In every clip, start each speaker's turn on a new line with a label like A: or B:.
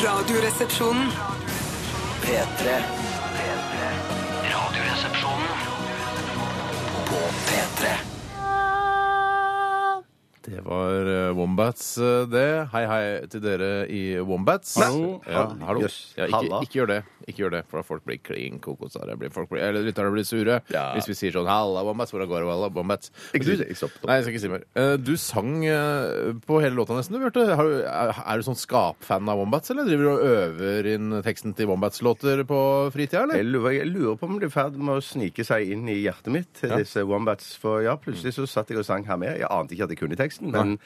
A: Radioresepsjonen.
B: P3 Radioresepsjonen På P3
C: Det var eh, Wombats, eh, det. Hei, hei til dere i Wombats.
D: Hallo.
C: Ja,
D: Hall-
C: hallo.
D: Jøss.
C: Ja, ikke,
D: Halla.
C: ikke gjør det, Ikke gjør det, for da folk blir klin kokos av det. Blir- Folk blir, eller lytterne blir sure hvis vi sier sånn 'Halla, Wombats, hvordan går det, halla, Wombats'?
D: Ikke
C: Men
D: si- ikke stopp, stopp.
C: Nei, jeg skal ikke si mer. Eh, Du sang eh, på hele låta nesten, du, Bjarte. Har du- Er er du sånn skapfan av Wombats, eller driver du og øver inn teksten til Wombats-låter på fritida, eller?
D: Jeg lurer, jeg lurer på om de er i ferd med å snike seg inn i hjertet mitt, disse wombats. For ja, plutselig så satt jeg og sang her med. Jeg ante ikke at jeg kunne teksten, men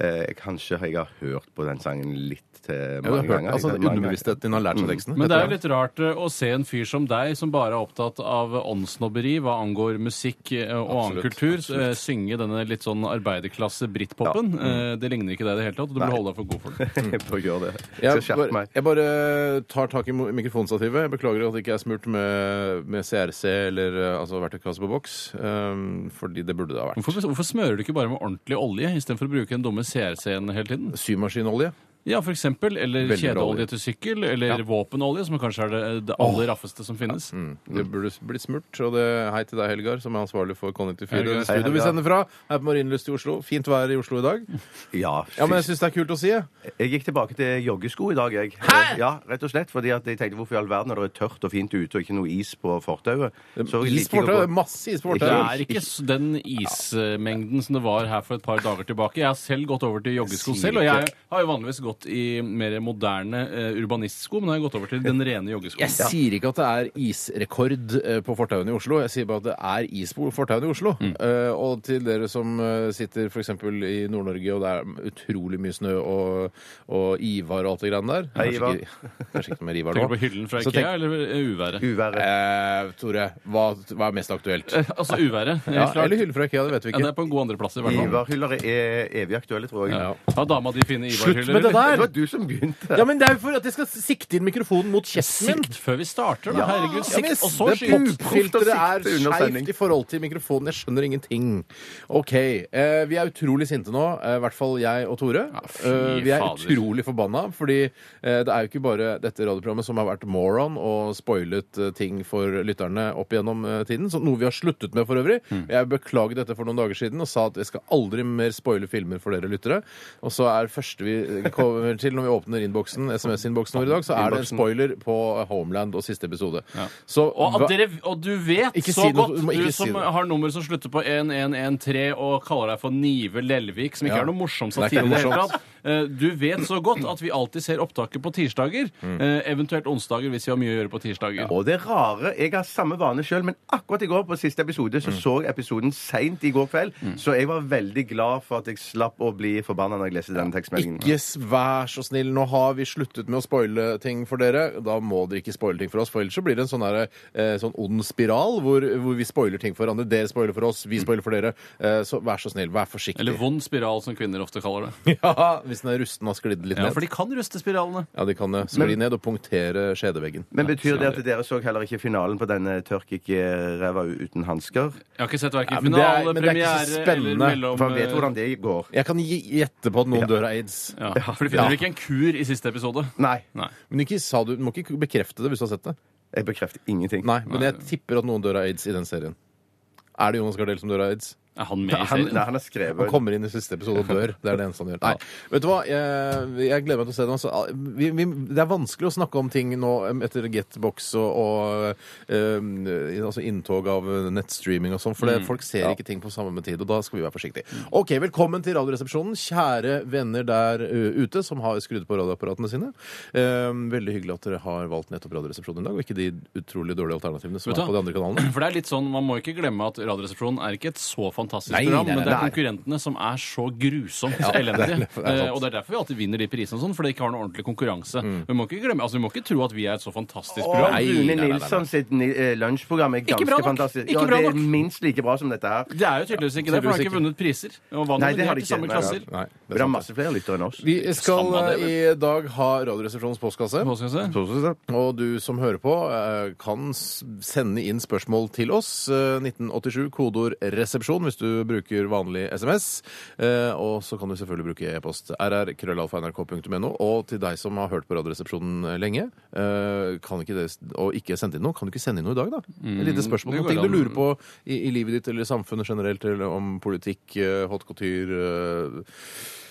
D: eh, kanskje jeg har hørt på den sangen litt eh,
C: Ja, du har
D: mange
C: hørt-
D: ganger.
C: altså,
D: Ikke mange ganger.
C: Underbevisstheten din har lært seg teksten?
E: Mm. Men det
C: Dette
E: er jo litt rart eh, å se en fyr som deg, som bare er opptatt av åndssnobberi hva angår musikk eh, og
C: Absolutt,
E: annen
C: Mm.
E: kultur, eh, synge denne litt sånn arbeiderklasse-brittpopen. Eh, Det ligner ikke deg i det hele tatt, og du
D: Nei.
E: bør holde deg for god for det.
D: Jeg får gjøre det. Jeg
C: Jeg
D: skal skjerpe
C: bare,
D: meg.
C: jeg bare tar tak i mo- mikrofonstativet. Jeg beklager at det ikke er smurt med, med CRC eller eh, altså verktøykasse på boks, ehm, fordi det burde det ha vært.
E: Hvorfor, hvorfor smører du ikke bare med ordentlig olje istedenfor å bruke den dumme CRC-en hele tiden?
C: Symaskinolje.
E: Ja, for eksempel. Eller
C: Veldig bra olje.
E: kjedeolje til sykkel, eller våpenolje, som kanskje er det, eh, det aller raffeste som finnes.
C: Det burde s- blitt smurt. Og det, hei til deg, Helgar, som er ansvarlig for
E: Helgar.
C: K94. Det
E: Hei,
C: studio vi
D: Helgar.
C: sender fra, er på Marienlyst i Oslo. Fint vær i Oslo i dag.
D: Ja,
C: Ja, men jeg
D: fy-
C: syns det er kult å si. jeg.
D: Jeg gikk tilbake til joggesko i dag, jeg. Hæ? Ja, rett og slett, fordi at jeg tenkte hvorfor i all verden når det er tørt og fint ute og ikke noe is på fortauet. så liker jeg å
C: Isportøy.
D: gå-
C: Masse isportøy.
E: Det er ikke s- den ismengden som det var her for et par dager tilbake. Jeg har selv gått over til joggesko
D: Sier
E: selv, og
D: ikke.
E: jeg har jo vanligvis gått i mer moderne eh, urbanistsko, men nå har jeg gått over til den rene
C: Jeg
E: joggeskoen.
C: sier ikke at det er isrekord eh, på fortauene i Oslo, jeg sier bare at det er is på fortauene i Oslo.
E: Mm.
C: Eh, og til dere som eh, sitter f.eks. i Nord-Norge, og det er utrolig mye snø og, og Ivar og alt det greiene der
D: Hei, Ivar.
C: Kanskje ikke- Kanskje ikke noe mer Ivar nå.
E: Tenker du på hyllen fra
C: Så
E: Ikea eller eh, uværet?
D: Uværet.
C: Eh, Tore, hva, hva er mest aktuelt?
E: Eh, Altså uværet. helt
C: Ja,
E: klart.
C: eller hylle fra Ikea, det vet vi
E: Ja, det er
C: ikke.
E: på en god andreplass i hvert fall.
D: Ivarhyller er evig aktuelle, tror jeg.
C: Ja.
E: Har dama di fine Ivar-hyller?
C: Slutt med det
E: eller?
C: der!
D: Det var du som begynte.
C: Ja, men det er jo for at jeg skal sikte inn mikrofonen mot kjesten min.
E: Sikt før vi starter, da.
C: Ja,
E: Herregud,
C: ja, men
E: sikt,
C: jeg-
E: og så
C: det
E: skyt.
C: popfilteret er
D: Proft å sikte under sending.
C: skeivt i forhold til mikrofonen. Jeg skjønner ingenting. OK. Eh, vi er utrolig sinte nå, eh, i hvert fall jeg og Tore.
E: fy
C: Eh, vi er
E: fader.
C: utrolig forbanna, fordi eh, det er jo ikke bare dette radioprogrammet som har vært moron og spoilet eh, ting for lytterne opp gjennom eh, tiden, så noe vi har sluttet med for øvrig.
E: Mm.
C: Jeg beklaget dette for noen dager siden og sa at jeg skal aldri mer spoile filmer for dere lyttere. Og så er det første vi kommer til når vi åpner innboksen, SMS-innboksen vår i dag, så er det en
D: Innboksen.
C: spoiler på Homeland og siste episode. Så
E: Og,
C: hva-
E: at dere, og du vet
C: Ikke
E: så
C: si noe-
E: godt,
C: du må
E: du
C: ikke si
E: som
C: det.
E: har nummer som slutter på 1113 og kaller deg for Nive Lelvik, som ikke
C: Ja.
E: er noe morsom
C: Det er ikke
E: satire. i det hele
C: morsomt.
E: tatt. Eh, Du vet så godt at vi alltid ser opptaket på tirsdager,
C: Mm.
E: eh, eventuelt onsdager hvis vi har mye å gjøre på tirsdager.
D: Og det rare Jeg har samme vane sjøl, men akkurat i går på siste episode så så jeg episoden seint i går kveld, så jeg var veldig glad for at jeg slapp å bli forbanna når jeg leste denne tekstmeldingen.
C: Ikke s- vær så snill, nå har vi sluttet med å spoile ting for dere. Da må dere ikke spoile ting for oss, for ellers så blir det en sånn, derre, eh, sånn ond spiral hvor, hvor vi spoiler ting for hverandre. Dere spoiler for oss, vi spoiler for dere. Eh, så vær så snill, vær forsiktig.
E: Mm. Eller vond spiral, som kvinner ofte kaller det.
C: ja, hvis den er rusten og har sklidd litt
E: Ja,
C: ned.
E: for de kan ruste spiralene.
C: Ja, de kan eh, skli ned og punktere skjedeveggen.
D: Men betyr det at dere så heller ikke finalen på denne Tørk ikke ræva uten hansker?
E: Jeg har ikke sett
C: Ja,
E: verken
C: men det er-
E: finale,
C: men det er ikke så
E: premiere eller
C: spennende,
E: mellom eh,
D: For han vet hvordan det går.
C: Jeg kan gi- gjette på at noen dør av aids.
E: ja, For de finner vel ikke en kur i siste episode?
D: Nei.
E: Nei.
C: Men ikke, sa du, du må ikke bekrefte det hvis du har sett det.
D: Jeg bekrefter ingenting.
C: Nei, men jeg tipper at noen dør av aids i den serien. Er det Jonas Gardell som dør av aids?
E: Er han med i
D: Han,
E: serien?
D: nei, han har
C: Han
D: skrevet
C: kommer inn i siste episode og dør. Det er det eneste han gjør. Nei, vet du hva? Jeg, jeg gleder meg til å se den. Altså, vi, vi, det er vanskelig å snakke om ting nå em, etter Getbox og, og em, i- altså inntog av nettstreaming og sånn, for det, folk ser ikke ting på samme tid, og da skal vi være forsiktige. OK, velkommen til Radioresepsjonen, kjære venner der ø, ute som har skrudd på radioapparatene sine. Em, veldig hyggelig at dere har valgt nettopp Radioresepsjonen i dag, og ikke de utrolig dårlige alternativene som
E: Vet du
C: er på de andre kanalene.
E: For det er litt sånn, Man må ikke glemme at Radioresepsjonen er ikke et så fantastisk
C: Nei,
E: program,
C: nei, nei,
E: men det er
C: nei.
E: konkurrentene som er så grusomt
C: det er-
E: elendige.
C: det er sant.
E: Eh, og Det er derfor vi alltid vinner de prisene, og sånn, fordi de ikke har noe ordentlig konkurranse. Vi må ikke glemme, altså vi må ikke tro at vi er et så fantastisk
D: Å,
E: program.
C: nei, nei,
D: Rune
C: nei, nei.
D: Nilsson sitt ni- eh, lunsjprogram er
E: Ikke bra
D: ganske
E: nok.
D: fantastisk.
E: Ikke
D: Ja,
E: bra
D: det er
E: nok.
D: minst like bra som dette her.
E: Det er jo tydeligvis ikke det, for de har
C: Tydeligvis
E: ikke vunnet priser. Og var
D: Nei, det har
E: nominert
D: de
E: i samme
D: ikke. Nei,
E: klasser.
C: Nei,
D: Det er masse flere lyttere enn oss.
C: Vi skal
E: Samme det,
C: eh, i dag ha Radioresepsjonens postkasse.
E: Hva skal jeg si?
C: Og du som hører på, eh, kan s- sende inn spørsmål til oss. eh, 1987, kodeord 'resepsjon', hvis hvis du bruker vanlig SMS. Eh, og så kan du selvfølgelig bruke e-post rr.krøllalfa.nrk.no. Og til deg som har hørt på Radioresepsjonen lenge, eh, kan ikke det, og ikke sendt inn noe, kan du ikke sende inn noe i dag, da? Et lite spørsmål.
E: Mm, det
C: Noen
E: går
C: ting du
E: an.
C: lurer på i, i livet ditt eller i samfunnet generelt, eller om politikk, eh, haute couture eh,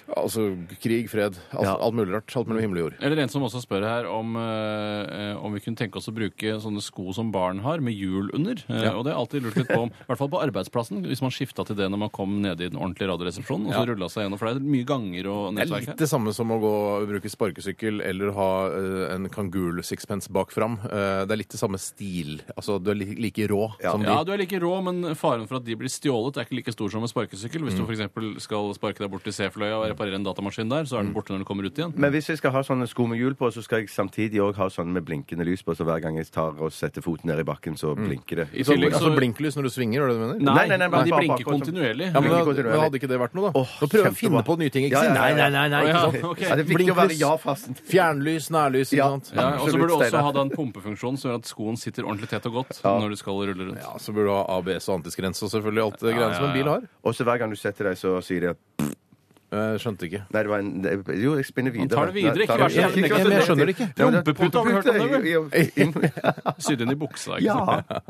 C: Altså krig, fred, alt,
E: Ja.
C: alt mulig rart. Alt mellom himmel og jord.
E: Eller en som også spør her om, eh, eh, om vi kunne tenke oss å bruke sånne sko som barn har, med hjul under. Eh, Og det har jeg alltid lurt litt på, om, i hvert fall på arbeidsplassen, hvis man skifta til det når man kom nede i den ordentlige radioresepsjonen, og så rullet rulla seg gjennom, for det er mye ganger og
C: Det er
E: nettverk
C: litt
E: her.
C: det samme som å gå og bruke sparkesykkel eller ha eh, en kangul-sixpence bak fram. Eh, det er litt det samme stil. Altså, du er li like rå som de.
E: Ja, du er like rå, men faren for at de blir stjålet er ikke like stor som en sparkesykkel. Hvis du f.eks. skal sparke deg bort til Sefløya og reparere en datamaskin der, så er den borte når du kommer ut igjen.
D: Men hvis jeg skal ha sånne sko med hjul på, så skal jeg samtidig òg ha sånne med blinkende lys på, så hver gang jeg tar og setter foten ned i bakken, så blinker det.
E: Mm. I
C: Så,
E: tillegg
C: altså
E: så-
C: blinklys når du svinger, er det det du mener?
E: Nei,
D: Nei, nei, nei,
E: men
D: bare-
E: de
D: bare
E: blinker
D: akkurat som-
E: kontinuerlig.
C: Ja, men,
D: Blinker
C: da, men
D: kontinuerlig.
C: hadde ikke det vært noe, da?
D: Åh,
C: Nå prøver jeg å
D: kjempebra.
C: finne på nye ting. Ikke
D: Ja,
C: si
D: ja, ja,
C: nei,
D: ja.
C: nei, nei. nei
E: Å, ja,
C: ikke sant?
E: ok.
D: Ja, det er viktig å være
C: Blinklys.
D: ja-fasten.
C: Fjernlys, nærlys, ikke
D: Ja.
C: sant?
E: Ja, og så burde du
D: Absolutt,
E: også
D: Steinar.
E: ha da en pumpefunksjon som gjør at skoen sitter ordentlig tett og godt når du skal rulle rundt.
C: Ja, så burde du ha ABS og antisgrense og selvfølgelig alt det greiene som en
E: ja,
C: bil
E: ja.
C: har.
D: Og så hver gang du setter deg, så sier de at
C: Eh, skjønte ikke.
D: Nei, det var en det- Jo, jeg spinner videre.
E: tar det videre,
D: Nei, tar
E: ikke vær
C: så jævlig negativ. Jeg skjønner det ikke.
D: Ja, men det-
E: Prompepute, har du hørt om det, vel?
D: Jo, jo, jo.
E: Sydd inn i buksa. ikke sant?
D: Ja.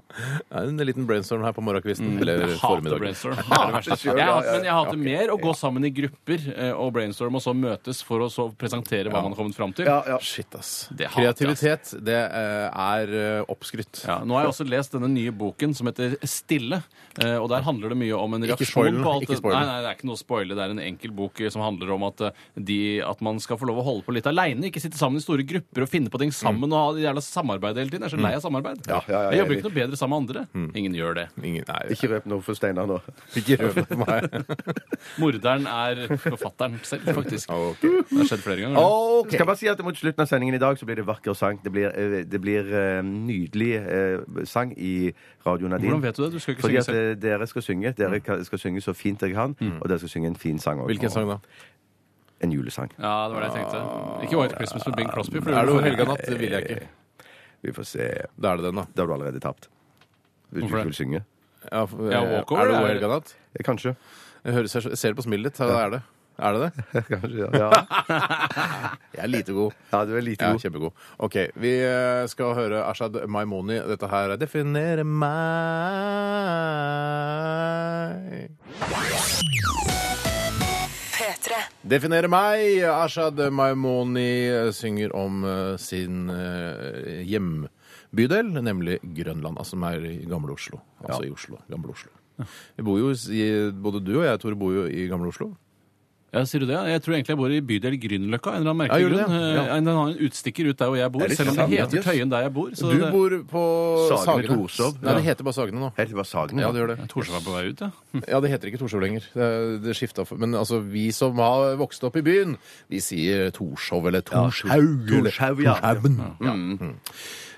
C: Ja, En liten brainstorm her på morgenkvisten. Eller
E: Mm. Jeg hater
C: formiddagen.
E: brainstorm. Det er det verste.
D: selv,
E: Jeg
D: ja,
E: hater,
D: ja, ja.
E: men jeg hater mer å gå sammen i grupper eh, og brainstorme, og så møtes for å så presentere hva man har kommet fram til.
D: Ja, ja.
C: Shit, ass.
E: Det hater jeg, ass.
C: Kreativitet, det eh, er eh, oppskrytt.
E: Ja, nå har jeg også lest denne nye boken som heter Stille. eh, Og der handler det mye om en
C: Ikke
E: reaksjon
C: spoil den,
E: på alt
C: ikke spoil den.
E: Nei, nei, det er ikke noe å spoile. Det er en enkel bok eh, som handler om at, eh, de, at man skal få lov å holde på litt aleine. Ikke sitte sammen i store grupper og finne på ting sammen og ha det jævla samarbeidet hele tiden. Jeg er så lei av samarbeid.
D: ja, ja,
E: jeg jobber
D: jeg
E: ikke noe bedre sammen med andre. Ingen gjør det.
C: Ingen, nei,
D: Ikke røp noe for Steinar nå.
C: ikke røv på meg.
E: Morderen er forfatteren selv, faktisk.
C: Ok.
E: Det har skjedd flere ganger.
C: Ok.
D: Skal jeg bare si at Mot slutten av sendingen i dag så blir det vakker sang. Det blir, eh, det blir eh, nydelig eh, sang i radioen Nadine.
E: Hvordan vet du det? Du skal ikke
D: Fordi
E: synge
D: at
E: selv.
D: eh, dere skal synge. Dere ka- skal synge så fint dere kan, og dere skal synge en fin sang også.
C: Hvilken sang da?
D: En julesang.
E: Ja, det var det jeg tenkte. Ikke White Christmas med Bing Crosby. for
C: Er det jo
E: var-
C: Helga natt? Det vil jeg ikke.
D: Vi får se.
C: Da er det den, da.
D: Da har du allerede tapt. Hvis du
E: Hvorfor
D: ikke
E: det?
D: vil synge.
C: Ja, f- eh,
E: Ja, Walkover,
C: er det
E: er-
C: jo Helga natt?
D: Eh, Kanskje.
C: Jeg, hører, ser, ser på smilet ditt. Ja, det er det. Er det det?
D: Kanskje, ja. ja.
C: Jeg er lite god.
D: ja du er lite
C: Ja,
D: god.
C: kjempegod. OK, vi eh, skal høre Ashad Maimoni. Dette her er 'Definere meg'.
A: P3.
C: Definere meg. Ashad Maimoni eh, synger om eh, sin eh, hjembydel, nemlig Grønland, altså som er i Gamle Oslo. Altså i Oslo. Gamle Oslo. Vi bor jo, s- i, både du og jeg, Tore, bor jo i Gamle Oslo.
E: Ja, sier du det? Jeg tror egentlig jeg bor i bydel Grünerløkka. av En eller
C: Ja,
E: annen merkelig
C: gjør du det?
E: grunn. Eh, Den har en utstikker ut der hvor jeg bor,
D: Er det
E: selv om det
D: sant?
E: heter
D: Jøss.
E: Tøyen der jeg bor. Så
C: du
E: det...
C: bor på
D: Sagene.
C: Sagene.
D: Torshov.
C: Nei, det heter bare Sagene nå.
D: Helt til det var Sagen.
C: Ja,
D: Ja,
C: det gjør det.
E: Torshov er på vei ut, ja.
C: Ja, det heter ikke Torshov lenger. Det, det skiftet for- Men altså, vi som har vokst opp i byen, vi sier Torshov eller Torshaug. eller
D: Torshov, ja.
C: Torshaven. Ja. Mm.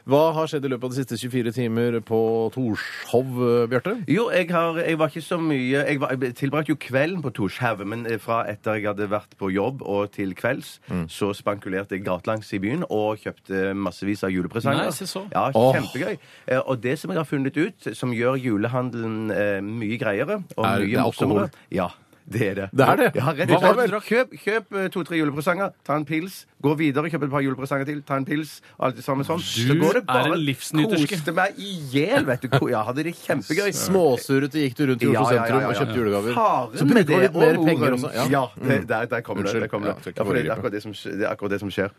C: Hva har skjedd i løpet av de siste 24 timer på Torshov, eh, Bjarte?
D: Jo, jeg, har, jeg var ikke så mye Jeg, var, jeg tilbrakte jo kvelden på Torshhaug, men eh, fra etter jeg hadde vært på jobb og til kvelds,
C: Mm.
D: så spankulerte jeg gatelangs i byen og kjøpte massevis av julepresanger.
E: Nei, se så.
D: Ja,
C: Åh.
D: Kjempegøy. Eh, Og det som jeg har funnet ut, som gjør julehandelen eh, mye greiere og
C: Er det
D: mye
C: alkohol?
D: morsommere Ja, det er det.
C: Det er det?
D: Ja, rett
C: Hva
D: og
C: var det
D: slett. Kjøp, kjøp eh, to-tre julepresanger, ta en pils, gå videre, kjøp et par julepresanger til, ta en pils, alt det samme sånn.
E: Du er en livsnyterske.
D: Koste meg i hjel, vet du. Ko- Ja, hadde det kjempegøy.
C: Småsurrete gikk du rundt i Oslo sentrum og kjøpte julegaver.
D: Faren
C: Så brukte
D: med
C: man
D: det
C: litt mer
D: og moren.
C: penger også. Mm.
D: Ja,
C: Ja.
D: det, der, der kommer
C: Unnskyld.
D: det. Der kommer
C: Ja,
D: det.
C: jeg skal ikke
D: Ja, for det er
C: foregripe.
D: akkurat det som, det er akkurat det som skjer.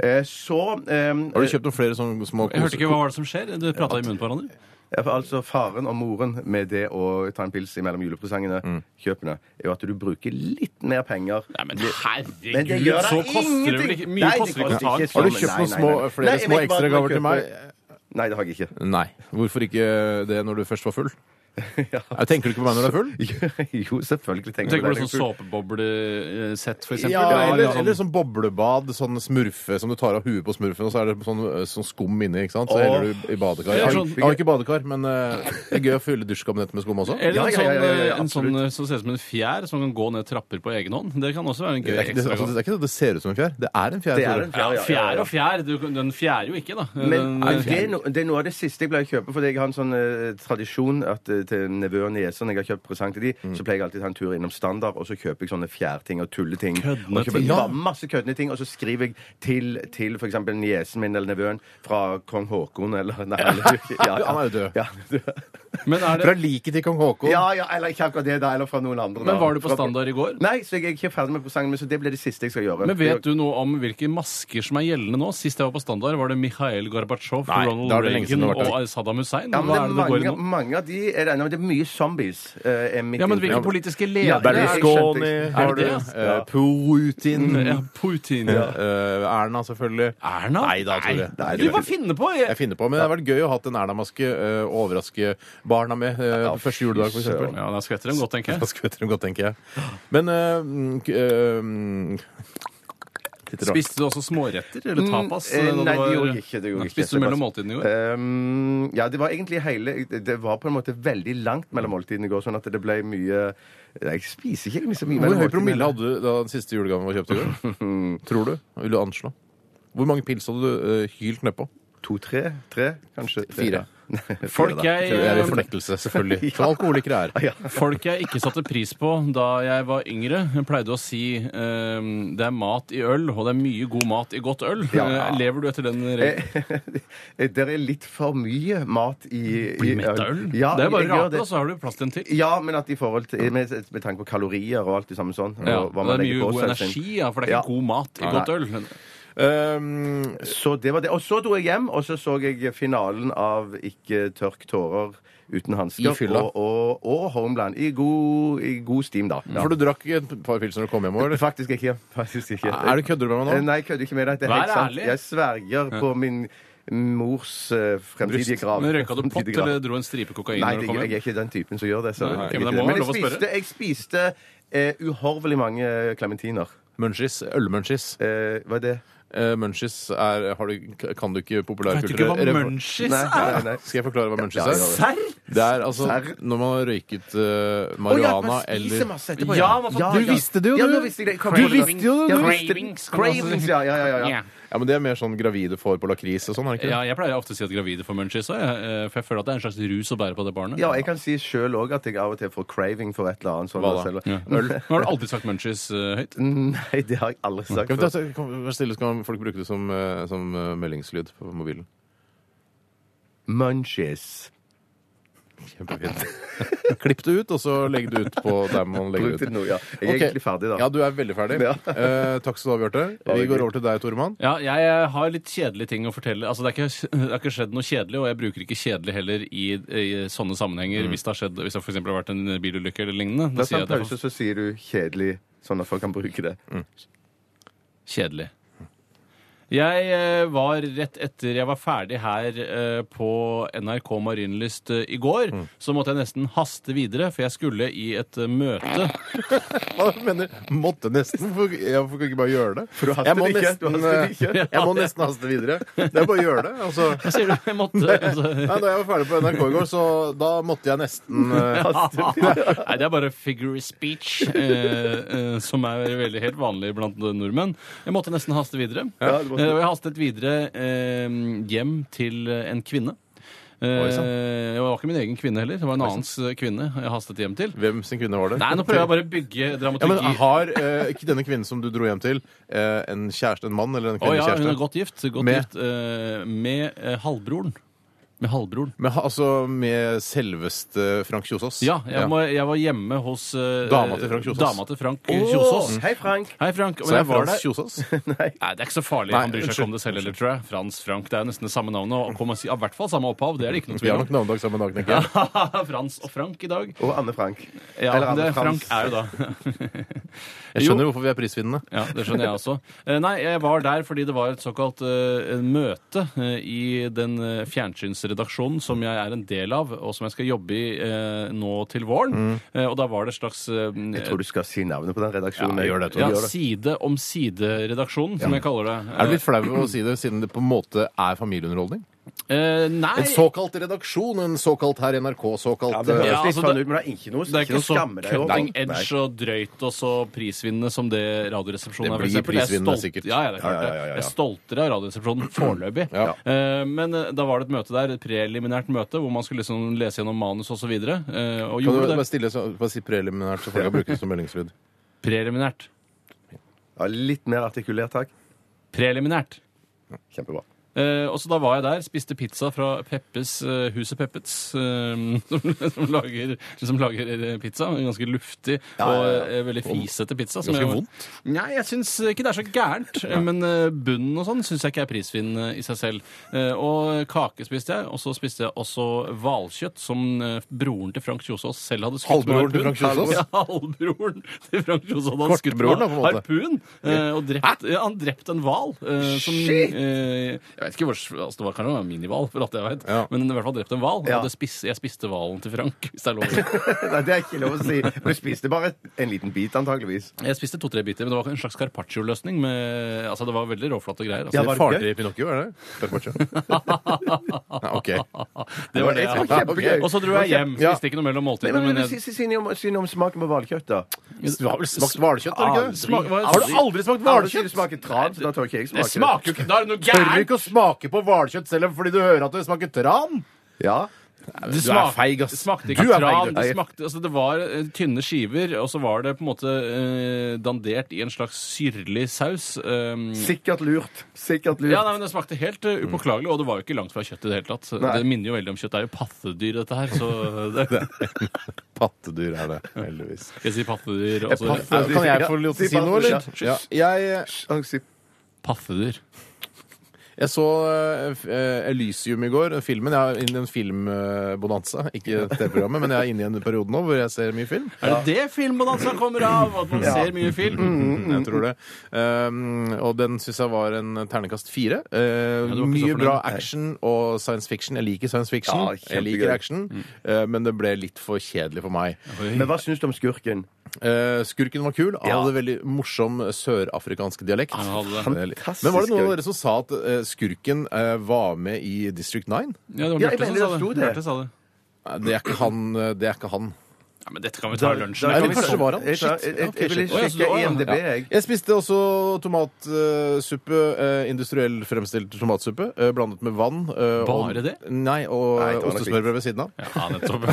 D: Eh, så ehm,
C: Har du kjøpt noen flere sånne små
E: Jeg hørte ikke hva var det som skjer. Du prata i munnen på hverandre.
D: Ja, for Altså faren og moren med det å ta en pils mellom julepresangene,
C: Mm.
D: kjøpene, er jo at du bruker litt mer penger.
E: Nei, men
D: Det-
E: herregud,
D: Men det gjør da
E: så koster det vel
D: ingenting.
E: ikke
D: Nei,
E: Mye
D: det
E: koster det
D: koster
E: ikke å ta
D: ikke så-
C: Har du kjøpt
D: Nei,
C: noen
D: nei,
C: små,
D: nei.
C: flere
D: Nei, jeg
C: små
D: vet bare at man
C: ekstragaver til meg?
D: kjøper- Nei, det har jeg ikke.
C: Nei. Hvorfor ikke det når du først var full?
D: Ja.
C: Jeg tenker du ikke på meg når du er full?
D: Jo, selvfølgelig
E: Du
D: tenker jeg
E: tenker på
D: det.
E: sånn såpeboblesett, for eksempel?
C: Ja, eller,
E: sånn-
C: eller sånn boblebad, sånn smurfe som du tar av huet på smurfen, og så er det sånn, sånn skum inni, ikke sant? Så
D: Åh.
C: heller du i badekar. Jeg
E: Eller
C: har,
E: sånn-
C: jeg har ikke badekar, men eh, det er gøy å fylle dusjkabinettet med skum også.
E: Eller
D: Ja, ja,
E: en
D: ja,
E: sånn,
D: ja, ja,
E: en sånn
D: absolutt.
E: eh, som ser ut som en fjær som kan gå ned trapper på egen hånd. Det kan også være en
C: Det
E: gøy
C: er, ikke, det, altså,
E: ekstragave.
C: det er ikke det det ser ut som en fjær. Det er en fjær.
D: Det er
C: tror jeg.
D: en fjær.
E: Ja,
D: ja, ja, ja.
E: fjær og fjær. Du, den fjærer jo ikke, da.
D: Men
E: Den-
D: det, er no, det er noe av det siste jeg pleier å kjøpe, fordi jeg har en sånn eh, tradisjon at eh, til, til nevø og niese når jeg har kjøpt presang til de,
E: Mm.
D: så pleier jeg alltid å ta en tur innom Standard, og så kjøper jeg sånne fjærting og tulleting.
E: Køddende
D: og kjøper
E: ting.
D: ma- masse køddende ting, og så skriver jeg til, til f.eks. niesen min eller nevøen fra kong Haakon eller nei, eller- ja, ja.
C: Han er jo død.
D: Ja, død.
E: Men, er
C: Fra
E: det,
C: liket til kong Haakon.
D: Ja, ja, eller ikke akkurat det, da, eller fra noen andre.
E: men
D: da.
E: var du på
D: Fra-
E: standard i går?
D: Nei, så jeg er ikke ferdig med presangen min, så det blir det siste jeg skal gjøre.
E: Men vet du noe om hvilke masker som er gjeldende nå? Sist jeg var på standard, var det Mikhail Gorbatsjov,
C: Nei,
E: Ronald
C: da er det lenge siden
E: Reagan
C: det har vært
E: og Saddam Hussein.
D: Ja, men det
E: Hva er
D: er
E: det det går i
D: mange,
E: nå?
D: mange av de er det, nei, men det er mye zombies. eh, er mitt
E: Ja, men
D: inntrykk.
E: hvilke politiske
D: Ja,
E: ledere
D: det er-
C: Berlusconi
D: Er det
C: har du.
E: det? Mm,
C: eh, Putin.
E: Ja, Putin.
C: eh, Erna, selvfølgelig.
E: Erna?
C: Nei da, Tore.
D: nei,
E: Du, hva finner på? Jeg-
C: Jeg finner på, men det har vært gøy å ha en Erna-maske eh, og overraske barna med eh, på første juledag, for eksempel.
E: Ja, da skvetter de godt, tenker
C: Da
E: jeg.
C: skvetter de godt, tenker jeg. Men eh, mm, k- eh, mm, litt rart.
E: Spiste du også småretter eller tapas?
D: Mm, eh,
E: når
D: nei,
E: du
D: det
E: var-
D: gjorde jeg ikke, det gjorde jeg ikke.
E: Spiste du mellom måltidene i går?
D: Ehm, ja, det var egentlig hele Det var på en måte veldig langt mellom måltidene i går, sånn at det ble mye Nei, Jeg spiser ikke egentlig så mye
C: Hvor
D: mellom
C: høy promille hadde du da den siste julegaven var kjøpt i går? Tror du? Vil du anslå? Hvor mange pils hadde du eh, hylt nedpå?
D: To, tre? Tre, kanskje? Tre,
C: Fire.
D: ja. Fire,
E: Folk
D: da.
E: jeg-
C: Det er i fornektelse, selvfølgelig. Som alkoholikere er.
D: Ja.
E: Folk jeg ikke satte pris på da jeg var yngre, pleide å si ehm, det er mat i øl, og det er mye god mat i godt øl.
D: Ja.
E: Eh, Lever du etter den regelen?
D: Eh, Det er litt for mye mat i, i
E: Blir mett av øl?
D: Ja,
E: det er bare altså.
D: jeg gjør
E: rape, og så har du plass til en til.
D: Ja, men at i forhold til, med, med tanke på kalorier og alt det samme sånn.
E: Ja,
D: og hva
E: det
D: man
E: er
D: legger
E: mye
D: på seg,
E: god
D: sin-
E: energi, ja, for det er ikke
D: Ja.
E: god mat i
D: Nei,
E: godt
D: nei.
E: øl.
C: Um,
D: Så det var det. Og så dro jeg hjem, og så så jeg finalen av Ikke tørk tårer uten hansker.
C: I fylla.
D: Og, og, og Homeland. I god, I god stim, da. Ja.
C: for du drakk et par pils når du kom hjem òg, eller?
D: Faktisk ikke. Faktisk ikke.
C: Er du kødder du med
D: Eh,
C: meg nå?
D: Nei, jeg kødder ikke med deg. Det er
E: Vær
D: helt sant.
E: ærlig.
D: Jeg sverger på min mors eh, fremtidige
C: Bryst.
D: grav.
E: Men Røyka du pott,
D: Fremtidige grav.
E: eller dro en stripe kokain
D: Nei, det,
E: når du kom
D: jeg er
E: hjem?
D: ikke den typen som gjør det. Så
E: Nei, ok,
D: jeg
E: men
D: vet
E: det må
D: ikke
E: være lov å
D: jeg spiste, jeg spiste eh, uhorvelig mange eh, klementiner.
C: Munchies. Ølmunchies.
D: Eh, hva er det?
C: Eh, munchies er har du, Kan du ikke
E: Vet du ikke
C: populærkultur
E: hva munchies
D: Nei,
E: er?
D: nei, nei.
C: Skal jeg forklare hva munchies
D: Ja, ja, ja.
C: er?
E: Serr?
C: Det er altså
D: Serr?
C: når man har røyket eh,
D: Å, ja,
C: marihuana
D: man spiser
C: eller
D: masse etterpå,
E: Ja, man får- Du
C: visste det jo,
D: Ja,
C: du.
D: nå visste jeg det. Kom
C: Du
D: på det da.
C: visste jo det,
D: Ja,
C: du.
D: visste-
E: Cravings, kan man også si.
D: Cravings, ja, ja, ja, ja.
C: Ja, men Det er mer sånn gravide får på lakris og sånn, er det ikke det?
E: Ja, jeg pleier ofte å si at gravide får munchies òg, for jeg føler at det er en slags rus å bære på det barnet.
D: Ja, jeg kan si sjøl òg at jeg av og til får craving for et eller annet. Sånn,
C: Hva da?
D: selv-
E: Ja. Øl. Nå har du aldri sagt munchies eh, høyt.
D: Mm. Nei, det har jeg aldri sagt
C: Ja, men da,
D: før.
C: så, kom, vær stille, så kan folk bruke det som, eh, som eh, meldingslyd på mobilen.
D: Munchies.
C: Kjempefint. Klipp det ut, og så legg det ut på der man legger
D: Bruk
C: det
D: det
C: ut.
D: nå, ja. Jeg er
C: Ok.
D: egentlig ferdig, da.
C: Ja, du er veldig ferdig.
D: Ja.
C: Eh, takk skal du ha, Bjarte.
D: det
C: Vi
D: er
C: går
D: gøy.
C: over til deg, Toremann.
E: Ja, jeg eh, har litt kjedelige ting å fortelle. Altså, det har ikke, det er ikke skjedd noe kjedelig, og jeg bruker ikke kjedelig heller i, i sånne
D: Mm.
E: sammenhenger hvis det har skjedd, hvis det for eksempel har vært en bilulykke eller lignende.
D: La
E: Da
D: oss ta
E: sier
D: en
E: jeg at det Mm.
D: pause,
E: er
D: så sier du kjedelig, sånn at folk kan bruke det.
E: kjedelig. Jeg eh, var rett etter jeg var ferdig her eh, på NRK Marienlyst eh, i går,
D: Mm.
E: så måtte jeg nesten haste videre, for jeg skulle i et eh, møte.
C: Hva mener Måtte nesten. Hvorfor- ja, Hvorfor kan jeg ikke bare gjøre det?
D: For du haster
C: jeg må
D: det ikke. Du
C: nesten,
D: haster det
C: eh, jeg må nesten haste videre. Det er bare å gjøre det. altså...
E: Hva sier du? Jeg måtte altså,
C: Nei, Da jeg var ferdig på NRK i går, så da måtte jeg nesten eh,
E: Nei, det er bare figure of speech, eh, eh, som er veldig helt vanlig blant nordmenn. Jeg måtte nesten haste videre.
D: Ja, du måtte.
E: Eh, og jeg hastet videre eh, hjem til en kvinne.
C: Oi,
D: sånn.
C: sant.
E: Eh, det var ikke min egen kvinne heller, det var en annens eh, kvinne jeg hastet hjem til.
C: Hvem sin kvinne var det?
E: Nei, nå prøver jeg bare å bygge
C: ja, men
E: dramaturgi.
C: Har eh, ikke denne kvinnen som du dro hjem til, eh, en kjæreste, en mann eller en
E: Å ja, hun
C: kvinnekjæreste?
E: er godt gift. Godt
C: Med?
E: gift eh, med eh, halvbroren. Med halvbroren.
C: Men ha- altså med selveste Frank Kjosås?
E: Ja, jeg, Må, jeg var hjemme hos eh,
C: Dama til Frank Kjosås.
E: Dama til Frank Kjosås.
D: Åh, Hei, Frank.
E: Hei, Frank.
C: Så
E: Men
C: er
E: jeg var
C: Frans
E: der
C: Kjosås?
E: Nei, det er ikke så farlig.
C: Nei,
E: han bryr seg ikke om det selv heller, tror jeg. Frans Frank. Det er jo nesten det samme navnet. Og kommer, i hvert fall samme opphav. Det er det ikke noe
C: Vi har
E: tvil
C: nok
E: om.
C: navnedag samme dag, tenker jeg.
E: Frans og Frank i dag.
D: Og Anne Frank.
E: Ja,
D: Eller
E: men det,
D: Anne
E: Frank
D: Frans.
E: er jo da
C: Jeg skjønner hvorfor vi er prisvinnende.
E: Ja, Det skjønner jeg også. Eh, Nei, jeg var der fordi det var et såkalt eh, møte eh, i den eh, fjernsynsredaksjonen som jeg er en del av, og som jeg skal jobbe i eh, nå til våren. Eh, Og da var det et slags eh,
D: Mm. Jeg tror du skal si navnet på den redaksjonen.
C: Ja, gjør det, Tore.
E: ja,
D: Gjør det.
E: Side om side-redaksjonen, som jeg kaller det.
C: Er du litt flau over å si det, siden det på en måte er familieunderholdning?
E: Eh, nei
C: En såkalt redaksjon, en såkalt her NRK, såkalt eh,
D: Ja, det høres
E: Ja,
D: litt
E: altså,
D: sånn
E: det-
D: ut, men det er ikke noe,
E: Det er
D: ikke
E: ikke
D: noe
E: sånn så
D: skamme deg over.
E: cutting
D: Nei.
E: edge og drøyt og så prisvinnende som det Radioresepsjonen
C: Det
E: er. for
C: blir
E: eksempel. Jeg er
C: prisvinnende,
E: stolt-
C: sikkert.
E: Ja, ja, det er klart
D: Ja, ja, ja, ja,
E: det.
D: ja.
E: Jeg er stoltere av Radioresepsjonen foreløpig.
C: Ja.
E: Eh, Men eh, da var det et møte der, et preliminært møte, hvor man skulle liksom lese gjennom manus osv. Og, så videre, eh,
C: Kan
E: og
C: du
E: gjorde
C: bare
E: det.
C: stille så, bare si preliminært, så folk kan bruke det som meldingslyd?
E: Preliminært.
D: Ja, litt mer artikulert, takk.
E: Preliminært.
D: Kjempebra.
E: Eh, og så Da var jeg der, spiste pizza fra Peppes, eh, huset Peppets, eh, som, som lager, som lager eh, pizza. En ganske luftig og eh, veldig fisete pizza. som
C: Ganske
E: jeg-
C: vondt?
E: Nei, jeg syns ikke det er så gærent. eh, Men eh, bunnen og sånn syns jeg ikke er prisvinn eh, i seg selv. Eh, og kake spiste jeg, og så spiste jeg også hvalkjøtt, som eh, broren til Frank Kjosås selv hadde skutt med
C: Halvbroren til
E: harpun.
C: Frank Kjosås?
E: Ja, halvbroren til Frank Kjosås hadde han skutt
C: Kortbroren, da,
E: med
C: på en måte.
E: harpun. eh, og drept, ja, han drepte en hval. eh, som,
D: Shit!
E: Eh, jeg vet ikke hvor, altså det var kanskje en minihval, for alt jeg vet.
C: Ja.
E: Men i hvert fall drept en hval.
D: Ja.
E: Og det spis, jeg spiste hvalen til Frank, hvis det er lov.
D: Nei, det er ikke lov å si. Men du spiste bare en liten bit, antageligvis.
E: Jeg spiste to-tre biter, men det var en slags carpaccio-løsning. med- Altså, det var veldig råflate greier.
D: Ja,
E: Altså.
D: var det
C: Faren
D: gøy?
C: til Pinocchio, er det? Carpaccio? Ja, OK.
E: Det var det,
D: Det var
E: ja.
D: kjempegøy.
E: Og så dro jeg hjem.
C: Ja.
E: Spiste ikke noe mellom
D: Nei,
E: måltidene.
D: men, men,
E: Men
D: si,
E: jeg,
D: si, si, noe om, si noe om smaken på hvalkjøtt, da.
C: Det var vel smakt hvalkjøtt, var det ikke
E: Aldri.
C: det? Har du aldri smakt
D: Alle
C: hvalkjøtt?
D: sier det smaker tran, så da tør ikke jeg
E: det
D: smake
E: smaker jo ikke Da er det noe
C: Tør du
E: gærent!
C: ikke å smake på hvalkjøtt selv om fordi du hører at det smaker tran?
D: Ja.
E: Det
C: Du er
E: smak-
C: feig, ass.
E: Det smakte
C: Du
E: ikke
C: er feig,
E: tran.
C: du.
E: Det, smakte, altså, det var eh, tynne skiver, og så var det på en måte eh, dandert i en slags syrlig saus. Um,
D: Sikkert lurt. Sikkert lurt.
E: ja, nei, men Det smakte helt eh, upåklagelig, og det var jo ikke langt fra kjøtt i det hele tatt.
D: Nei.
E: Det minner jo veldig om kjøtt. Det er jo pattedyr, dette her. Så det,
C: Pattedyr er det, heldigvis.
E: jeg sier pattedyr. altså, eh, og så-
D: paff-
C: Altså, Kan jeg få lov til å si noe, eller? Ja. Jeg,
D: Og si-
E: Pattedyr.
C: jeg så eh, f- eh, Elysium i går, filmen. Jeg er inne i en filmbonanza. Ikke TV-programmet, men jeg er inne i en periode nå hvor jeg ser mye film.
E: Er det det filmbonanzaen kommer av? At man ser mye film?
C: Mhm, Jeg tror det. Um, og den syns jeg var en ternekast fire. Uh,
E: du var ikke så
C: mye
E: fornøyd.
C: bra action og science fiction. Jeg liker science fiction,
D: Ja,
C: jeg liker
D: kjempegøy.
C: action,
E: Mm.
C: uh, men det ble litt for kjedelig for meg.
D: Men hva syns du om skurken?
C: Eh, skurken var kul. Han
D: Ja.
C: hadde veldig morsom sørafrikansk dialekt.
E: Han hadde det.
D: Fantastisk
C: Men var det noen av
D: gøy.
C: dere som sa at eh, skurken eh, var med i District 9?
E: Ja, det var
D: Ja, jeg
E: Bjarte som
D: mener det
E: sa
D: sto
E: det.
D: det.
E: Bjarte sa det.
C: Nei, Det er ikke han. eh, Det er ikke han.
E: Ja, men dette kan vi ta i lunsjen.
C: da kan
E: Det er
C: vi
E: ikke
C: kanskje
E: så-
C: var han?
D: Jeg, jeg, jeg, jeg ville
E: Shit. Å, ja, så det
D: sjekke
E: var han.
D: IMDb, jeg.
C: Jeg spiste også tomatsuppe. eh, industriell fremstilt tomatsuppe eh, blandet med vann. eh,
E: Bare
C: og,
E: det?
C: Nei, og
D: Nei, det var nok
C: ostesmørbrød ved siden av.
E: Ja, nettopp.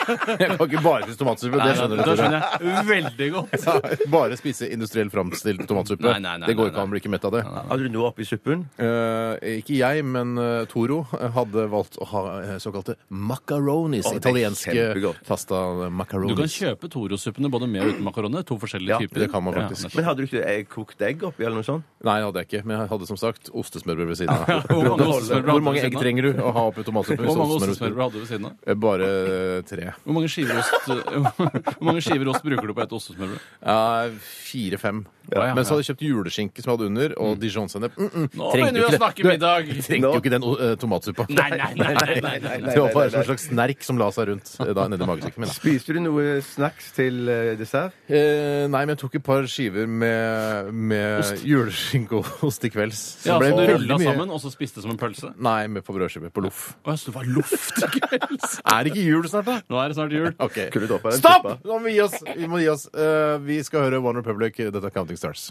C: Jeg kan ikke bare spise tomatsuppe. Det skjønner du.
E: Da
C: Tore.
E: skjønner jeg veldig godt.
C: Ja, Bare spise industriell framstilt tomatsuppe.
E: Nei, nei, nei,
C: det går
E: nei,
C: ikke an,
E: nei.
C: blir ikke mett av det.
D: Hadde du noe oppi suppen?
C: Eh, ikke jeg, men eh, Toro hadde valgt å ha eh, såkalte macaronis.
D: Å, det er
C: italienske
D: kjempegodt.
C: pasta macaronis.
E: Du kan kjøpe Toro-suppene både med og uten makaroni. To forskjellige
D: Ja,
E: typer.
C: det kan man faktisk.
E: nettopp.
D: Men hadde du ikke eh, kokt egg oppi, eller noe sånt?
C: Nei, det hadde jeg ikke, men jeg hadde som sagt ostesmørbrød ved siden av.
E: Hvor
C: Hvor
E: mange ostesmørbrød hadde
C: mange
E: du ved
C: egg
E: siden av?
C: trenger du å ha oppi tomatsuppe? hvis
E: Hvor mange
C: ostesmørbrød-
E: ostesmørbrød hadde du ved siden av?
C: Eh, Bare eh, tre.
E: Hvor mange skiver ost, eh, Hvor mange skiver ost bruker du på ett ostesmørbrød?
C: Ja, Fire-fem.
E: Ja, ja,
C: Men så
E: ja.
C: hadde jeg kjøpt juleskinke som jeg hadde under, og dijon-sennep. Mm -mm.
E: Nå
C: Trengte
E: begynner vi
C: ikke
E: å
C: det.
E: snakke middag!
C: Du trengte jo ikke den eh, tomatsuppa.
E: Nei, nei, nei, nei, nei, nei.
C: Det var bare en slags snerk som la seg rundt eh, da, nedi magesekken min. Da.
D: Spiste du noe snacks til eh, dessert?
C: Eh, nei, men jeg tok et par skiver med, med juleskinkeost i kvelds. Så
E: Ja,
C: det
E: så
C: ble
E: du
C: veldig
E: rulla
C: mye-
E: sammen, og så spiste som en pølse?
C: Nei, med på brødskive. På loff.
E: Å, så det var luft i kvelds!
C: Er det ikke jul snart, da?
E: Nå er det snart jul.
C: Ok.
D: Kunne du droppa den
C: Stopp!
D: suppa?
C: Nå må vi gi oss. Vi, må gi oss. Eh, vi skal høre One Republic. Dette er Counting Stars.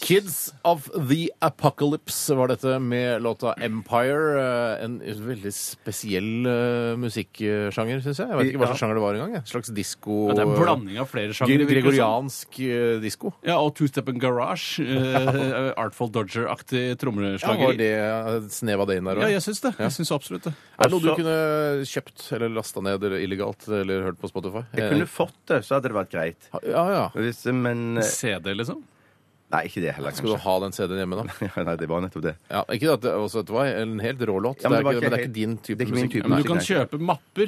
C: Kids of the Apocalypse var dette med låta Empire. eh, En veldig spesiell eh, musikksjanger, syns jeg. Jeg vet ikke hva slags
D: Ja.
C: sjanger det var engang. jeg. Slags disko
E: Ja, det er en blanding av flere sjangere. virker det som.
C: Gregoriansk eh, disko.
E: Ja, og Two Step and Garage. eh, Artful Dodger-aktig
C: Ja, var
E: trommeslageri.
C: det et snev av det inn der
E: Ja,
C: også?
E: jeg syns det. Jeg syns absolutt det.
C: Er det noe du
D: Altså-
C: kunne kjøpt eller lasta ned eller illegalt eller hørt på Spotify?
D: Jeg kunne fått det, så hadde det vært greit.
C: Eh, Ja, ja.
D: Hvis, men eh,
E: CD, liksom?
D: Nei, ikke det heller,
C: Skal du
D: kanskje.
C: ha den CD-en hjemme, da?
D: Nei, det var nettopp det.
C: Ja, ikke at det, altså, det var en helt rå låt.
D: Ja,
C: det
D: men
C: er
D: det var
C: ikke, men
D: ikke
C: det er
D: helt-
C: ikke din type
D: det er ikke min
C: musikk.
D: type
E: Men
D: musikk,
E: du kan
D: nei.
E: kjøpe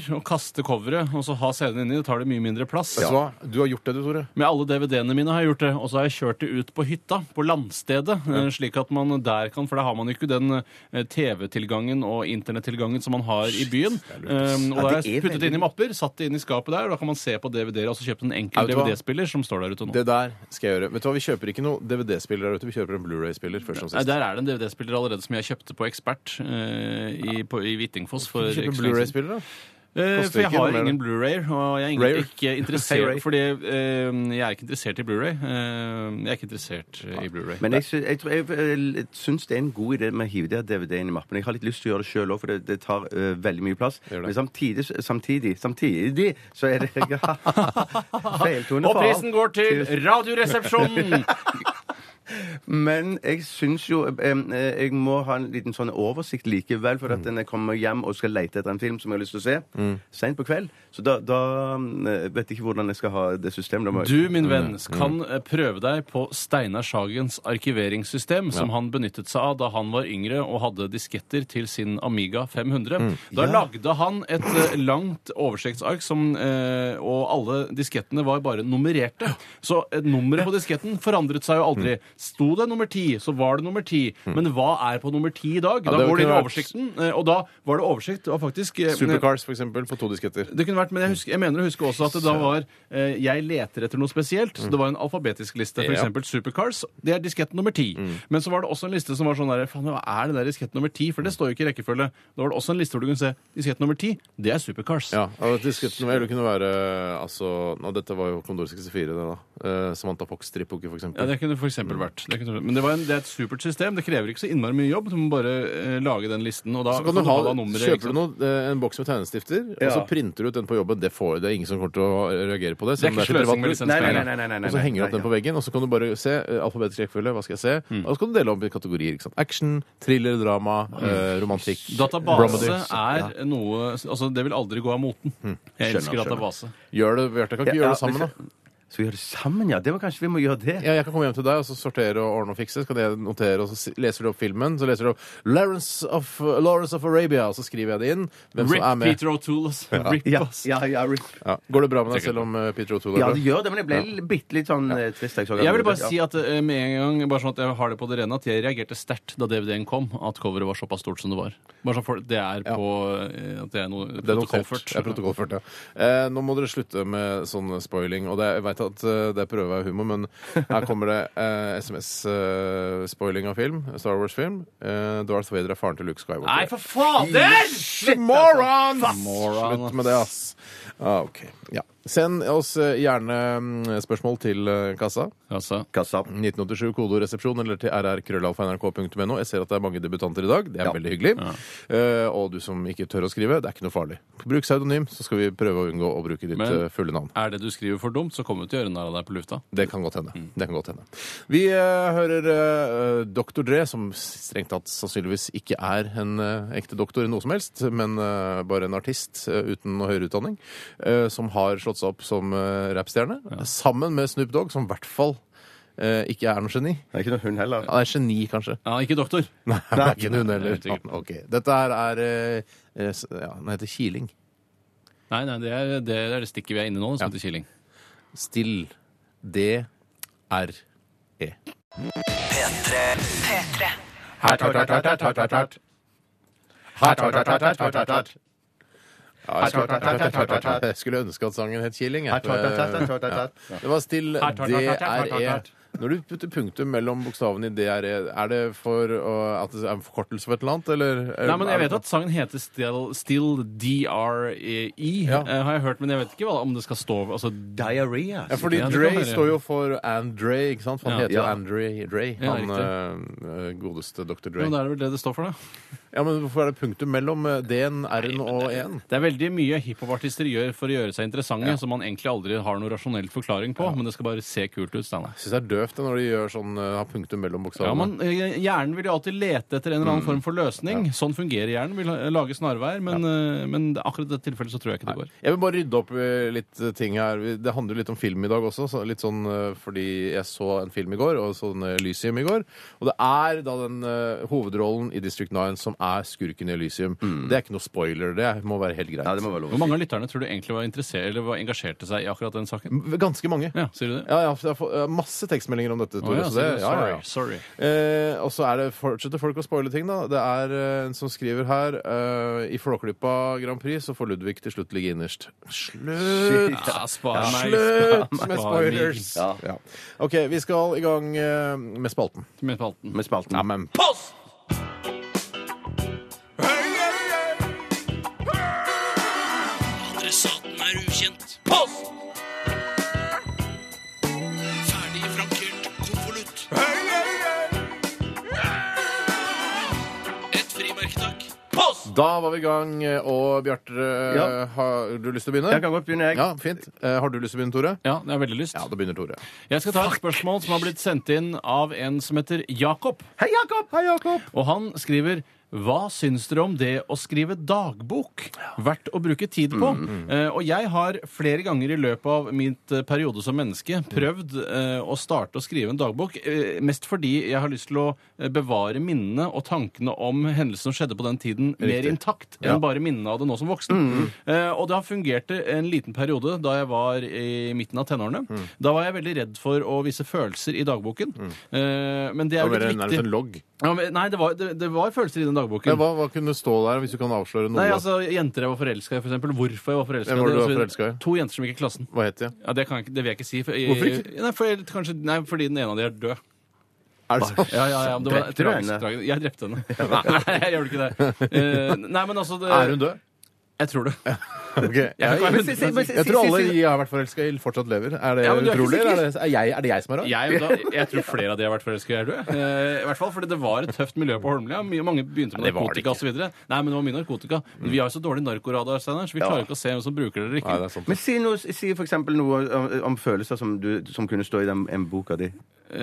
E: mapper og kaste coveret, og så ha CD-en inni. Det tar det mye mindre plass.
C: Vet du hva? Du har gjort det, du, Tore.
E: Med alle DVD-ene mine har jeg gjort det, og så har jeg kjørt det ut på hytta, på landstedet, eh, slik at man der kan, for da har man jo ikke den eh, TV-tilgangen og internettilgangen som man har i byen. Um, og
D: Ja,
E: da har
D: det
E: jeg
D: er
E: puttet det inn i mapper, satt det inn i skapet der, og da kan man se på DVD-er, og så kjøpt en enkel
C: Vet du hva?
E: DVD-spiller som står der ute nå.
C: Det der skal jeg gjøre. Vet du hva, Vi kjøper ikke noe DVD-spiller der ute. Vi kjøper en Blu-ray-spiller først og
E: Nei,
C: sist.
E: der er det en DVD-spiller allerede som jeg kjøpte på Ekspert eh, i, på, i Hvittingfoss. For, ikke sånn
C: Kjøper
E: så lenge siden.
C: Blu-ray-spiller, da?
E: Eh,
C: Koster
E: for jeg
C: ikke noe
E: har
C: mer,
E: ingen Blu-ray, og jeg er
C: Rare.
E: ingen, ikke
C: Rare.
E: interessert Fordi eh, jeg er ikke interessert i Blu-ray. Eh, jeg er ikke interessert eh, i Blu-ray.
D: Men jeg, sy jeg, tror, jeg, eh, syns det er en god idé med å hive de DVD-ene i mappen. Jeg har litt lyst til å gjøre det sjøl òg, for det, det tar eh, veldig mye plass.
C: Gjør det.
D: Men samtidig, samtidig, samtidig så er det Feiltone
E: Og
D: for alt.
E: prisen går til Radioresepsjonen!
D: Men jeg syns jo eh, eh, Jeg må ha en liten sånn oversikt likevel,
C: Mm.
D: for at når jeg kommer hjem og skal lete etter en film som jeg har lyst til å se, seint på kveld, så da, da eh, vet jeg ikke hvordan jeg skal ha det systemet. Da må jeg-
E: Du, min venn, kan eh, prøve deg på Steinar Sagens arkiveringssystem, som han benyttet seg av da han var yngre og hadde disketter til sin Amiga 500.
C: Mm.
E: Da lagde han et eh, langt oversiktsark, som, eh, og alle diskettene var bare nummererte. Så eh, nummeret på disketten forandret seg jo aldri. Sto det nummer 10, så var det nummer 10. Men hva er på nummer 10 i dag? Da
C: Mm. det
E: går det inn i
C: kunne vært-
E: oversikten, eh, og da var det oversikt. Og faktisk eh,
C: Supercars, for eksempel, på to disketter.
E: det kunne vært, men jeg, husker, jeg mener å huske også at det da var eh, Jeg leter etter noe spesielt. Så det var en alfabetisk liste.
C: Ja.
E: For
C: Mm.
E: eksempel Supercars. Det er diskett nummer ti. Men så var det også en liste som var sånn der Faen, hva er det der diskett nummer ti? For det står jo ikke i rekkefølge. Da var det også en liste hvor du kunne se diskett nummer ti. Det er Supercars.
C: Ja, og disketten vil jo kunne være altså, nå, Dette var jo Kondor 64, det, da. Eh, Samantha Fox-strippoke, for
E: Ja,
C: eksempel.
E: det kunne for eksempel vært. Det kunne, men det, var en, det er et supert system. Det krever ikke så innmari mye jobb. Du må bare eh, lage den listen, og da
C: Så kan du ha,
E: da nummeret, ikke
C: kjøper
E: sånn sant?
C: du noe, eh, en boks med tegnestifter, og så
D: Ja.
C: printer du ut den på jobben. Det får det er ingen som kommer til å reagere på det.
E: Det er
C: selv om
E: ikke
C: til privat
E: sløsing med
C: bruk.
E: lisenspenger.
D: Nei, nei, nei, nei, nei, nei, nei.
C: Og så henger du opp
D: Nei,
C: den på veggen, og så kan du bare se eh, alfabetisk rekkefølge. Hva skal jeg se?
E: Mm.
C: Og så kan du dele opp i kategorier. ikke sant? Action, thriller, drama, eh, romantikk.
E: Database
C: bromedy.
E: er noe Altså, det vil aldri gå av moten.
C: Hm.
E: Jeg elsker
D: Skjønner, skjønner.
E: database.
C: Gjør det, Bjarte. Kan ikke
D: Ja,
C: gjøre
D: ja,
C: det sammen,
D: hvis-
C: da?
D: Så vi gjør det sammen, ja. Det var kanskje vi må gjøre det.
C: Ja, jeg kan komme hjem til deg og så sortere og ordne og fikse. Så kan jeg notere, og så si- leser du opp filmen. Så leser du opp Lawrence of, Lawrence of Arabia, og så skriver jeg det inn. Hvem
E: Rip
C: som er med.
E: Peter O'Toole, ass. Rip,
D: Ja,
E: ass.
D: ja, ja, Rick.
C: Ja. Går det bra med deg selv om eh, Peter O'Toole
D: ja
C: er
D: det
C: død?
D: gjør det, men jeg ble bitte litt sånn eh, trist. Jeg, så
E: Jeg vil bare si at eh, med en gang Bare sånn at jeg har det på det rene At jeg reagerte sterkt da DVD-en kom At coveret var såpass stort som det var Bare sånn for det er
C: Ja.
E: på eh, At det er noe
C: Det er notert.
E: protokollført
C: Det er protokollført, ja. Eh, nå må dere slutte med sånn spoiling. Og det, jeg veit at eh, det er prøve å være humor, men her kommer det eh, SMS-spoiling eh, av film. Star Wars-film. Eh, Darth Vader er faren til Luke Skywalker.
E: Nei, for fader!
C: Moron!
E: Moron,
C: altså. Slutt med det, ass. Ah, ok. Ja. Send oss eh, gjerne mm, spørsmål til eh, kassa.
E: Altså,
D: Kassa.
C: 1987 kodoresepsjon eller til rrkrøllalfa.nrk.no. Jeg ser at det er mange debutanter i dag. Det er veldig hyggelig. Eh, og du som ikke tør å skrive, det er ikke noe farlig. Bruk pseudonym, så skal vi prøve å unngå å bruke ditt
E: Men-
C: eh, fulle navn.
E: er det du skriver for dumt Så kommer vi til å gjøre narr av deg på lufta
C: Det kan godt hende. Det kan godt hende. Vi eh, hører eh, Dr. Dre, som strengt tatt sannsynligvis ikke er en eh, ekte doktor i noe som helst, men eh, bare en artist eh, uten noe høyere utdanning, eh, som har slått seg opp som eh, rappstjerne, sammen med Snoop Dogg, som i hvert fall eh, ikke er noe geni.
D: Det er ikke noe hund heller.
C: Han er geni, kanskje.
E: Ja, ikke doktor
C: Nei, det er ikke hun
E: jeg
C: heller.
E: er usikker.
C: Ok, Dette her er eh, eh, s- ja, Den heter kiling.
E: Nei, nei, det er det, er det stikket vi er inne nå Som heter Killing
C: Still. D-R-E.
B: P3.
A: P3.
C: Jeg skulle ønske at sangen het Killing. jeg. Ja. Det var Still D-R-E. Når du putter punktum mellom bokstavene i DRE, er det for å- at det er en forkortelse for et eller annet, eller?
E: Nei, men jeg vet at sangen heter Still, Still D-R-E
C: Ja.
E: eh, Har jeg hørt, men jeg vet ikke hva, om det skal stå Altså,
D: Diaré.
C: Ja, fordi
E: Ja, det kan
C: Dre
E: være.
C: står jo for Andre, ikke sant? For han
E: Ja.
C: heter jo
D: Ja.
C: Andre Dre,
E: Ja,
C: han eh, godeste Dr. Dre.
E: men da er det vel det det står for da
C: Ja, men hvorfor er det punktum mellom eh, D-en, R-en og E-en?
E: Det er veldig mye hiphopartister gjør for å gjøre seg interessante, som man egentlig aldri har noe rasjonell forklaring på, men det skal bare se kult ut. Steinar.
C: Jeg syns det er døvt det, når de gjør sånn, eh, har punktum mellom
E: Ja,
C: bokstavene.
E: men eh, Hjernen vil jo alltid lete etter en
C: Mm.
E: eller annen form for løsning. Sånn fungerer hjernen. Vil ha- lage snarveier, men, eh, men det- akkurat i dette tilfellet så tror jeg ikke det går.
C: Jeg vil bare rydde opp eh, litt eh, ting her. Vi- Det handler jo litt om film i dag også. Så litt sånn eh, fordi jeg så en film i går, og så den eh, Elysium i går. Og det er da den eh, hovedrollen i District 9 som er skurken i Elysium.
E: Mm.
C: Det er ikke noe spoiler. Det er- må være helt greit.
D: Ja, det må være
E: Hvor
D: lov.
E: mange av lytterne tror du egentlig var interessert eller var engasjerte seg i akkurat den saken?
C: Ganske mange.
E: Ja, sier du det?
C: Ja, ja, for jeg har fått eh, masse tilbakemeldinger om dette. Tore,
E: ja,
C: så
E: sier
C: det-
E: du?
C: ja, ja, ja.
E: Sorry, sorry.
C: Eh, og så er det fortsetter folk å spoile ting, da. Det er eh, en som skriver her eh, I Flåklypa Grand Prix så får Ludvig til slutt ligge innerst. Slutt!
E: Ja, spar meg.
C: Slutt med
E: Spar
C: spoilers!
D: Ja.
C: Ja. OK, vi skal i gang eh, med spalten.
E: Med spalten.
D: Med spalten.
C: Ja, men
A: Adressaten er ukjent. Post! Ferdig frankert konvolutt. Et frimerke, takk. Post!
C: Da var vi i gang, og Bjarte,
D: Ja.
C: har du lyst til å begynne?
D: Jeg kan godt begynne, jeg.
C: Ja, fint. Eh, Har du lyst til å begynne, Tore?
E: Ja, jeg har veldig lyst.
C: Ja, da begynner Tore.
E: Jeg skal ta et spørsmål som har blitt sendt inn av en som heter Jakob.
D: Hei, Jakob! Hei, Jakob!
E: Og han skriver hva syns dere om det å skrive dagbok? Verdt å bruke tid på.
C: Mm,
E: Eh, og jeg har flere ganger i løpet av mitt eh, periode som menneske
C: Mm.
E: prøvd eh, å starte å skrive en dagbok. Eh, mest fordi jeg har lyst til å eh, bevare minnene og tankene om hendelser som skjedde på den tiden, mer intakt enn bare minnene av det nå som voksen.
C: Mm,
E: Eh, og det har fungert en liten periode da jeg var i midten av tenårene.
C: Mm.
E: Da var jeg veldig redd for å vise følelser i dagboken. Eh, men det er
C: Det
E: jo
C: var
E: litt
C: nærmest
E: viktig.
C: en logg.
E: Ja, men, nei, det var, det, det var følelser i den dagboken.
C: Men hva, hva kunne stå der, hvis du kan avsløre noe?
E: Nei, altså, Jenter jeg var forelska i, for eksempel. Hvorfor jeg var forelska
C: Hvem var det du
E: og så
C: var
E: videre.
C: forelska i?
E: To jenter som gikk i klassen.
C: Hva het de?
E: Ja, Det, kan jeg, ikke- det vil jeg ikke si. For, jeg-
C: Hvorfor ikke?
E: Nei, for, jeg- kanskje, nei, fordi den ene av de er død.
C: Er det sånn?
E: Ja, ja, ja, men det var
D: Drepte du
E: tragisk,
D: henne?
E: tragisk. Jeg drepte henne. Nei, jeg gjorde ikke det. Eh, nei, men altså det,
C: Er hun død?
E: Jeg tror det.
C: Ok. Jeg,
E: kan-
C: jeg, tror alle jeg har vært forelska i, fortsatt lever. Er det
E: Ja, men du er ikke
C: utrolig? eller Er det, er, jeg, er det jeg som er rar?
E: Jeg, da, jeg tror flere av de jeg har vært forelska i, er døde. Eh, I hvert fall fordi det var et tøft miljø på Holmlia. Mye- Mange begynte med
C: det var det Mm.
E: narkotika osv. Nei, men det var mye narkotika. Men vi har jo så dårlig narkoradar, Steinar, så vi klarer ikke å se hvem som bruker det eller ikke.
C: Nei, det er sant.
D: Men si, noe, si for eksempel noe om, om følelser som, du, som kunne stå i den en boka di.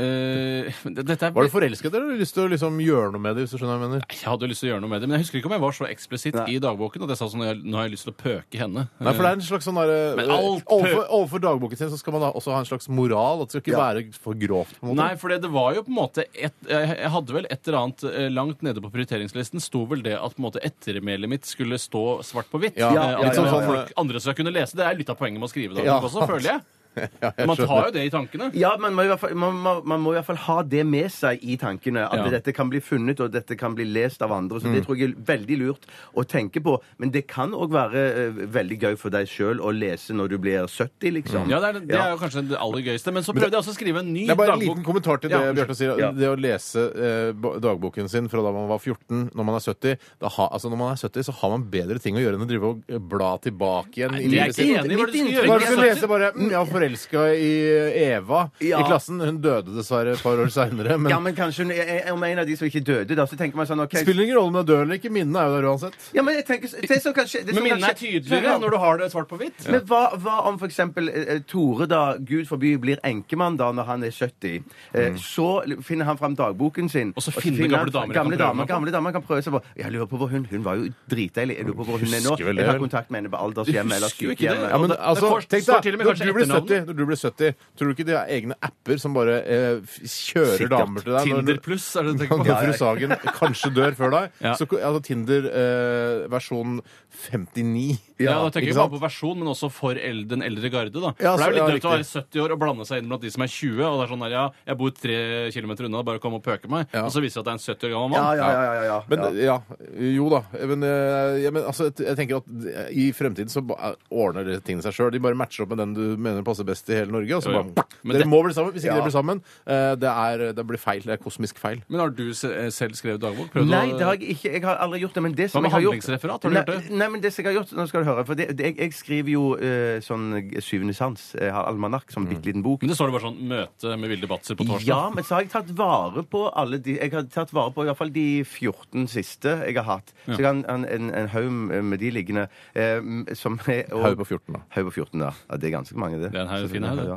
E: Eh, men det- dette er
C: Var du forelsket, eller har du lyst til å liksom gjøre noe med det? hvis du skjønner hva jeg mener?
E: Jeg hadde jo lyst til å gjøre noe med det, men jeg husker ikke om jeg var så eksplisitt
D: Nei.
E: i dagboken at jeg sa sånn jeg- Nå har jeg lyst til å pøke henne.
C: Nei, for det er en slags sånn der,
E: Men alt-
C: overfor, overfor dagboken sin så skal man da også ha en slags moral. At det skal ikke være for grovt. på en måte.
E: Eh, Nei, for det, det var jo på en måte et, Jeg jeg hadde vel et eller annet eh, langt nede på prioriteringslisten sto vel det at på en måte ettermælet mitt skulle stå svart på hvitt.
C: Ja,
E: Eh,
C: ja,
E: at
C: ja, ja, ja.
E: folk andre skal kunne lese. Det er litt av poenget med å skrive dagbok
C: Ja.
E: også, føler jeg.
C: Ja, jeg
E: Man
C: skjønner.
E: tar jo det i tankene.
D: Ja, man må, i hvert fall, man, må, man må i hvert fall ha det med seg i tankene. At
E: Ja.
D: dette kan bli funnet, og dette kan bli lest av andre. Så det tror jeg er veldig lurt å tenke på. Men det kan òg være eh, veldig gøy for deg sjøl å lese når du blir 70, liksom.
E: Ja, det er, det er jo kanskje det aller gøyeste. Men så prøvde jeg også å skrive en ny
C: Det er bare en
E: dagbok.
C: liten kommentar til det
E: Ja.
C: Bjarte sier.
D: Ja.
C: Det å lese eh, bo- dagboken sin fra da man var 14, når man er 70 da ha, altså Når man er 70, så har man bedre ting å gjøre enn å drive og eh, bla tilbake igjen
E: Nei,
C: i
E: jeg er
C: livet
E: ikke
C: sitt.
E: enig i hva du skal
C: Hva er det du
E: gjøre.
C: lese bare mm, 'Jeg var forelska i Eva
D: Ja.
C: i klassen'. Hun døde dessverre et par år seinere, men,
D: Ja, men kanskje hun er, om en av de som ikke døde, da, så tenker man sånn OK
C: spiller ingen rolle om hun er død eller ikke. Minnene er jo der uansett.
D: ja, men jeg tenker, det som kan skje- det sånn
E: Men
D: som kan
E: minnene er
D: skje-
E: tydeligere når du har det svart på hvitt.
D: Men hva, hva om f.eks. eh, Tore, da Gud forby, blir enkemann da når han er 70? Eh, Så finner han fram dagboken sin.
E: Mm. Og så finner gamle
D: han-
E: damer han
D: gamle
E: kan prøve
D: damer,
E: seg på.
D: gamle damer han kan prøve seg på. Jeg lurer på hvor hun Hun var jo dritdeilig. Jeg lurer på hvor hun er nå.
C: Husker vel
D: Jeg
C: det,
D: tar
C: vel?
D: kontakt med henne på
E: Du
D: aldershjemmet eller
E: husker jo ikke det.
D: sykehjemmet.
C: Ja, men
E: det- det
C: altså,
E: får-
C: tenk
E: står
C: deg,
E: til og med
C: når
E: kanskje
C: du, blir
E: etternavnet.
C: 70, når du blir 70, tror du ikke de har egne apper som bare eh, f- kjører
D: Sikkert.
C: damer til deg? når du-
E: Tinder pluss, er det du tenker
C: Kan
E: på?
C: Fru Sagen kanskje dør før deg.
E: Ja.
C: Så altså, Tinder eh, versjon 59.
E: Ja, da tenker
C: ikke
E: vi bare
C: sant?
E: på versjon, men også for el- den eldre garde. da.
C: Ja,
E: for
C: så-
E: Det er jo litt
C: ja,
E: drøyt å være 70 år og blande seg inn blant de som er 20. og det er sånn der, ja, Jeg bor tre kilometer unna, bare kom og pøke meg.
C: Ja.
E: Og så viser det at det er en 70 år gammel
D: Ja,
E: mann.
D: ja, ja, ja, ja.
C: Men
D: ja.
C: ja. jo da. Men, eh, ja, men altså, jeg tenker at i fremtiden så ba- ordner det tingene seg sjøl. De bare matcher opp med den du mener passer best i hele Norge. Og så
E: Jo, ja.
C: bare,
E: Men
C: dere
E: det-
C: må bli sammen. Hvis ikke
D: Ja.
C: dere blir sammen, eh, det, er, det blir feil. Det er kosmisk feil.
E: Men har du se- eh, selv skrevet dagbok? Prøvd
D: Nei,
E: å-
D: det har jeg ikke. Jeg har aldri gjort det. Men det som
E: med
D: jeg har gjort
E: handlingsreferat? Har du
D: nei,
E: gjort det?
D: Nei, men det som jeg har gjort Nå skal du høre. For det, det, jeg, jeg skriver jo eh, sånn Syvende sans. Jeg har almanakk som bitte liten bok.
E: Mm. Men det står det bare sånn 'møte med Vilde Batzer på torsdag'.
D: Ja, men så har jeg tatt vare på alle de Jeg har tatt vare på i hvert fall de 14 siste jeg har hatt. Så jeg har en, en, en, en haug med de liggende. Eh, som er, og-
C: Haug på 14, da.
D: Haug på 14, da. Ja, det er ganske mange, det.
E: Det er en haug,
D: Så
E: fin haug, det.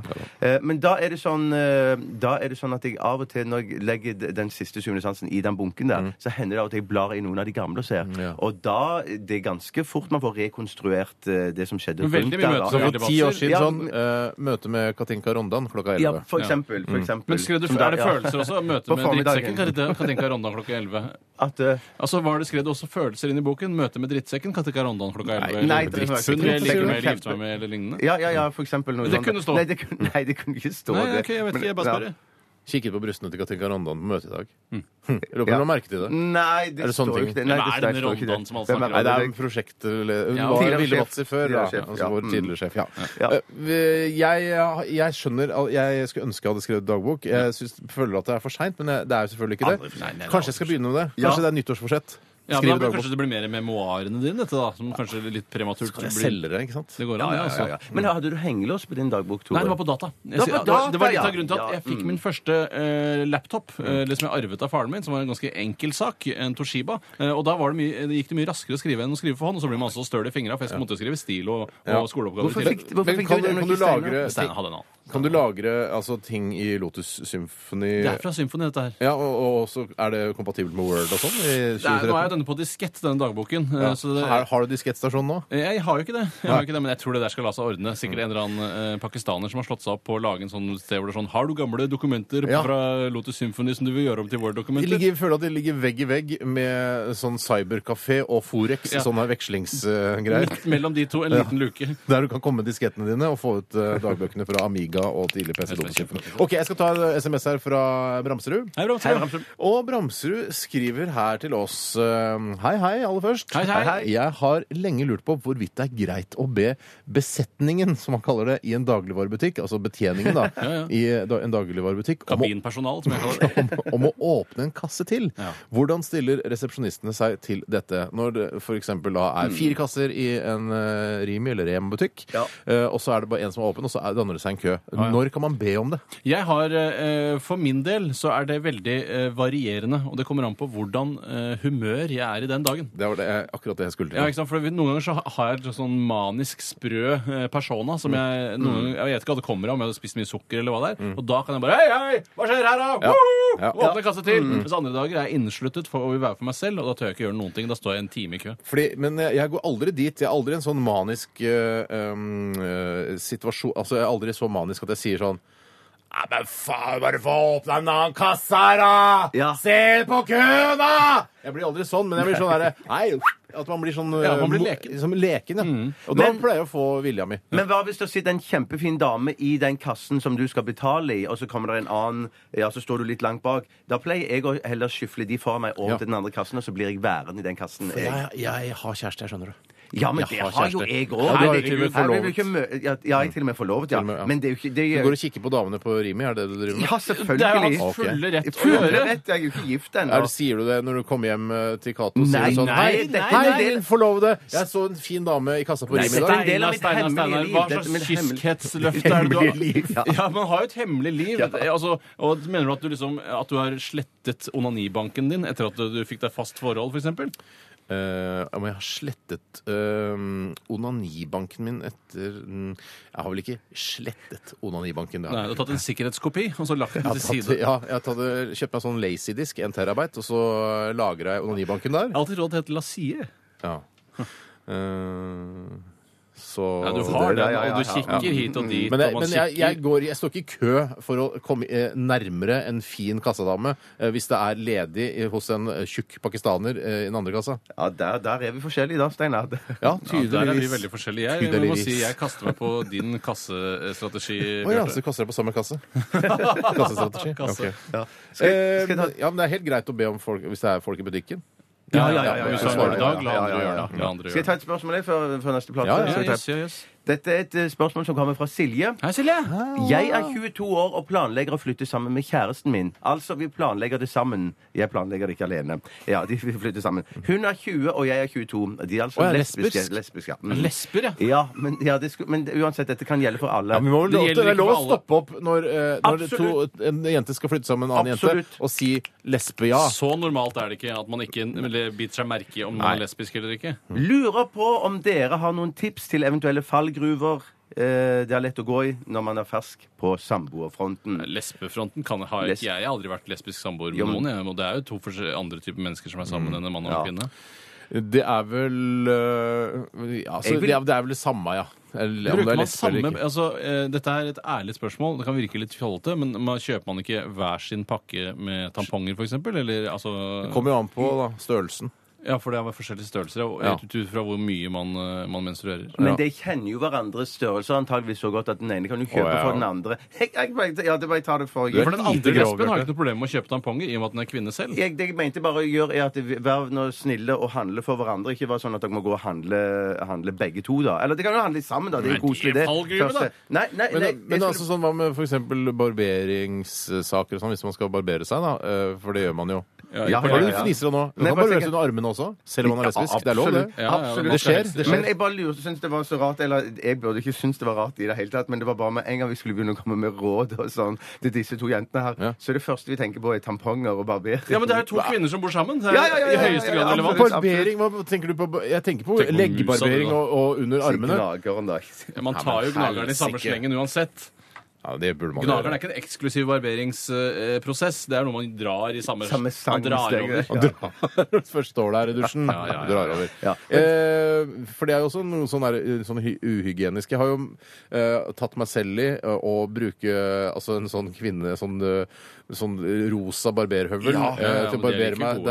D: ja. Eh, men da er, det sånn, eh, da er det sånn at jeg av og til, når jeg legger d- den siste syvende sansen i den bunken
E: Mm.
D: der, så hender det av og til jeg blar i noen av de gamle og ser. Og da Det er ganske fort man får rekonstruert eh, det som skjedde
E: Men veldig
D: rundt
E: mye
D: der.
E: møtes
C: Så
D: da.
E: over
C: for ti år siden
D: Ja,
C: sånn eh, møte med Katinka Rondan klokka
D: Ja,
C: 11.
D: for
E: Ja. Mm.
D: eksempel. For eksempel
E: Men skrev du,
D: Som
E: Er
D: da-
E: det
D: ja.
E: følelser også? Møte
D: På
E: med
D: formiddagen.
E: drittsekken? Katinka- Katinka Rondan klokka 11.
D: At eh,
E: Altså, Var det skrevet også følelser inn i boken? Møte med drittsekken? Katinka Rondan klokka 11?
D: nei,
E: eller
D: det var ikke
E: hun vil jeg ligge med eller
D: drittsekken.
E: gifte meg med, eller lignende?
D: Ja, ja, ja, for eksempel noe
E: Det
D: sånt.
E: kunne stå.
D: Nei, det kunne, nei, det kunne ikke stå
E: Nei,
D: det.
E: ok, jeg vet
D: Men-
E: ikke, jeg bare
D: ja.
E: spør.
C: Kikket på brystene til Katinka Rondon på møtet i dag. Hm. Jeg lurer på om du har merket til det.
D: Nei,
C: Er
D: det
C: det sånne ting?
D: står jo ikke det.
E: Hvem er
D: det
E: denne
D: står ikke
E: Rondon
D: det.
E: som alle
D: Hvem er
E: snakker
C: Nei, det er
D: Rondon?
C: prosjektleder Hun
E: Ja.
C: var
D: Tidligere
C: Ville
D: sjef.
C: Watzer før, da.
D: Tidligere sjef,
C: Altså
D: ja.
C: vår
D: Mm.
C: tidligere sjef. Ja.
D: Ja.
C: Eh, vi- Jeg, jeg skjønner at Jeg skulle ønske jeg hadde skrevet dagbok. Jeg synes, føler at det er for seint, men jeg- det er jo selvfølgelig ikke
E: Aldri
C: det.
E: for sent. Nei, nei,
C: Kanskje jeg skal begynne med det? Kanskje det er nyttårsforsett?
E: Ja,
C: Skrive
E: men da,
C: dagbok.
E: kanskje det blir mer i memoarene dine, dette da, som kanskje er litt prematurt.
C: Kan jeg
E: blir-
C: selge det, ikke sant?
E: Det går
D: Ja,
E: an, det,
D: ja, ja,
E: altså.
D: ja. Men hadde du hengelås på din dagbok, Tore?
E: Nei, det var på data. Jeg,
D: Det var
E: sier-
D: på data,
E: det var litt av
D: ja.
E: grunnen til at
D: Ja,
E: jeg fikk
D: mm.
E: min første eh, laptop, eh, eller som jeg arvet av faren min, som var en ganske enkel sak, en Toshiba. Eh, og da var det mye, det gikk det mye raskere å skrive enn å skrive for hånd, og så blir man altså støl i fingra, for jeg måtte skrive stil og, og
C: Ja.
E: skoleoppgaver. i
D: Hvorfor
E: tillegg.
D: fikk, hvorfor
C: Men
D: fikk
C: kan
D: du
C: du-
D: den
C: kan
D: ikke
C: du lagre-
D: Steinar?
E: Stein hadde en annen.
C: Kan du lagre altså, ting i Lotus Symphony
E: Det er fra Symfoni, dette her.
C: Ja, og, og så er det kompatibelt med Word og sånn i
E: Det er, nå er jo
C: 2013?
E: denne på diskett, denne dagboken. eh,
C: Ja.
E: så det,
C: Her- Har du diskettstasjon nå?
E: Jeg har jo ikke det. Jeg har jo ikke det, Men jeg tror det der skal la seg ordne. Sikkert en eller annen eh, pakistaner som har slått seg opp på å lage en sånn sted hvor det er sånn Har du gamle dokumenter
C: Ja.
E: fra Lotus Symphony som du vil gjøre om til
C: Jeg
E: Word-dokumenter?
C: ligger, føler at det ligger vegg i vegg med sånn cyberkafé og Forex,
E: Ja.
C: sånne vekslingsgreier.
E: Midt mellom de to en liten luke.
C: Der du kan komme med diskettene dine og få ut eh, dagbøkene fra Amiga og tidlig PC. Lotus-symfoni. OK, jeg skal ta en SMS her fra Bramserud.
E: Hei, Bramsen.
C: Og Bramserud skriver her til oss eh, Hei, hei, aller først.
E: Hei, hei.
C: Jeg har lenge lurt på hvorvidt det er greit å be besetningen, som man kaller det, i en dagligvarebutikk, altså betjeningen, da,
E: Ja, ja.
C: i da- en dagligvarebutikk om å
E: Kabinpersonal, som jeg kaller det.
C: om, om å åpne en kasse til.
E: Ja.
C: Hvordan stiller resepsjonistene seg til dette? Når det f.eks. da er
E: Mm.
C: fire kasser i en eh, Rimi eller Rem-butikk,
D: Ja.
C: eh, og så er det bare én som er åpen, og så er- danner det seg en kø. Når kan man be om det?
E: Jeg har, eh, For min del så er det veldig eh, varierende, og det kommer an på hvordan eh, humør jeg er i den dagen.
C: Det var det, jeg- akkurat det jeg skulle til.
E: Ja, ikke sant? For Noen ganger så ha- har jeg et sånn manisk sprø eh, persona som jeg noen ganger, Jeg vet ikke hva det kommer av, om jeg hadde spist mye sukker eller hva det er. Og da kan jeg bare Hei, hei, hva skjer her, da?
C: Ja.
E: Woohoo!
C: Ja.
E: Og Åpne kassa til. Mens andre dager er jeg innesluttet for å vil være for meg selv, og da tør jeg ikke gjøre noen ting. Da står jeg en time i kø.
C: Fordi, men jeg jeg går aldri dit. Jeg er aldri i en sånn manisk eh, um, eh, situasjon Altså, jeg er aldri så manisk at jeg sier sånn Nei, men faen, bare få åpna en annen kasse her, da!
D: Ja.
C: Se på køen, da! Jeg blir aldri sånn, men jeg blir sånn derre Nei, at man blir sånn
E: Ja, man blir
C: eh, mo-
E: leken.
C: Som leken, ja. Og da
D: Mm. Men-
C: pleier jeg å få vilja mi.
D: Men hva hvis det sitter en kjempefin dame i den kassen som du skal betale i, og så kommer det en annen, ja, så står du litt langt bak? Da pleier jeg å heller skyfle de foran meg
C: Ja.
D: over til den andre kassen, og så blir jeg værende i den kassen. Jeg.
C: har kjæreste, jeg skjønner det.
D: Ja, men
C: jeg
D: det
C: har
D: har jo
C: kjæreste. Ja,
D: jeg
C: du har jo
D: òg.
C: til og med
D: Ja, ja, jeg er til og med forlovet, ja.
C: og med, ja.
D: Men det er jo ikke det
C: Du
D: er,
C: går og kikker på damene på Rimi, er det det du driver med?
D: Ja,
E: Det er jo
D: selvfølgelig.
E: hans fulle rett å
D: Full
E: gjøre.
D: rett, jeg er jo ikke gift ennå.
C: Er det, sier du det når du kommer hjem eh, til Cato? og
D: Nei,
C: sier du sånn,
D: nei,
C: hei,
D: dette er
C: hei,
D: en del-
C: din forlovede! Jeg så en fin dame i kassa på Rimi i
D: dette
C: dag.
D: er en del av mitt
E: Steinar, Steinar,
D: hemmelige liv.
E: Hva
D: Dette er mitt
E: slags
D: hemmel-
E: kyskhetsløfte er det du har?
D: Hemmelige liv, ja.
E: Ja, man har jo et hemmelig liv. Altså, og Mener du at du liksom At du har slettet onanibanken din etter at du, du fikk deg fast forhold, f.eks.?
C: Eh, om jeg har slettet eh, onanibanken min etter mm, Jeg har vel ikke slettet onanibanken. Det
E: Nei,
C: har
E: du
C: jeg
E: har tatt en sikkerhetskopi og så lagt den til
C: tatt,
E: side.
C: ja, jeg hadde kjøpt meg sånn lazydisk, en terabyte, og så lagra jeg onanibanken der.
E: Jeg har alltid trodd det het lasie.
C: Ja. Eh, så
E: Ja, du har
D: det, ja,
E: det,
D: ja,
E: og du
D: ja. Mm.
E: kikker hit og dit.
C: Men, jeg,
E: og man
C: men jeg, jeg,
E: kikker-
C: går, jeg står ikke i kø for å komme eh, nærmere en fin kassadame eh, hvis det er ledig i- hos en eh, tjukk pakistaner eh, i den andre kassa.
D: Ja, der, der er vi forskjellige da, Steinar.
C: Ja,
E: ja, der er vi
C: tydeligvis.
E: veldig forskjellige. Jeg, jeg må
C: Tydeligvis.
E: si jeg kaster meg på din kassestrategi.
C: Å ja,
E: Bjarte.
C: så kaster jeg på samme kasse? Kassestrategi?
E: Kasse.
C: Ok.
D: Ja. Skal, jeg-
C: Eh,
D: skal jeg ta
C: ja, men det er helt greit å be om folk hvis det er folk i butikken.
E: Ja,
D: ja,
E: ja,
D: ja,
E: ja. Hvis
D: ja,
E: du har en
D: ja,
E: dag, la
D: ja,
E: andre
D: ja,
E: gjøre
D: ja.
E: det. La andre
D: Skal jeg
E: gjøre det.
D: ta et spørsmål jeg, før, før neste plate?
C: Ja,
E: Ja,
D: Skal jeg ta-
E: yes, ja, yes.
D: Dette er et eh, spørsmål som kommer fra Silje.
E: Hei, Silje!
D: Jeg er 22 år og planlegger å flytte sammen med kjæresten min. Altså, vi planlegger det sammen. Jeg planlegger det ikke alene. Ja, de vi flytter sammen. Hun er 20, og jeg er 22. De er altså
C: Å, ja,
D: lesbiske.
C: lesbisk.
D: lesbiske. ja. Mm.
E: Lesber, ja.
D: Ja, men, ja, det skulle, men uansett, dette kan gjelde for alle.
C: vi må
E: Det gjelder
C: det er
E: ikke
C: lov å
E: for alle.
C: stoppe opp når, eh, når det to,
D: Absolutt.
C: en jente skal flytte sammen med en annen
D: Absolutt.
C: jente, og si lesbe-ja.
E: Så normalt er det ikke at man ikke eller biter seg merke i om man er lesbisk eller ikke.
D: Mm. Lurer på om dere har noen tips til eventuelle fallgruver eh, det er lett å gå i når man er fersk på samboerfronten.
E: Lesbefronten kan ha
D: Les-
E: ikke jeg. Jeg har aldri vært lesbisk samboer med
D: Jo, men- Mm.
E: noen. Jeg, og det er jo to forskjell- andre typer mennesker som er sammen enn en mann og en
D: Ja.
E: kvinne.
C: Det er vel eh, ja, altså,
D: Jeg vil-
C: det, er, det er vel det samme, ja. Eller, om det
E: Bruker
C: er
E: man
C: lesbe eller
E: samme,
C: ikke.
E: altså, eh, dette er et ærlig spørsmål. Det kan virke litt fjollete, men man, kjøper man ikke hver sin pakke med tamponger, f.eks.? Eller altså
C: Kommer jo an på da, størrelsen.
E: Ja, for det er forskjellige størrelser, og
C: Ja.
E: ut ut fra hvor mye man, eh, man menstruerer.
D: Men de kjenner jo hverandres størrelser antageligvis så godt at den ene kan jo
C: Å,
D: kjøpe
C: ja.
D: for den andre. Jeg, jeg, jeg, ja, det bare jeg tar det for
E: For
D: jeg,
E: den
C: lite
E: andre
C: grov,
E: lesben har
C: Bjarte.
E: ikke noe problem med å kjøpe tamponger, i og med at den er kvinne selv.
D: jeg, det jeg mente bare å gjøre, er at vi- vær nå snille og handle for hverandre. Ikke vær sånn at dere må gå og handle, handle begge to, da. Eller det kan jo handle sammen, da. Det er jo
E: Men det er
D: koselig, det.
E: fallgruve, da.
D: Første- Nei, nei,
C: Men,
D: nei,
C: men
D: jeg
C: altså
D: skulle-
C: sånn, hva med f.eks. barberingssaker og sånn, hvis man skal barbere seg, da? eh, For det gjør man jo.
E: Ja,
D: ja,
C: Hva er det du
D: ja.
C: fniser av nå? Du
D: Nei,
C: kan
D: bare
C: barbere
D: tenker-
C: seg under armene også, selv om man er lesbisk. Det er lov, det.
D: Absolutt.
E: Ja, ja,
D: Absolutt.
E: man skal
C: Det skjer,
E: helst-
C: det skjer.
D: Men jeg bare lurer, synes det var så rart Eller jeg burde ikke synes det var rart i det hele tatt, men det var bare med en gang vi skulle begynne å komme med råd og sånn til disse to jentene her,
C: Ja.
D: så det første vi tenker på, er tamponger og barbering.
E: Ja, men det er to kvinner som bor sammen. Det er
D: Ja, ja, ja, ja,
E: i høyeste
D: ja, ja,
E: grad relevant.
D: absolutt.
C: Barbering, hva tenker du på? Jeg tenker på
E: Tenk på musa,
C: leggbarbering
E: du, da.
C: og, og under armene.
D: Gnageren, da.
E: Ja, man tar jo gnageren i samme
C: helsike.
E: slengen uansett.
C: Ja, det burde man
E: Gnageren er
C: gjøre.
E: ikke en eksklusiv barberingsprosess. Det er noe man drar i samme,
D: Samme sang-
E: man drar
D: steg,
E: over.
D: ja.
C: Først står der i dusjen,
E: Ja, ja, ja, ja.
C: drar over.
D: Ja.
C: Eh, for det er jo også noe sånn, der, uh, sånn hy- uhygienisk. Jeg har jo eh, tatt meg selv i eh, å bruke eh, altså en sånn kvinne Sånn, eh, sånn rosa barberhøvel
E: Ja, ja, ja,
C: eh, til å
E: men det er
C: barbere
E: ikke
C: meg
E: gode.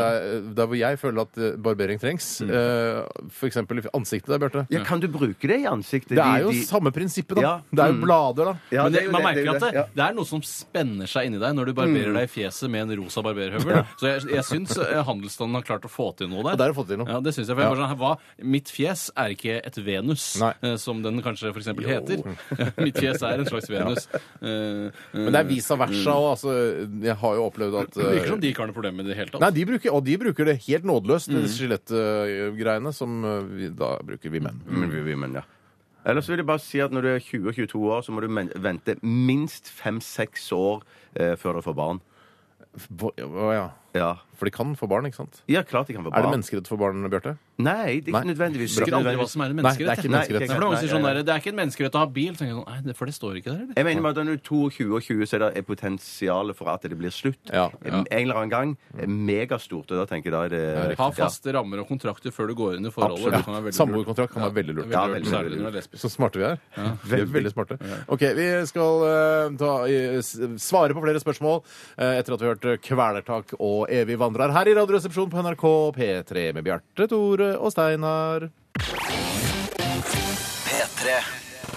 C: der,
E: Mm.
C: der hvor jeg føler at eh, barbering trengs. Eh, for eksempel i ansiktet der, Bjarte.
D: Ja, kan du bruke det i ansiktet?
C: Det er
D: De-
C: jo
D: de-
C: samme prinsippet, da.
D: Ja. Mm.
C: Det er jo blader, da.
D: Ja,
E: Men
D: det
E: det,
D: er jo
E: man
D: det, det er
E: merker
D: jo
E: at det,
D: det, ja.
E: det er noe som spenner seg inni deg når du barberer deg i fjeset med en rosa barberhøvel. Så jeg, jeg syns eh, handelsstanden har klart å få til noe der.
C: Ja, der har fått til noe.
E: Ja, det synes jeg, for jeg bare sånn, hva, Mitt fjes er ikke et Venus,
C: Nei.
E: eh, som den kanskje for eksempel heter. mitt fjes er en slags Venus. Eh,
C: Men det er visa versa og Altså, jeg har jo opplevd at
E: Det virker
D: sånn.
C: eh,
E: som de ikke har noe problem med det i det hele tatt.
C: Nei, de bruker, og de bruker det helt nådeløst,
D: Mm.
C: de skjelettgreiene som eh, vi, da bruker vi menn.
D: Mm, vi- vi- men ja. Ellers vil jeg bare si at når du er 20 og 22 år, så må du men vente minst 5-6 år eh, før du får barn.
C: Mm. Hva- hva- ja.
D: Ja.
C: For de kan få barn, ikke sant?
D: ja, klart de kan få barn.
C: Er det menneskerett for barn, Bjarte?
D: Nei, det er
C: Nei.
D: ikke nødvendigvis.
E: husker aldri hva som er en
C: Nei, det
E: menneskerett.
C: er ikke
E: Nei,
C: menneskerett.
E: for det er mange som sier sånn
D: Nei,
E: der, det er ikke en menneskerett å ha bil. Tenker jeg sånn, nei, det- For det står ikke der, eller?
D: Jeg mener bare at når du er 22 og 20, så er det potensialet for at det blir slutt.
C: Ja.
D: En eller annen gang. er Megastort. Og da tenker jeg da er det
E: Ha faste rammer og kontrakter før du går inn i
D: Absolutt.
E: forholdet. Det kan være veldig lurt.
C: Samboerkontrakt kan være veldig lurt.
D: Ja,
E: veldig lurt,
D: veldig,
E: særlig
D: veldig
E: når det er lesbisk.
C: Så smarte vi er. Vi er veldig smarte. OK, vi skal eh, ta, eh, s- svare på flere spørsmål eh, etter at vi har hørt Kvelertak og Evig vandrer her i Radioresepsjonen på NRK P3 med Bjarte, Tore og Steinar.
B: P3.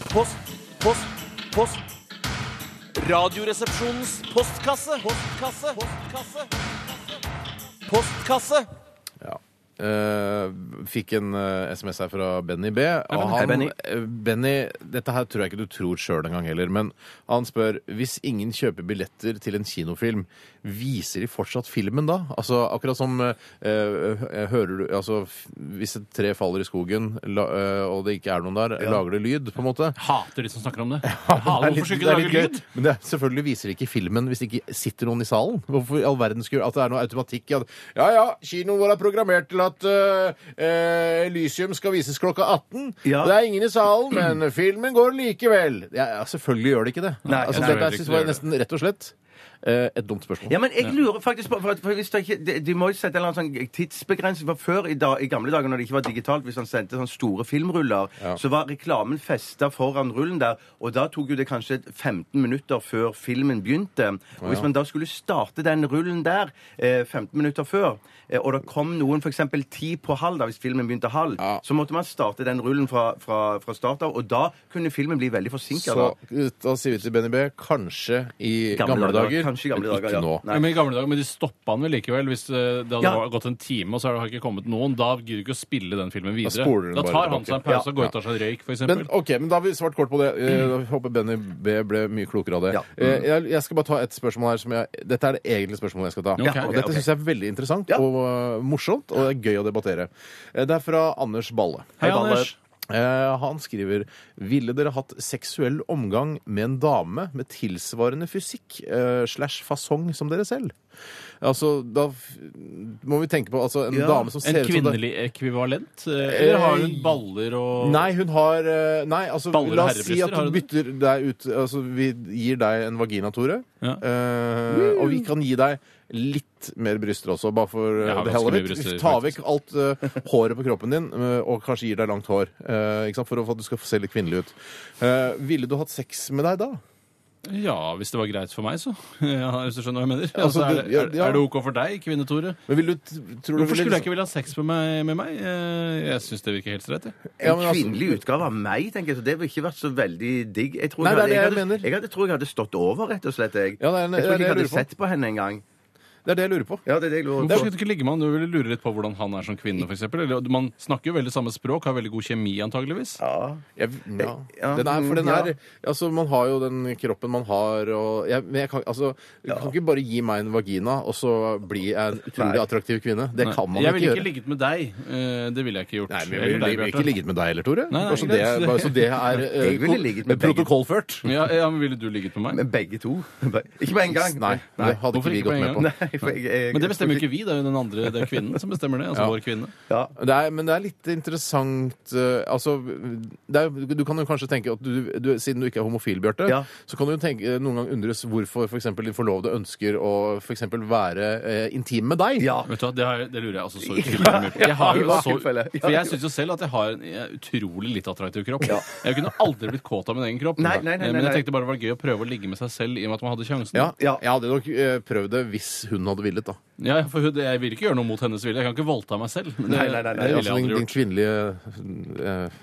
A: Post, post, post. Radioresepsjonens postkasse. Postkasse. Postkasse. Postkasse.
C: Ja. Eh, fikk en eh, SMS her fra Benny B. Og
D: Hei, Benny.
C: eh, Benny, dette her tror jeg ikke du tror sjøl engang heller, men han spør hvis ingen kjøper billetter til en kinofilm, viser de fortsatt filmen da? Altså akkurat som eh, eh, hører du Altså f- hvis et tre faller i skogen la, eh, og det ikke er noen der, lager det lyd, på en måte?
E: Hater de som snakker om det.
C: Det er
E: Hater,
C: litt-
E: hvorfor
C: det
E: skulle
C: er
E: ikke lage
C: litt gøy,
E: lyd?
C: Men det er, selvfølgelig viser de ikke filmen hvis det ikke sitter noen i salen. Hvorfor i all verden skulle At det er noe automatikk i at Ja ja, kinoen vår er programmert til at øh, øh, Elysium skal vises klokka 18.
D: Ja.
C: Det er ingen i salen, men filmen går likevel. Ja, ja selvfølgelig gjør det ikke det.
D: Nei,
C: altså,
D: nei,
C: dette
E: nei,
C: jeg synes
E: det gjør
C: var
E: det.
C: nesten rett og slett eh, et dumt spørsmål.
D: Ja, men jeg lurer faktisk på for, at- for hvis det ikke, de, de må jo sette en eller annen sånn tidsbegrensning. For før i, dag, i gamle dager, når det ikke var digitalt, hvis han sendte sånne store filmruller, så var reklamen festa foran rullen der. Og da tok jo det kanskje 15 minutter før filmen begynte. Og hvis man da skulle starte den rullen der eh, 15 minutter før, eh, og det kom noen f.eks. ti på halv, da, hvis filmen begynte halv, så måtte man starte den rullen fra, fra, fra start av. Og da kunne filmen bli veldig forsinka.
C: Så eh, da sier vi til Benny B kanskje i gamle, dager,
D: Kanskje i
C: men
D: gamle dager,
C: ikke
D: ja.
C: nå.
D: Nei.
E: Ja, men I gamle dager, men de stoppa han vel likevel. Hvis eh, det hadde
D: Ja.
E: gått en time, og så har det ikke kommet noen, da gidder du ikke å spille den filmen videre.
C: spoler den
E: Da,
C: bare
E: tar han
C: tilbake.
E: seg en pause
C: Ja.
E: og går ut og tar seg en røyk, f.eks.
C: Men ok, men da har vi svart kort på det. Eh, da håper Benny B ble mye klokere av det.
D: Ja.
C: Eh, Jeg, jeg skal bare ta et spørsmål her. Som jeg, dette er det egentlige spørsmålet jeg skal ta.
E: Ja, ok,
C: og
E: ok,
C: dette
D: ok.
C: syns jeg er veldig interessant
D: Ja.
C: og eh, morsomt, og det er gøy å debattere. Eh, Det er fra Anders Balle.
E: Hei, Anders.
C: Eh, han skriver Ville dere hatt seksuell omgang med en dame med tilsvarende fysikk eh, slash fasong som dere selv? Altså, da f må vi tenke på altså, en dame som
E: En
C: ser ut som det-
E: kvinnelig ekvivalent? eh, Eller har hun baller og
C: Nei, hun har eh, Nei, altså,
E: Baller og
C: la oss si
E: herrebryster,
C: at
E: har
C: du
E: hun det?
C: bytter deg ut Altså, vi gir deg en vagina, Tore.
E: Ja.
C: Eh, og vi kan gi deg litt mer bryster også, bare for
E: Jeg
C: uh,
E: har
C: the hell of
E: ganske
C: it.
E: mye bryster,
C: Ta vekk alt eh, håret på kroppen din, eh, og kanskje gir deg langt hår. eh, ikke sant? For å- for at du skal se litt kvinnelig ut. Eh, ville du hatt sex med deg da?
E: Ja, hvis det var greit for meg, så. Ja, hvis du skjønner hva jeg mener.
C: Altså,
E: Altså, er,
C: du- ja,
E: er,
C: ja.
E: er det OK for deg, kvinne Tore?
C: Men vil du, t- tror du liksom
E: Hvorfor skulle jeg ikke ville ha sex med meg? Med meg? Eh, Jeg syns det virker helt streit. jeg.
C: Ja,
D: En
C: men altså-
D: kvinnelig utgave av meg, tenker jeg. Så det ville ikke vært så veldig digg. Jeg tror
C: Nei, det er det jeg
D: jeg, hadde, jeg,
C: mener.
D: hadde, jeg hadde, tror jeg hadde stått over, rett og slett.
C: Ja, det er-
D: Jeg, jeg
C: det er
D: tror ikke
C: det jeg
D: jeg hadde
C: lurer på.
D: sett på henne engang.
C: Det er det jeg lurer på.
D: Ja, det er det jeg lurer
E: Hvorfor
D: på.
E: skulle du ikke ligge med han? Du ville lure litt på hvordan han er som kvinne, f.eks. Man snakker jo veldig samme språk, har veldig god kjemi, antageligvis.
D: Ja.
C: Jeg, ja.
D: Ja,
C: Den er, for den
D: ja.
C: er altså, Man har jo den kroppen man har, og jeg, men jeg kan, altså, du kan ikke bare gi meg en vagina, og så bli jeg en utrolig
D: Nei.
C: attraktiv kvinne. Det
E: Nei,
C: kan man
E: jeg
C: ikke
E: ville
C: gjøre.
E: ikke ligget med deg. Eh, Det ville jeg ikke gjort.
C: Nei, men jeg
E: Eller
C: ville
E: deg,
C: jeg ville
E: Bjarte.
C: ikke ligget med deg heller, Tore.
E: Nei, nei,
C: bare så det,
E: greit.
C: bare så det er eh,
D: Jeg ville ligget med begge.
C: protokollført.
E: Ja, ja, men ville du ligget med meg?
D: Men begge to. Ikke på en gang.
C: Nei, det hadde ikke
E: Hvorfor
C: vi
E: ikke
C: gått
E: på
C: med
E: en
C: på.
D: Nei, for jeg, jeg,
E: Men det bestemmer jo ikke vi, det er jo den andre, det er kvinnen som bestemmer det. Altså vår kvinne.
D: Ja.
C: Det er, men det er litt interessant eh, Altså, det er, du kan jo kanskje tenke at du, du Siden du ikke er homofil, Bjarte,
D: Ja.
C: så kan du jo tenke, eh, noen gang undres hvorfor f.eks. din forlovede ønsker å for eksempel være eh, intim med deg.
D: ja.
E: Vet du hva, Det, har, jeg- det lurer jeg altså så utrolig mye på. Jeg har
D: i
E: jo
D: hvert
E: så,
D: tilfelle. Ja.
E: for jeg syns jo selv at jeg har en jeg er utrolig litt attraktiv kropp. Jeg kunne aldri blitt kåt av min egen kropp. Eh,
D: Nei, nei, nei,
E: men
D: nei,
E: jeg
D: nei.
E: tenkte bare det var gøy å prøve å ligge med seg selv i og med at man hadde sjansen.
C: Ja,
D: Ja.
C: Jeg hadde nok eh, prøvd det hvis hun hadde villet, da.
E: Ja, for hun- jeg vil ikke gjøre noe mot hennes vilje. Jeg kan ikke voldta meg selv. Men
D: Nei, nei, nei, nei,
E: det ville
C: Altså,
E: jeg
C: din,
E: aldri
C: din
E: gjort.
C: kvinnelige eh,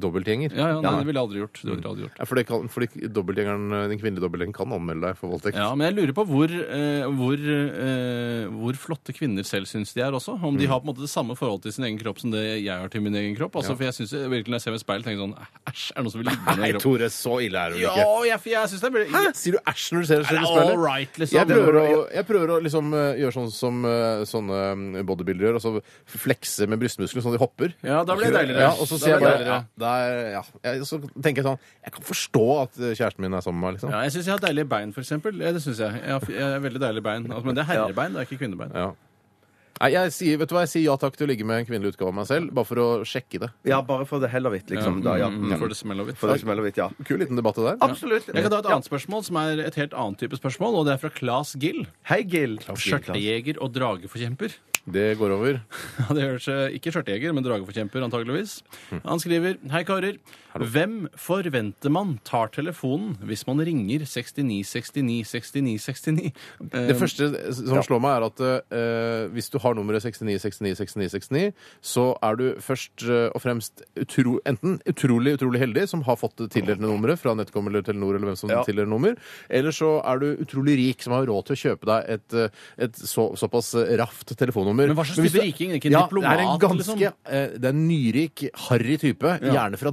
C: dobbeltgjenger.
E: Ja, ja, nei, det ville jeg aldri gjort. Det ville jeg aldri gjort.
C: Ja, Fordi, kan, fordi dobbeltgjengeren, eh, din kvinnelige dobbeltgjengeren kan anmelde deg for voldtekt.
E: Ja, men jeg lurer på hvor, eh, hvor, eh, hvor flotte kvinner selv syns de er også. Om de har på en måte det samme forholdet til sin egen kropp som det jeg har til min egen kropp. Altså, For jeg synes jo virkelig Når jeg ser meg i speilet, tenker jeg sånn Æsj, er det noen som vil ligge med
C: Nei,
E: den kroppen?
C: Tore, så ille er hun
E: Ja,
C: ikke.
E: jeg, jeg synes det blir
C: Hæ? Sier du æsj når du ser deg selv i
E: Er det
C: speilet?
E: all right, liksom?
C: jeg, prøver å, jeg prøver å liksom eh, gjøre sånn som eh, sånne eh, bodybuildere gjør, og så flekse med brystmusklene sånn de hopper.
E: Ja, da blir det deiligere.
C: Ja, og så
E: Da
C: sier jeg
E: blir det
C: bare ja, der, ja. Jeg, Så tenker jeg sånn Jeg kan forstå at eh, kjæresten min er sammen med meg, liksom.
E: Ja, jeg syns jeg har deilige bein, for eksempel. Ja, det synes jeg. Jeg har, jeg har veldig deilige bein. Altså, men det er herrebein, det er ikke kvinnebein.
C: Ja. Nei, jeg sier, vet du hva, jeg sier ja takk til å ligge med en kvinnelig utgave av meg selv, bare for å sjekke det.
D: ja, bare for det heller vidt, liksom. Da, ja.
E: Mm, For
D: Mm.
E: det smeller litt.
D: For det smeller vidt, ja.
C: Kul liten debatt det der.
D: Absolutt.
E: Jeg kan ta et annet spørsmål, som er et helt annet type spørsmål, og det er fra Claes Gill.
D: Hei, Gil.
E: Skjørtejeger og drageforkjemper.
C: Det går over.
E: Ja, det høres eh, Ikke skjørtejeger, men drageforkjemper, antageligvis. Han skriver Hei, karer. Hvem forventer man tar telefonen hvis man ringer 69 69 69 69?
C: Det
E: Ehm,
C: første som slår meg, er at eh, hvis du har nummeret 69 69 69 69, så er du først eh, og fremst utro, enten utrolig utrolig heldig som har fått det tildelte nummeret fra NetCom eller Telenor, eller hvem som
D: Ja.
C: tildeler nummer, eller så er du utrolig rik som har råd til å kjøpe deg et, eh, et så, såpass raft telefonnummer.
E: Men hva slags
C: hvis
E: type
C: du-
E: riking? Ikke en
C: ja,
E: diplomat,
C: det er en ganske,
E: liksom?
C: eh, det er en nyrik, harry type, gjerne fra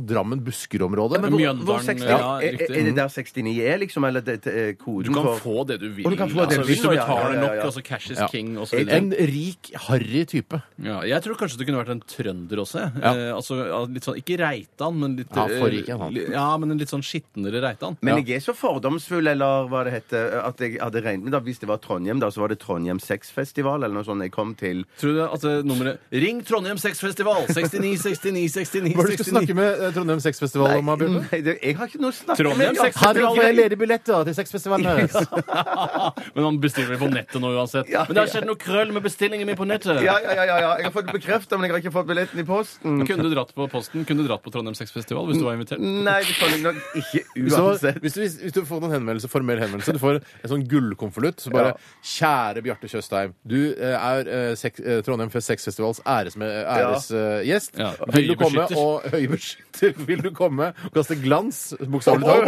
C: Drammen-Buskerud-området.
E: men hvor- Mjøndalen, ja,
D: er, er,
E: riktig.
D: er det der 69 er, liksom? Eller det, det, er koden
E: Eh, Du kan
D: for
E: få det du vil.
D: Og du kan få det
E: altså,
D: du
E: hvis
D: vil, ja,
E: du
D: ja,
E: betaler
D: ja, ja, ja.
E: nok, altså cash is
C: Ja.
E: king og så videre.
C: En rik, harry type.
E: Ja, jeg tror kanskje det kunne vært en trønder også. jeg.
C: Ja.
E: Eh, altså, ja, litt sånn, ikke Reitan, men litt
C: Ja, forrige,
E: eh,
C: han.
E: li- ja, men en litt sånn skitnere Reitan.
D: Men jeg er så fordomsfull, eller hva det heter, at jeg hadde regnet med da, hvis det var Trondheim, da, så var det Trondheim sexfestival, eller noe sånt jeg kom til.
E: Tror du at det Altså, nummeret Ring Trondheim Sexfestival! 69 69 69
C: Hva er det du skal snakke med eh, Trondheim Sexfestival om, Bjørn?
E: Mm.
D: Nei, det, jeg har ikke noe å snakke
E: Trondheim
D: med.
E: Sex- Her får jeg
C: ledige billetter til sexfestivalen.
E: Men han bestiller det på nettet nå uansett.
D: Ja,
E: Men det har skjedd noe krøll med bestillingen min på nettet!
D: Ja, ja, ja, ja, ja. Jeg har fått det bekrefta, men jeg har ikke fått billetten i posten.
E: Kunne du dratt på posten? Kunne du dratt på Trondheim Sexfestival hvis du var invitert?
C: Mm.
D: Nei, det kan jeg nok ikke
C: Hvis,
D: uansett.
C: du- hvis, hvis du får noen henvendelse, formell henvendelse, du får en sånn gullkonvolutt, så bare
D: Ja.
C: Kjære Bjarte Tjøstheim. Du eh, er eh, sek, eh, Trondheim Fest Sexfestivals æresgjest. Æres,
E: Ja,
C: ja. Vil du komme
E: høybeskytter.
C: og Høybeskytter. Vil du komme og kaste glans, bokstavelig talt,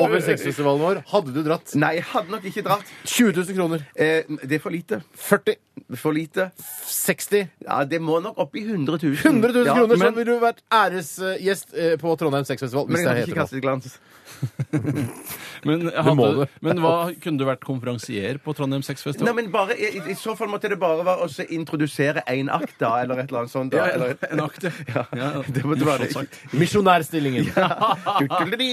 C: over sexfestivalen vår? Hadde du dratt?
D: Nei, jeg hadde nok ikke dratt.
C: 20 000 kroner.
D: Eh, det er for lite.
C: 40
D: For lite.
C: 60
D: Ja, det må nok opp i 100 000.
C: 100 000
D: Ja,
C: kroner, så
D: men-
C: ville du vært æresgjest eh, på Trondheim Sexfestival.
D: Men
C: Hvis
D: jeg
C: det heter
D: hadde ikke
C: noe.
D: kastet glans.
E: Men, hadde,
C: må du.
E: men hva, kunne du vært konferansier på Trondheim Sexfestival?
D: Nei, men bare, i, I så fall måtte det bare være å så introdusere en akt, da, eller et eller annet sånt. Da,
E: Ja,
D: eller,
E: en akte. Ja,
D: det måtte være
E: morsomt sagt.
C: Misjonærstillingen.
D: Tutulidi!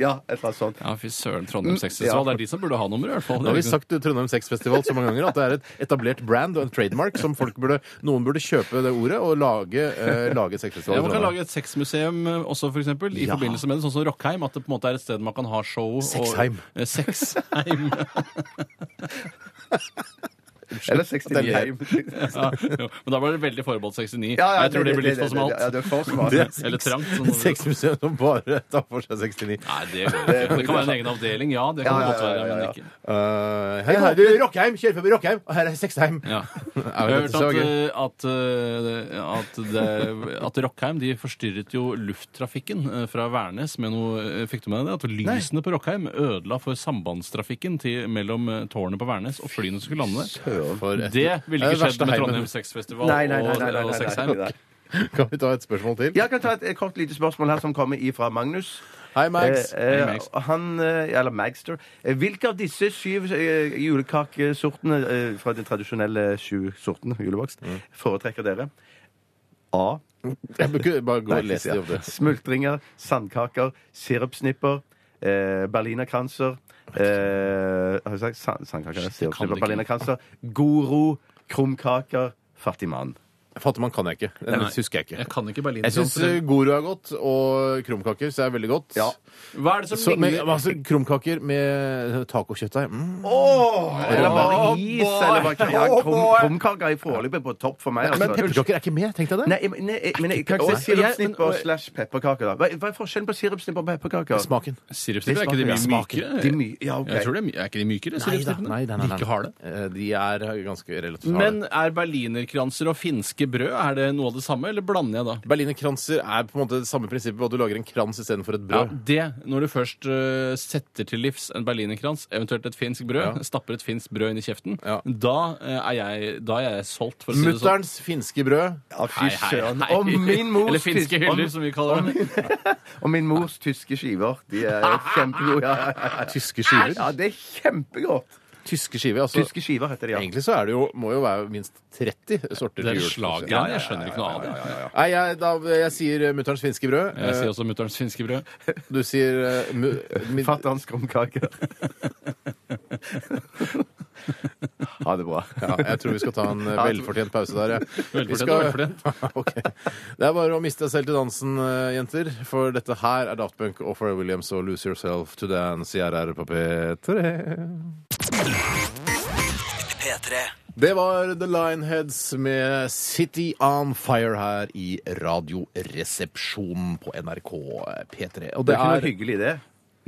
D: Ja, et eller annet sånt.
E: Ja, fy søren. Trondheim Sexfestival. Det er de som burde ha nummeret, i hvert fall.
C: Nå Mm, har vi sagt Trondheim Sexfestival så mange ganger at det er et etablert brand og en trademark som folk burde, noen burde kjøpe det ordet og lage, eh, lage et sexfestival.
E: Ja, man
C: i
E: kan
C: Trondheim.
E: lage et sexmuseum eh, også, for eksempel, i
C: Ja.
E: forbindelse med det, sånn som Rockheim, at det på en måte er et sted man kan ha Eh, show. og-
C: Sexheim.
E: Eh, Sexheim.
D: Eller 69
C: Den-
D: hjem.
E: Ja, jo, men da var det veldig forbeholdt 69.
D: Ja, ja,
E: jeg tror det, blir litt for smalt.
D: Ja, det er for smalt.
C: Det-
E: Eller trangt. Sånn, som det-
C: 60 som bare tar for seg 69.
E: nei, det går ikke. Det kan være en egen avdeling, ja. Det kan
D: Ja, ja,
E: det godt
D: ja,
E: være,
D: ja,
E: men
D: ja.
E: ikke.
C: Eh, hei, her er du Rockheim! Kjører forbi Rockheim, og her er Sexheim.
E: Ja. Jeg
C: Ja,
E: har
C: men
E: hørt
C: dette så
E: at,
C: gøy.
E: eh, at, eh, at, det, at Rockheim de forstyrret jo lufttrafikken eh, fra Værnes med noe eh, Fikk du med deg det? At lysene på Rockheim ødela for sambandstrafikken til, mellom eh, tårnet på Værnes og flyene som skulle lande der.
C: For et-
E: Det ville
C: er det
E: ikke
C: verste
E: skjedd med
C: heimen.
E: Trondheim Sexfestival
D: Nei, nei, nei,
E: og-
D: nei, nei,
E: og
D: nei,
E: Sexheim.
D: nei, nei.
C: Kan vi ta et spørsmål til?
D: Jeg kan ta et, et kort lite spørsmål her som kommer ifra Magnus.
C: Hei, Max.
D: Eh, eh,
E: Hei, Max.
D: han, eh, eller Magster. Eh, Hvilke av disse syv eh, julekakesortene eh, fra den tradisjonelle sju sortene julebakst
E: Mm.
D: foretrekker dere? A.
C: Jeg burde bare gå og lese de opp det.
D: Smultringer, sandkaker, sirupsnipper, eh, berlinerkranser eh, Har jeg sagt sand, sandkaker? Sirupsnipper,
E: ikke.
D: berlinerkranser. Goro, krumkaker, fattigmann.
C: Fattigmann kan jeg ikke. Den
E: Nei.
C: husker jeg ikke.
E: Jeg kan ikke
C: Jeg syns
D: eh,
E: Berlin.
C: Goro er godt, og krumkaker så er veldig godt.
D: Ja.
E: Hva er det
C: Så,
E: som
C: men,
E: ligner
C: altså, krumkaker med tacokjøttdeig mm.
D: Eller bare
C: Åh,
D: is.
C: boy.
D: Eller bare, ja,
C: Åh,
D: krum,
C: boy.
D: krumkaker er foreløpig på topp for meg.
C: Men
D: Altså.
C: pepperkaker er ikke med, tenkte jeg det.
D: Nei, jeg- nei, jeg- men jeg kan
C: Åh,
D: ikke si
E: jeg- men-
D: sirupsnipper slash pepperkaker. da. Hva hva er forskjellen på sirupsnipper og pepperkaker?
C: Smaken.
E: Sirupsnipper, er ikke de mye
D: Smaken.
E: mykere?
D: De er my- ja, ok.
E: Jeg tror det er, my- er ikke de mykere, sirupsnippene? Like harde?
C: Eh, De er ganske relativt harde.
E: Men er berlinerkranser og finske brød er det noe av det samme, eller blander jeg da?
C: Berlinerkranser er på en måte det samme prinsippet, at du lager en krans istedenfor et
E: Ja,
C: brød.
E: det, Når du først øh, setter til livs en berlinerkrans, eventuelt et finsk brød,
C: Ja.
E: stapper et finsk brød inn i kjeften,
C: Ja.
E: da, øh, er jeg, da er jeg solgt, for å si det sånn.
C: Mutterns finske brød.
D: Ja, fy
E: Hei, hei,
D: søren.
E: hei.
D: Og min mors
E: Eller
D: tysk-
E: finske hyller,
D: og-
E: som vi kaller det.
D: Og min mors tyske skiver. De er kjempegode. Ja, ja, ja.
C: Tyske skiver.
D: ja, det er kjempegodt.
C: Tyske skiver, altså.
D: Tyske skiver heter de, ja.
C: Egentlig så er det jo, må jo være minst 30 sorter
E: Det
C: til
E: er
C: jul.
E: slaget. jeg skjønner ikke noe av det.
C: Nei, jeg, da, jeg sier eh, mutterns finske brød.
E: Jeg
C: Eh,
E: sier også mutterns finske brød.
C: Du sier eh, mu, min,
D: Fatterns krumkaker. Ha det bra.
C: ja, Jeg tror vi skal ta en eh, velfortjent pause der. Ja. Vi
E: Velfortjent
C: skal-
E: og velfortjent.
C: Ok. Det er bare å miste deg selv til dansen, eh, jenter. For dette her er Daft Punk og Pharrell Williams og Lose Yourself to Dance. Jeg er her på P3.
B: P3
C: Det var The Lineheads med City on Fire her i Radioresepsjonen på NRK P3. Og
D: Det
C: det
D: er ikke noe
C: er
D: hyggelig, det.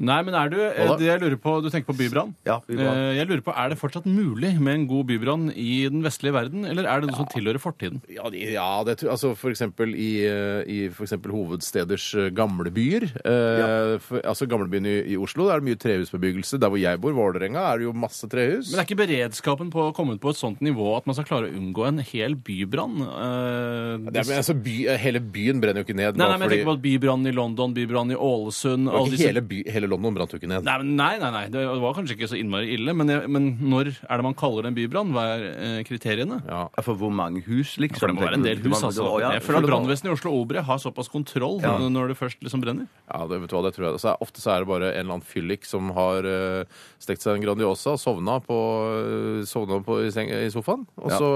E: Nei, men er du eh,
C: Hva da?
E: det jeg lurer på, Du tenker på bybrann?
D: Ja, bybrann.
E: Eh, Jeg lurer på, Er det fortsatt mulig med en god bybrann i den vestlige verden, eller er det noe som tilhører fortiden?
C: Ja, de- ja det, tror- altså for eksempel i, eh, i for eksempel hovedsteders eh, gamle byer. Eh, for, altså Gamlebyen i, i Oslo der er det mye trehusbebyggelse. Der hvor jeg bor, Vålerenga, er det jo masse trehus.
E: Men er ikke beredskapen på å komme ut på et sånt nivå at man skal klare å unngå en hel bybrann? Eh,
C: det er, men altså, by, eh, hele byen brenner jo ikke ned.
E: Nei,
C: bare
E: nei, men jeg tenker på at bybrannen i London, bybrannen i Ålesund
C: det var
E: alle
C: ikke
E: disse-
C: hele, by, hele London brant jo ikke ned.
E: Nei, men nei, nei, nei, det var kanskje ikke så innmari ille, men, jeg, men når er det man kaller det en bybrann? Hva er eh, kriteriene?
C: Ja.
D: For hvor mange hus, liksom?
E: For det må være en del hus, altså. Jeg føler at brannvesenet i Oslo Obre har såpass kontroll når- når det først liksom brenner.
C: Ja, det, vet du hva, det tror jeg. Så er, ofte så er det bare en eller annen fyllik som har eh, stekt seg en Grandiosa og sovna, på, sovna på, i, seng, i sofaen. Og så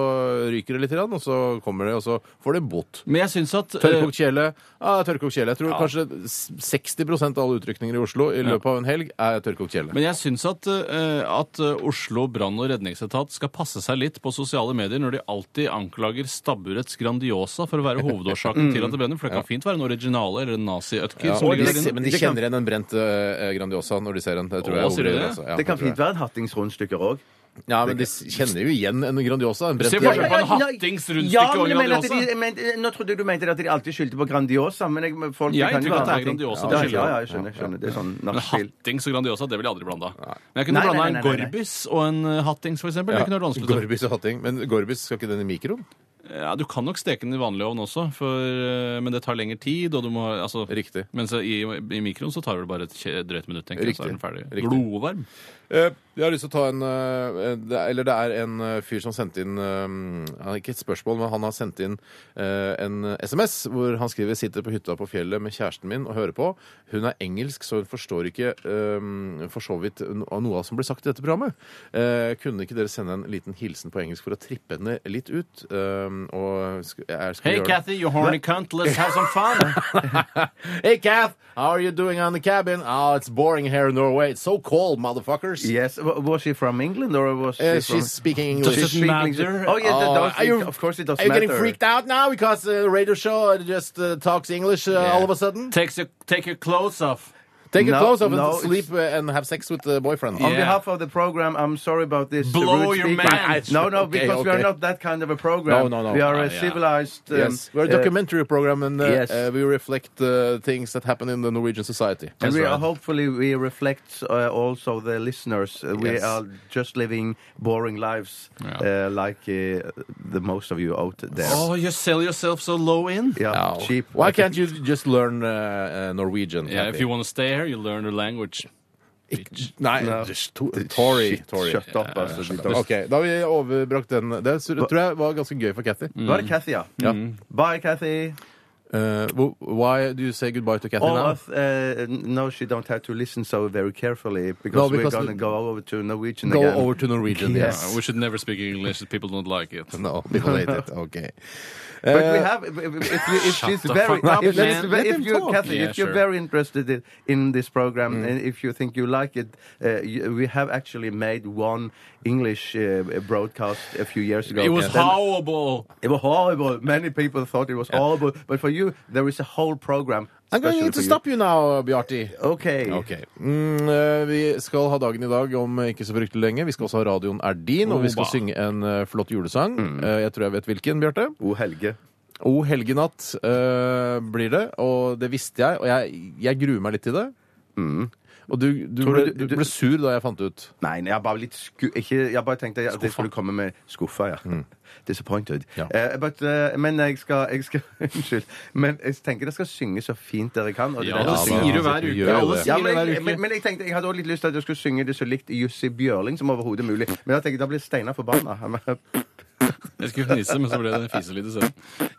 C: ryker det litt, grann, og så kommer det, og så får det bot.
E: Men jeg syns at eh,
C: Tørrkokt kjele. Ja, tørrkokt kjele. Jeg tror kanskje s- 60 av alle utrykninger i Oslo i løpet av en helg er tørrkokt kjele.
E: Men jeg syns at, eh, at Oslo brann- og redningsetat skal passe seg litt på sosiale medier når de alltid anklager stabburets Grandiosa for å være hovedårsaken til at det brenner. For det kan fint være en originale eller en nazi-øtker
C: Mm. ja,
E: som
C: og de,
E: ligger der
C: se-
E: inne.
C: men de kjenner igjen en brent eh, Grandiosa når de ser en. Det tror
E: Å,
C: jeg
E: sier du
C: overdriver,
E: det?
C: altså. Ja,
D: Det kan
C: det tror
D: fint
C: jeg.
D: være en hattings rundstykker òg.
C: Ja, men de s- kjenner jo igjen en Grandiosa. En brent
E: Se
C: Ja, ja,
E: forskjell på
D: Ja,
E: en
D: ja, ja.
E: hattings rundstykke
D: Ja, men
E: og
D: jeg mener at
E: Grandiosa.
D: de- jeg mente- Nå trodde jeg du mente at de alltid skyldte på Grandiosa, men jeg, men folk
E: Jeg
D: kan jo
E: tror at det er
D: ha ting-
E: Grandiosa
D: Ja,
E: de skylder
D: Ja,
E: på.
D: ja, jeg skjønner. jeg skjønner. Det er sånn
E: Men
D: nachspiel.
E: hattings og Grandiosa, det ville jeg aldri blanda. Men jeg kunne
D: Nei, nei,
E: blanda
D: nei,
E: en
D: nei, nei.
E: Gorbis og en eh, hattings, for eksempel. Det kunne vært vanskelig.
C: Gorbis og hatting. Men Gorbis, skal ikke den i mikroen?
E: Ja, du kan nok steke den i vanlig ovn også, for, eh, men det tar lengre tid. Og du må, altså,
C: Riktig.
E: Mens i, i mikroen så tar det vel bare et kje- drøyt minutt, tenker jeg.
C: Riktig.
E: Så er den ferdig.
C: Riktig.
E: Glovarm.
C: Eh, Jeg har lyst til å ta en eh, det er- Eller det er en eh, fyr som sendte inn eh, han- Ikke et spørsmål, men han har sendt inn eh, en SMS hvor han skriver 'Sitter på hytta på fjellet med kjæresten min og hører på'. Hun er engelsk, så hun forstår ikke eh, for så vidt no- av noe av som blir sagt i dette programmet. Eh, Kunne ikke dere sende en liten hilsen på engelsk for å trippe henne litt ut? Eh, Og sk- jeg skal
E: Hey,
C: gjøre det.
E: Kathy, you horny cunt, let's have some fun!
C: Ah, Hey, Kath! How are you doing on the cabin? Oh, it's boring here in Norway. It's so cold, motherfuckers.
D: Yes, wa- was she from England or was she
C: Uh,
D: from...
C: she's speaking English.
E: Does it
D: speaking-
E: matter?
D: Oh, yes, that
C: Oh,
D: does,
C: are you-
D: of course it does
C: Are you
D: matter.
C: getting freaked out now because the radio show just uh, talks English uh, all of a sudden?
E: Takes your, take your clothes off.
C: Take your
D: No,
C: clothes off and
D: no,
C: sleep uh, and have sex with the boyfriend.
D: On
E: Yeah.
D: behalf of the program, I'm sorry about this.
E: Blow
D: rude speaking.
E: your man.
D: No, no,
C: Okay,
D: because we are
C: okay.
D: not that kind of a program.
C: No, no, no.
D: We are
E: Ah,
D: a
E: yeah.
D: civilized. um,
C: Yes. We're a
D: uh,
C: documentary program, and uh,
D: yes.
C: uh, we reflect uh, things that happen in the Norwegian society.
D: And we
E: That's
D: are
E: right.
D: hopefully we reflect uh, also the listeners. Uh, We
C: Yes.
D: are just living boring lives,
E: Yeah.
D: uh, like uh, the most of you out there.
E: Oh, you sell yourself so low in.
D: Yeah,
C: Ow.
D: cheap.
C: Why can't you just learn uh, uh, Norwegian?
E: Yeah, if you want to stay here, you learn the language.
C: Nei,
D: No.
C: just to, Tory.
D: Shit,
C: Tory.
D: Shut up, altså. de tar-
C: OK, da har vi overbrakt den. Det sy- tror jeg var ganske gøy for Kathy.
E: Mm.
D: Var det Kathy, ja?
C: Ja.
D: Bye, Kathy.
C: Uh, wh- why do you say goodbye to Kathy
D: All
C: now?
D: of, uh, no, she don't have to listen so very carefully because,
C: No,
D: we're
C: because
D: gonna
C: the-
D: go over to Norwegian
C: Go
D: again.
C: over to Norwegian.
D: Yes.
E: Uh, we should never speak English. People don't like it.
C: No, people hate it. OK.
D: But we
C: Uh,
D: have if, if, if, you- if
E: Shut
D: she's
E: the
D: very
E: fuck up,
D: if,
E: man.
D: if-
C: Let
D: if
C: him
D: you
C: talk.
D: Kathy,
E: Yeah,
D: if you're
E: sure. Mm.
D: very interested i- in this program and if you think you like it, uh, you, we have actually made one English uh, broadcast a few years ago.
E: It was
D: Then-
E: horrible.
D: It was horrible. Many people thought it was horrible, but for you, there is a whole program.
C: I'm going
D: special
C: to
D: for you.
C: stop you now, Bjarti.
D: Okay.
C: Ok. Mm, eh, vi skal ha dagen i dag om ikke så fryktelig lenge. Vi skal også ha Radioen er din, og vi skal
E: Oba.
C: synge en eh, flott julesang.
D: Mm.
C: Eh, jeg tror jeg vet hvilken, Bjarte.
D: O Helge.
C: O helgenatt eh, blir det, og det visste jeg, og jeg, jeg gruer meg litt til det. Og du, du,
D: Mm. Tror
C: ble,
D: du-
C: du
D: du-
C: ble sur da jeg fant det ut.
D: Nei, nei, jeg bare litt sku... Ikke, jeg bare tenkte at det skulle komme med skuffa, ja.
E: Mm.
D: Disappointed.
C: Ja.
D: Eh, but, eh, men jeg skal, jeg skal Unnskyld. Men jeg tenker dere skal synge så fint dere kan. Og det
E: Ja,
D: er
E: alle
D: dere
C: da,
E: sier
D: synger.
E: det hver
C: vi
E: uke.
C: gjør jo
E: Alle
C: det.
D: ja,
E: sier
D: men,
E: det hver
D: jeg,
E: uke.
D: men, men jeg tenkte, jeg hadde også litt lyst til at jeg skulle synge det så likt Jussi Bjørling som overhodet mulig. Men jeg tenkte, da blir Steinar forbanna. Han er-
E: Jeg skulle fnise, men så ble det fiselyd isteden.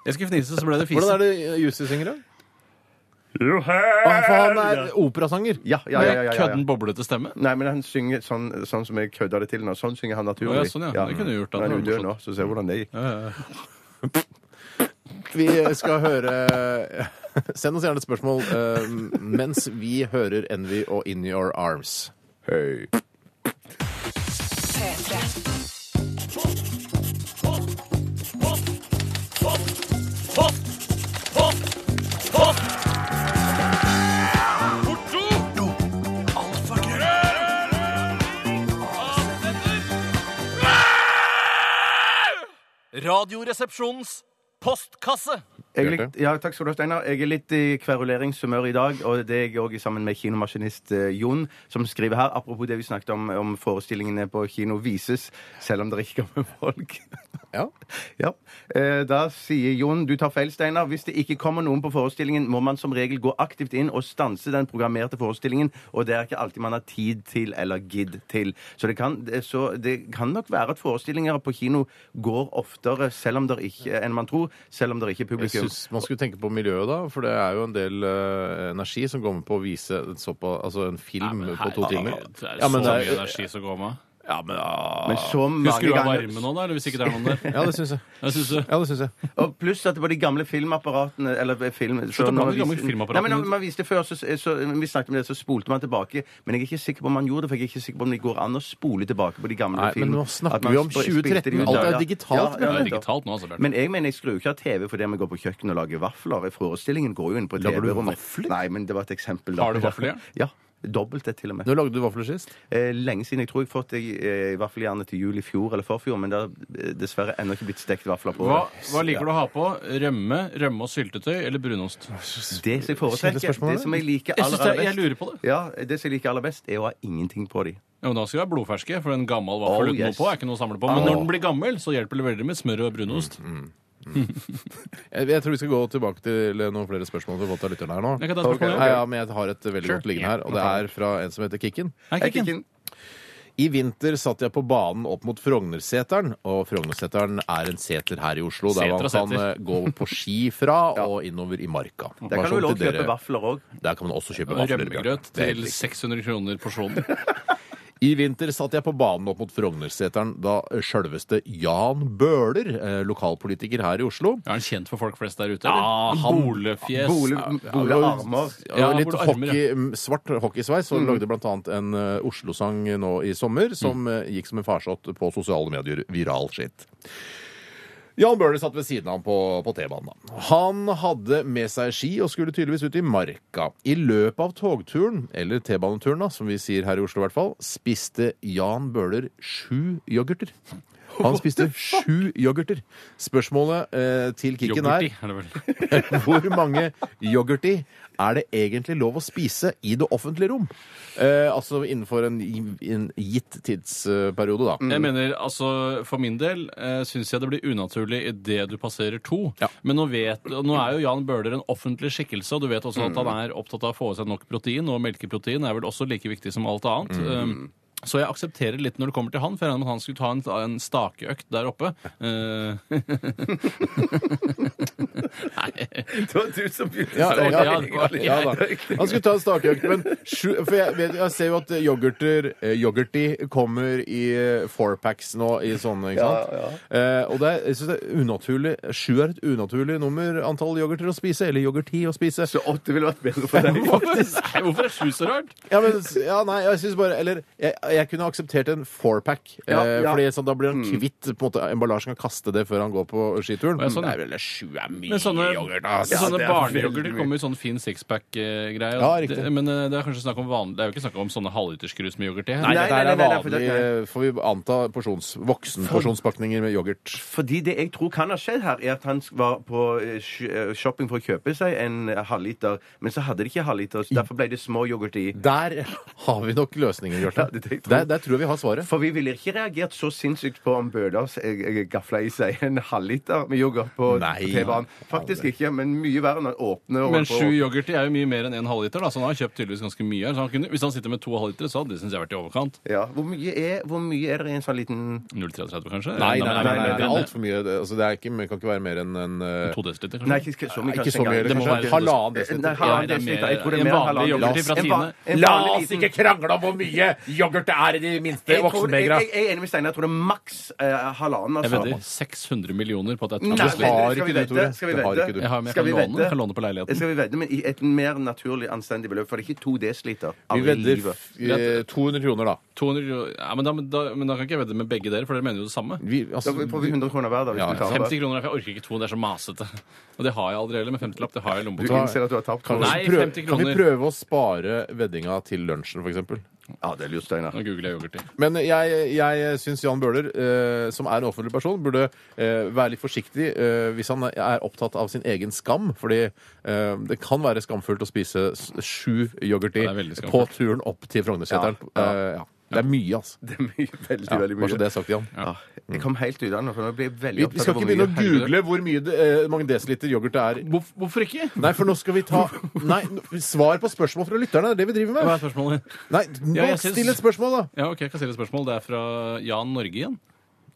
E: Jeg skulle fnise, så ble det
C: Hvordan
E: fise.
C: er det eh, Jussi synger, da? Ah, for han er operasanger.
D: Ja, ja, ja. ja, ja, ja.
E: Kødden boblete stemme.
D: Nei, men han synger sånn, sånn som jeg kødda det til nå. Sånn synger han naturlig.
E: Å, ja, sånn, ja. Det kunne jeg gjort, da.
D: Han er jo
E: Det var
D: død nå, så ser vi hvordan det gikk.
C: Vi skal høre Send oss gjerne et spørsmål eh, mens vi hører Envy og In Your Arms.
D: Hei.
F: P3.
A: Radioresepsjonens postkasse.
D: Jeg
C: Bjarte?
D: litt, ja, takk skal du ha, Steinar. Jeg er litt i kveruleringshumør i dag, og det er jeg òg sammen med kinomaskinist eh, Jon, som skriver her, apropos det vi snakket om, om forestillingene på kino vises, selv om det ikke kommer folk.
C: Ja.
D: Ja. Eh, Da sier Jon du tar feil, Steinar. Hvis det ikke kommer noen på forestillingen, må man som regel gå aktivt inn og stanse den programmerte forestillingen, og det er ikke alltid man har tid til eller gidd til. Så det kan, det- så det kan nok være at forestillinger på kino går oftere selv om det ikke, enn man tror, selv om det ikke er
C: Jeg
D: publikum.
C: synes man skulle tenke på miljøet da, for det er jo en del eh, energi som går med på å vise en, såpa, altså en film på to timer.
E: Det er
C: Ja,
E: så
C: men
E: mye
C: det er-
E: energi som går med.
C: Ja, men, ja.
D: Men så mange
E: Skal du ha
D: ganger-
E: varme nå, da? Eller hvis ikke det er noen der?
C: ja, det syns jeg.
E: Jeg synes det.
C: Ja, det synes jeg.
D: Og pluss at det var de gamle filmapparatene eller eh, film, så
E: å
D: når
E: blande de
D: man
E: gamle
D: viste-
E: filmapparatene.
D: Nei, men når man viste før, så, så, Vi snakket om det, så spolte man tilbake. Men jeg er ikke sikker på om man gjorde det, for jeg er ikke sikker på om det går an å spole tilbake på de gamle
C: Nei,
D: filmene.
C: men nå snakker
D: At man
C: vi om
D: sp-
C: 2013.
D: spilte de ut,
C: Alt
D: ja.
C: er
D: Ja,
C: digitalt,
D: ja, ja,
E: Det er digitalt nå, altså, Bjørn.
D: Men jeg mener, jeg skrur ikke av TV fordi vi går på kjøkkenet og lager vafler. Forestillingen går jo inn på
C: Lager du
D: TV-rommet.
C: vafler?
D: Nei, men det var et eksempel. da.
E: Har du vaffeljern?
D: Ja. Dobbelt det, til og med.
C: Når lagde du vafler sist?
D: Eh, lenge siden. Jeg tror jeg fått det i, eh, i vaffeljernet til jul i fjor eller forfjor, men det har eh, dessverre ennå ikke blitt stekt vafler på.
E: Hva, hva liker du å ha på? Rømme, rømme og syltetøy eller brunost?
D: Det som jeg
C: Kjedelig
D: foretrekker,
C: spørsmål,
D: det som jeg liker
E: Jeg,
D: aller,
E: synes
D: aller
E: jeg,
D: best
E: jeg lurer på det.
D: Ja, det som jeg liker aller best, er å ha ingenting på de.
E: Ja, men Da skal du være blodferske, for en gammel
D: Oh,
E: vaffel uten
D: yes. Oh.
E: noe på er ikke noe å samle på. Men når den blir gammel, så hjelper det veldig med smør og
D: Mm,
E: brunost.
C: Jeg, jeg tror vi skal gå tilbake til eh, noen flere spørsmål. som vi har fått av lytterne her nå.
E: Jeg kan ta et spørsmål, ja.
C: Nei, ja, men jeg har et eh, veldig
E: Sure.
C: godt liggende her, og det er fra en som heter Kikken.
E: Hei,
D: Jeg
E: Kikken.
D: kikker inn.
C: I vinter satt jeg på banen opp mot Frognerseteren, og Frognerseteren er en seter her i Oslo, der
E: Seter
C: man
E: og
C: kan
E: seter.
C: eh, gå på ski fra og innover i marka.
D: Der kan
C: Bare
D: du vel
C: sånn
D: også
C: til dere-
D: kjøpe vafler òg.
C: Der kan man også kjøpe
E: Og
C: vafler. Bjørn.
E: rømmegrøt
C: Det er helt
E: til
C: riktig.
E: 600 kroner porsjonen.
C: I vinter satt jeg på banen opp mot Frognerseteren da sjølveste Jan Bøhler, eh, lokalpolitiker her i Oslo
E: Er han kjent for folk flest der ute?
C: Ja,
E: eller?
C: han-
E: Bolefjes.
D: Bole,
C: det
D: bole
C: var jo-
D: armer.
C: Ja,
E: Ja, Mm.
C: litt
E: hvor det armer,
C: hockey, m, svart hockeysveis. Og lagde blant annet en eh, Oslo-sang nå i sommer som
E: Mm.
C: eh, gikk som en farsott på sosiale medier. Viral shit. Jan Bøhler satt ved siden av ham på, på T-banen. da. Han hadde med seg ski og skulle tydeligvis ut i marka. I løpet av togturen, eller T-baneturen, da, som vi sier her i Oslo i hvert fall, spiste Jan Bøhler sju yoghurter. Han spiste sju yoghurter. Spørsmålet eh, til Kikken er
E: Yoghurti, er det vel.
C: hvor mange yoghurti er det egentlig lov å spise i det offentlige rom? Eh, altså innenfor en, gi- en gitt tidsperiode, da.
E: Jeg mener, altså, For min del eh, syns jeg det blir unaturlig idet du passerer to.
C: Ja.
E: Men nå, vet, nå er jo Jan Bøhler en offentlig skikkelse, og du vet også at han er opptatt av å få i seg nok protein, og melkeprotein er vel også like viktig som alt annet. Eh, Så jeg aksepterer litt når det kommer til han, for jeg regner med at han skulle ta en, en stakeøkt der oppe. Eh,
D: Det var du som begynte.
C: Ja, ja, ja,
E: ja,
C: ja da. Han skulle ta en stakøkt, men sju, for jeg, vet, jeg ser jo at yoghurter, eh, yoghurti kommer i eh, fourpacks nå i sånne, ikke sant? Eh, og det er, jeg synes det er unaturlig. Sju er et unaturlig nummer antall yoghurter å spise, eller yoghurti å spise.
D: Så åtte ville vært bedre for deg.
E: Nei, hvorfor er sju så rart?
C: Ja, men, ja, nei, jeg synes bare Eller jeg, jeg kunne akseptert en fourpack.
D: Ja,
C: eh,
D: ja.
C: Fordi sånn, da blir han kvitt på en måte emballasjen og kaste det før han går på skituren.
E: Ja, sånn, ja.
C: Nei, vel, sju er mye
E: Men sånne,
C: yoghurt, ass.
E: ja, sånne
D: det er veldig
E: barneyoghurter
D: mye.
E: kommer i sånn fin sixpack-greie.
C: Ja, riktig.
E: Det- men eh, det er kanskje snakk om vanlig Det er jo ikke snakk om sånne halvliterskrus med yoghurt i.
C: Nei,
D: Nei,
C: dette her
D: nei,
C: er
D: nei, nei, for
C: vanlig,
D: det-
C: eh, får vi anta, porsjons, voksenporsjonspakninger med yoghurt.
D: Fordi det jeg tror kan ha skjedd her, er at han var på eh, sh- eh, shopping for å kjøpe seg en eh, halvliter, men så hadde de ikke halvliter, så derfor ble det små yoghurt i.
C: Der har vi nok løsningen, Bjarte.
D: Ja, det tror jeg.
C: der, der tror jeg vi har svaret.
D: For vi ville ikke reagert så sinnssykt på om Bøhler s- eh, eh, gafla i seg en halvliter med yoghurt på på
C: Nei.
D: T-banen. Faktisk ikke, men mye verre når han åpner og
E: Men
D: holder på-
E: sju yoghurter er jo mye mer enn en halvliter, da, så han har kjøpt tydeligvis ganske mye. her. Så han kunne, hvis han sitter med to halvlitere, så hadde det synes jeg vært i overkant.
D: ja. hvor, mye er, hvor mye er det i en sånn liten
E: 0,33 kanskje?
C: Nei, nei, nei, nei,
E: men-
C: det er altfor mye. Det, altså, det, er ikke, det kan ikke være mer enn en eh,
E: To desiliter, kanskje?
D: Nei, ikke så mye.
C: Ikke
D: kanskje
C: så mye,
D: engang.
E: det må
C: kanskje.
E: være-
C: Halvannen
D: Nei,
C: desiliter.
D: halvannen
E: Nei, det er
D: desiliter.
E: mer-
D: Jeg tror det er
E: en
D: mer enn
E: vanlig
D: halvannen
E: yoghurt
D: desiliter.
E: fra
D: En va-
E: Tine.
D: en
C: La
D: vanlig
C: oss
D: liten-
C: ikke krangle om hvor mye yoghurt det er i de minste
D: Jeg tror- jeg-
C: voksenbegra.
D: jeg- jeg er enig med Steinar. Jeg tror det er maks eh, halvannen.
E: Jeg
D: Altså.
E: vedder 600 millioner på at det er
D: Nei,
E: et
C: har
D: skal
E: halvliter.
D: vi
C: ikke du,
D: vedde?
C: Tore.
D: Skal vi
C: Det har
D: vedde?
C: ikke du.
E: Jeg har med, jeg
D: Skal
E: kan
D: vi
E: låne,
D: vedde?
E: jeg kan låne på leiligheten.
D: Skal vi vedde, men i et mer naturlig, anstendig beløp? For det er ikke to desiliter.
C: Vi
D: Aldri i
C: vedder
D: livet.
C: f- eh, 200 kroner, da.
E: 200, euro- ja, men, da, men, da, men da kan ikke jeg vedde med begge dere, for dere mener jo det samme.
C: Vi,
D: Da
C: altså,
D: får vi 100 kroner hver, da. Hvis
C: Ja,
D: vi tar
E: 50
D: det.
E: kroner, for jeg orker ikke to, det er så masete. Og det har jeg aldri heller, med 50-lapp. Det har jeg i
D: Du
E: lommeboka.
D: innser at du har tapt.
C: kan,
E: Nei,
C: vi prøve,
E: 50
C: kan vi
E: kroner.
C: prøve å spare veddinga til lunsjen, f.eks.?
D: Ja, det er lurt, Steinar.
E: Nå googler jeg yoghurt i.
C: Men jeg, jeg syns Jan Bøhler, eh, som er en offentlig person, burde eh, være litt forsiktig eh, hvis han er opptatt av sin egen skam. Fordi eh, det kan være skamfullt å spise s- sju yoghurti
E: Ja, det er veldig
C: på
E: skamfullt.
C: turen opp til Frognerseteren.
D: Ja, ja.
C: Eh, ja. Det er mye, altså.
D: Det er mye, veldig,
C: Ja,
D: veldig
C: bare så
D: mye.
C: det er sagt, Jan.
D: Ja. Jeg kom helt ut av den, for nå blir jeg veldig
C: Vi
D: opptatt
C: skal
D: av
C: ikke
D: hvor
C: begynne å
D: mye-
C: google hvor mye det, eh, mange desiliter yoghurt det er.
E: Hvorf- Hvorfor ikke?
C: Nei, for nå skal vi ta Nei, n- svar på spørsmål fra lytterne. Det er det vi driver med.
E: Hva er spørsmålet?
C: Nei,
E: Ja,
C: nå
E: jeg syns-
C: still et spørsmål, da!
E: Ja, ok, jeg kan stille et spørsmål. Det er fra Jan Norge igjen.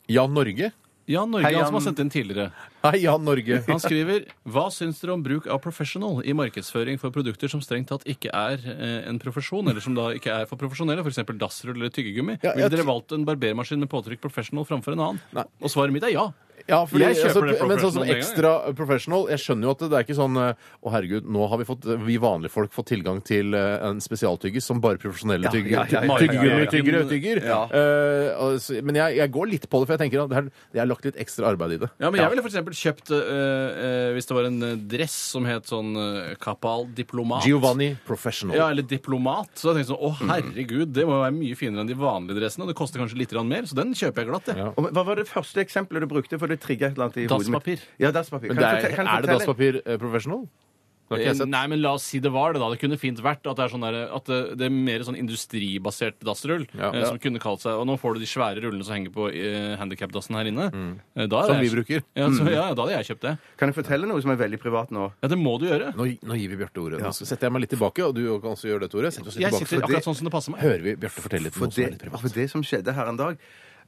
C: Jan Norge?
E: Jan Norge,
D: Hei,
E: han som
D: Jan.
E: har sendt inn tidligere.
C: Hei, Jan Norge.
E: Han skriver Hva syns dere om bruk av professional i markedsføring for produkter som strengt tatt ikke er eh, en profesjon, eller som da ikke er for profesjonelle, f.eks. dassrull eller tyggegummi?
C: Ja, jeg
E: Ville
C: tr-
E: dere valgt en barbermaskin med påtrykk 'professional' framfor en annen?
C: Nei.
E: Og svaret mitt er ja.
C: Ja, fordi,
E: Jeg kjøper
C: altså,
E: det
C: men sånn som
E: professional med en gang,
C: ekstra professional Jeg skjønner jo at det er ikke sånn eh, Å herregud, nå har vi fått eh, vi vanlige folk fått tilgang til eh, en spesialtyggis som bare profesjonelle
D: Ja, ja,
C: tygger.
D: ja, ja, ja,
C: Tyggegummi,
E: ja.
C: tyggere, tygger.
D: Ja.
C: Eh, og så- Men jeg, jeg går litt på det, for jeg tenker at det her- jeg har lagt litt ekstra arbeid i det.
E: Ja, men Jeg ville f.eks. kjøpt, eh, eh, hvis det var en eh, dress som het sånn eh, Kapal Diplomat
C: Giovanni Mm. Professional.
E: Ja, eller diplomat. Så jeg tenkte sånn, å herregud, det må jo være mye finere enn de vanlige dressene. Og det koster kanskje litt grann mer, så den kjøper jeg glatt. jeg.
D: Og Hva var det første eksempelet du brukte? For det trigger et eller annet i hodet
E: Dasspapir.
D: mitt. Ja, dasspapir.
C: Men
D: Kan
C: det
D: du
C: er,
D: fortelle- kan du
C: er det
D: fortelle-
C: dasspapir eh, professional? Det har ikke jeg sett.
E: Eh, Nei, men la oss si det var det, da. Det kunne fint vært at det er, sånn der, at det, det er mer sånn industribasert dassrull.
C: Ja.
E: eh, Som kunne kalt seg Og nå får du de svære rullene som henger på eh, handikapdassen her inne. Eh, Da
C: Mm. Som
E: hadde
C: vi bruker. Mm.
E: Ja, så, ja, da hadde jeg kjøpt det.
D: Kan jeg fortelle noe som er veldig privat nå?
E: Ja, det må du gjøre.
C: Nå, nå gir vi Bjarte ordet. Nå setter jeg meg litt tilbake, og du kan også gjøre det, Tore. Sett oss litt tilbake.
E: Jeg sitter
C: For det
E: akkurat sånn som det passer meg.
C: hører vi Bjarte fortelle litt om
D: For
C: noe som er
D: det,
C: litt privat.
D: for det som skjedde her en dag,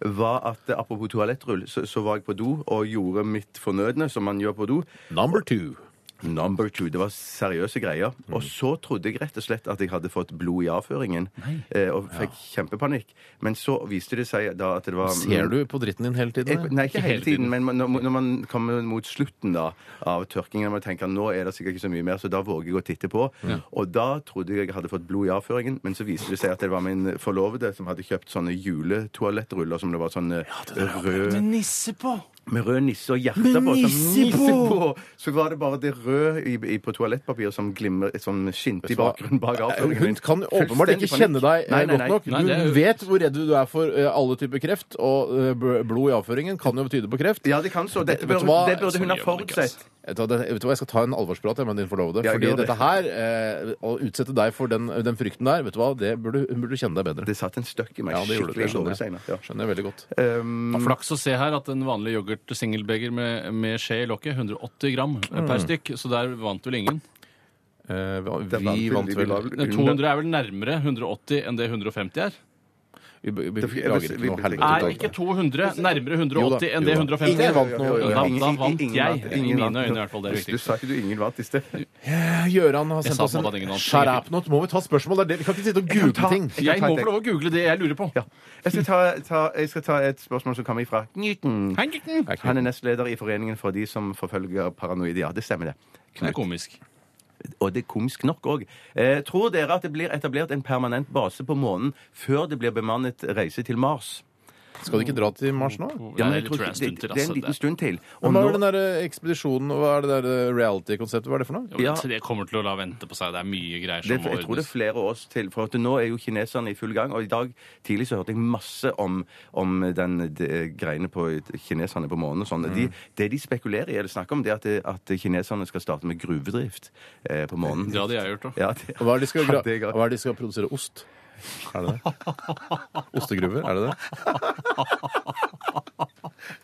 D: var at eh, apropos toalettrull, så, så var jeg på do og gjorde mitt fornødne, som man gjør på do.
C: Number two.
D: Number two. Det var seriøse greier.
C: Mm.
D: Og så trodde jeg rett og slett at jeg hadde fått blod i avføringen, eh, og fikk kjempepanikk. Men så viste det seg da at det var
C: Ser du på dritten din hele tiden?
D: jeg,
C: eller?
D: nei, ikke hele tiden, men man- når, når man kommer mot slutten da, av tørkingen, og man tenker nå er det sikkert ikke så mye mer, så da våger jeg å titte på. Og da trodde jeg jeg hadde fått blod i avføringen, men så viste det seg at det var min forlovede som hadde kjøpt sånne juletoalettruller som det var sånn eh, rød
E: nisse på!
D: med rød nisse og hjerte på. Sånn nisse på! Så var det bare det røde i, i, på toalettpapir som glimmer sånn skinte i bakgrunnen bak avføringen.
C: Hun
D: min.
C: kan åpenbart ikke kjenne
D: Fullstendig
C: deg
D: panikk.
C: eh,
D: Nei, nei,
C: godt
D: nei.
C: nok.
E: Nei, det er
C: Hun
E: jo-
C: vet hvor redd du er for eh, alle typer kreft, og eh, bl- blod i avføringen kan jo tyde på kreft.
D: Ja, det kan så. Dette
C: Vet
D: burde,
C: du hva?
D: det burde hun ha
E: Sånn gjør man ikke,
D: forutsett.
C: Vet du hva, det- vet du hva, Jeg skal ta en alvorsprat jeg, med din forlovede.
D: Ja,
C: fordi
D: gjør det.
C: dette her, eh, å utsette deg for den, den frykten der, vet du hva, det burde, hun burde kjenne deg bedre.
D: Det satt en støkk i meg.
C: Ja, det gjorde det. Det skjønner jeg,
D: skikkelig. jeg lover det senere.
C: skjønner jeg veldig godt.
D: Ja. Um,
E: Flaks å se her at en vanlig yoghurt-singelbeger med, med skje i lokket, 180 gram eh, per
C: Mm.
E: stykk, så der vant vel ingen.
C: Eh,
D: Det var
C: vi
D: veldig
C: vant vel
D: lavt.
E: Nei, 200 er vel nærmere 180 enn det 150 er?
C: Vi, vi, vi,
D: Det-
C: vi lager
D: vi-
C: ikke noe
D: vi-
C: helvete
E: Er
C: ut av
E: ikke
C: det.
E: 200 nærmere
C: Jo da,
E: 180 enn
C: jo
E: det
C: da.
E: 150?
C: Ingen vant nå.
E: Jo, jo, jo. Da,
D: Ingen-
E: da
D: ingen-
E: vant
D: ingen
E: jeg,
D: vant.
E: i
D: Ingen
E: mine
D: vant.
E: øyne i hvert fall. Det er det
D: Du
E: viktigste.
D: sa ikke du ingen vant i sted.
C: Eh, Gøran har
E: Jeg
C: sendt
E: sa
C: oss
E: på
C: en
E: at ingen hadde-
C: Skjerapnot, må vi ta spørsmål? Det er det- Vi kan ikke sitte og
D: kan
C: google
D: ta-
C: ting.
D: jeg-
E: Jeg må få lov å google det jeg lurer på.
D: Ja. Jeg skal ta, ta, jeg skal ta et spørsmål som kommer fra Newton.
E: Hei, gutten!
C: Nei,
D: Han er nestleder i Foreningen for de som forfølger paranoide. Ja, det stemmer det.
E: Det er komisk.
D: Og det er komisk nok òg. Eh, tror dere at det blir etablert en permanent base på månen før det blir bemannet reise til Mars?
C: Skal du ikke dra til Mars nå?
E: Ja,
D: men jeg
E: det
D: tror
E: tror jeg er
D: ikke-
E: en stund
D: det,
E: til.
D: det er en
E: Altså.
D: liten stund til. Og
C: Hva er
D: nå,
C: den der eh, ekspedisjonen, og hva er det der eh, reality-konseptet, hva er det for noe?
E: Ja, men
D: Ja.
E: Det kommer til å la vente på seg. Det er mye greier
D: det,
E: som må
D: jeg tror det er
E: ordnes.
D: flere år til. For at nå er jo kineserne i full gang. Og i dag tidlig så hørte jeg masse om, om den de, greiene på kineserne på månen og sånn. De,
C: Mm.
D: det de spekulerer i eller snakker om, det er at, at kineserne skal starte med gruvedrift eh, på månen.
E: Det hadde jeg gjort òg.
D: Ja, det,
C: Og Hva er det de skal,
D: Ja, det er
C: gra-
D: galt.
C: hva er det de skal produsere? Ost? Er det det? Ostegruver, er det det?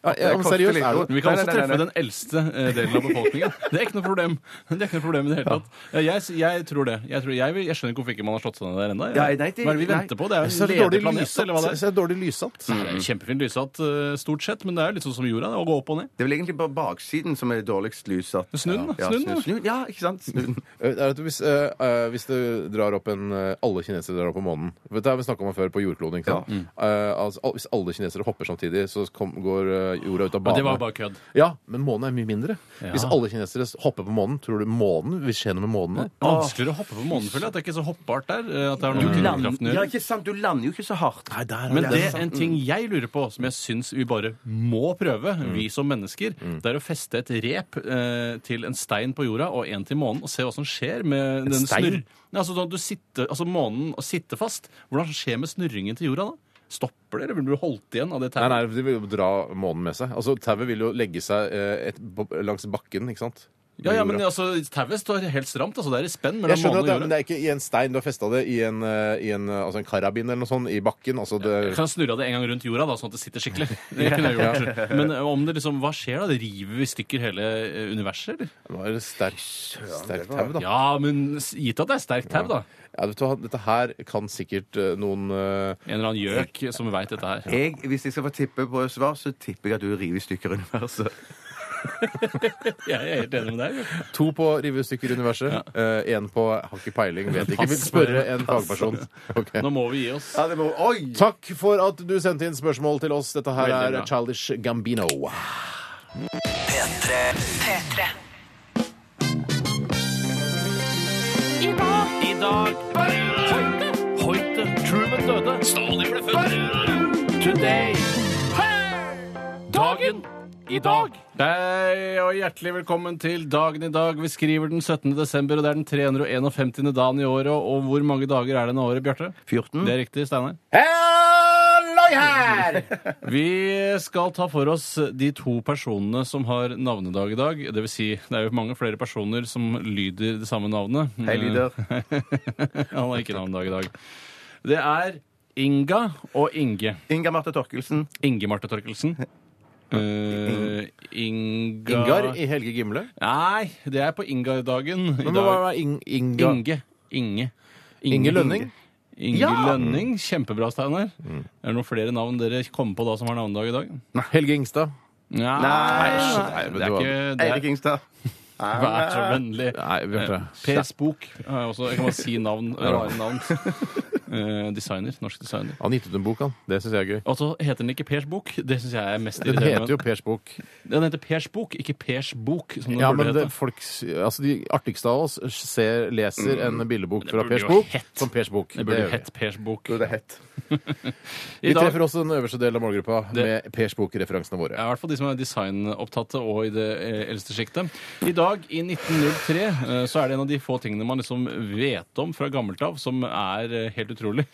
C: Ja, ja, men seriøst, er det
E: Men vi kan også treffe den eldste eh, delen av befolkningen. Det er ikke noe problem. Det er ikke noe problem i det hele tatt. Ja, Jeg, s- jeg tror det. Jeg, tror, jeg, vil, jeg skjønner ikke hvorfor ikke man har slått seg ned der ennå.
D: Ja, nei, det-
E: Hva er det vi
D: nei.
E: venter på? Det er
C: Så
E: jo
C: er
E: en
C: det dårlig
E: ledig planet, eller hva
C: lyssatt.
E: det er.
C: Så er det dårlig lyssatt.
E: Det er en Kjempefin lyssatt eh, stort sett, men det er jo litt sånn som jorda. Det er å gå opp og ned.
D: Det er vel egentlig bare baksiden som er dårligst lyset.
E: Snu den, da.
D: Ja,
E: Snu den,
C: altså.
E: da.
D: snu, snu. ja ikke sant? Snu den.
C: Eh, er at hvis, eh, eh, hvis det drar opp en eh, Alle kinesere drar opp på månen. Vet du, Det har vi snakka om før på jordkloden. ikke sant?
E: Mm.
C: Eh, altså, al- hvis alle kinesere hopper samtidig, så kom, går eh, jorda ut av
E: Men
C: bane.
E: det var jo bare kødd.
C: Ja, men månen er mye mindre.
E: Ja.
C: Hvis alle kinesere s- hopper på månen, tror du månen vil skje noe med månen? da?
E: Vanskeligere å hoppe på månen, føler jeg. At det er ikke så hoppbart der. eh, At det har noe
D: Du
E: med
D: lander-
E: tyngdekraften å
D: Mm. ja,
E: gjøre.
D: ikke sant? Du lander jo ikke så hardt.
C: Nei, der er Mm.
E: Men
C: det.
E: det er en ting jeg lurer på, som jeg syns vi bare må prøve,
C: Mm.
E: vi som mennesker, det er å feste et rep eh, til en stein på jorda og en til månen, og se hva som skjer med den
C: stein?
E: snurr... Nei, altså, da du sitter, altså månen og sitter fast. Hvordan skjer med snurringen til jorda da? Stopper det, eller blir du holdt igjen av det
C: Nei,
E: tauet?
C: nei, de vil jo dra månen med seg. Altså, Tauet vil jo legge seg eh, et, på- langs bakken, ikke sant?
E: Ja, ja,
C: Jorda.
E: men altså, tauet står helt stramt. Altså, det er i spenn
C: jeg
E: mellom
C: skjønner at det,
E: månen og
C: er- men
E: jorda.
C: det er ikke i en stein. Du har festa det i en, eh, i en, eh, altså en karabin eller noe sånt i bakken. altså det...
E: Jeg kan snurre det en gang rundt jorda, da, sånn at det sitter skikkelig. Det kunne jeg gjort. Men om det liksom, hva skjer da? Det river vi i stykker hele eh, universet, eller?
C: Nå er det sterkt sterkt tau, da.
E: Ja, men s- gitt at det er sterkt tau, da.
C: Ja, vet du hva, dette her kan sikkert eh, noen eh,
E: En eller annen gjøk som veit dette her.
D: Jeg, hvis jeg skal få tippe på et svar, så tipper jeg at du river i stykker universet.
E: Jeg er helt enig med deg.
C: To på rive stykker universet. Én på har ikke peiling, vet ikke.
E: Pass.
C: Vi spørre en fagperson. Ok.
E: Nå må vi gi oss.
D: Ja, det må, oi!
C: Takk for at du sendte inn spørsmål til oss. Dette her
E: Veldig
C: er
E: bra.
C: Childish Gambino.
B: P3.
F: P3.
E: I dag, i dag. Hoite, hoite, Truman døde. Stalin ble født. Today. Dagen. I dag. Hei og hjertelig velkommen til dagen i dag. Vi skriver den 17. desember, og det er den 351. dagen i året. Og hvor mange dager er det denne året, Bjarte?
D: 14.
E: Det er riktig, Steinar.
C: Halloi her!
E: Vi skal ta for oss de to personene som har navnedag i dag. Det vil si, det er jo mange flere personer som lyder det samme navnet. Eh,
D: Hei, lyder.
C: Mm.
E: Han har ikke navnedag i dag. Det er Inga og Inge.
D: Inga Marte Torkelsen.
E: Inge Marte Torkelsen. Eh, Inga
C: Ingar i Helge Gimle.
E: Nei, det er på Inga-dagen i
C: Men hva
E: dag.
C: var Ing Inga?
E: Inge. Inge.
C: Inge Lønning? Mm.
E: Inge Lønning. Kjempebra, Steinar. Er det noen flere navn dere kommer på da som har navnedag i dag?
C: Helge Ingstad.
E: Nei,
D: Nei,
E: nei,
C: nei, men
E: det
C: du
E: er
C: har-
E: ikke det er-
D: Eirik Ingstad.
E: Vær så vennlig.
C: Nei, Bjarte.
E: Per Spook. Ja, også, jeg kan bare si navn. Rare navn. Eh, designer. Norsk designer.
C: Han gitt ut en bok, han. Det syns jeg er gøy.
E: Og så heter den ikke Pers bok. Det syns jeg er mest
C: Den heter
E: irriterende.
C: jo Pers bok.
E: Den heter Pers bok, ikke Pers bok, som den
C: Ja,
E: burde
C: men det,
E: hete.
C: folk, s- altså De artigste av oss ser, leser en bildebok fra
E: Mm. burde
C: Pers
E: jo
C: bok
E: hett.
C: som Pers bok.
E: Det burde
C: Det
E: jo
C: gjør vi.
E: hett Pers bok.
D: Jo, det er hett.
E: I
C: Vi
E: dag
C: treffer også den øverste delen av målgruppa med Pers bok-referansene våre.
E: Ja, I hvert fall de som er designopptatte og i det eh, eldste sjiktet. I dag, i 1903, eh, så er det en av de få tingene man liksom vet om fra gammelt av, som er eh, helt utrolig.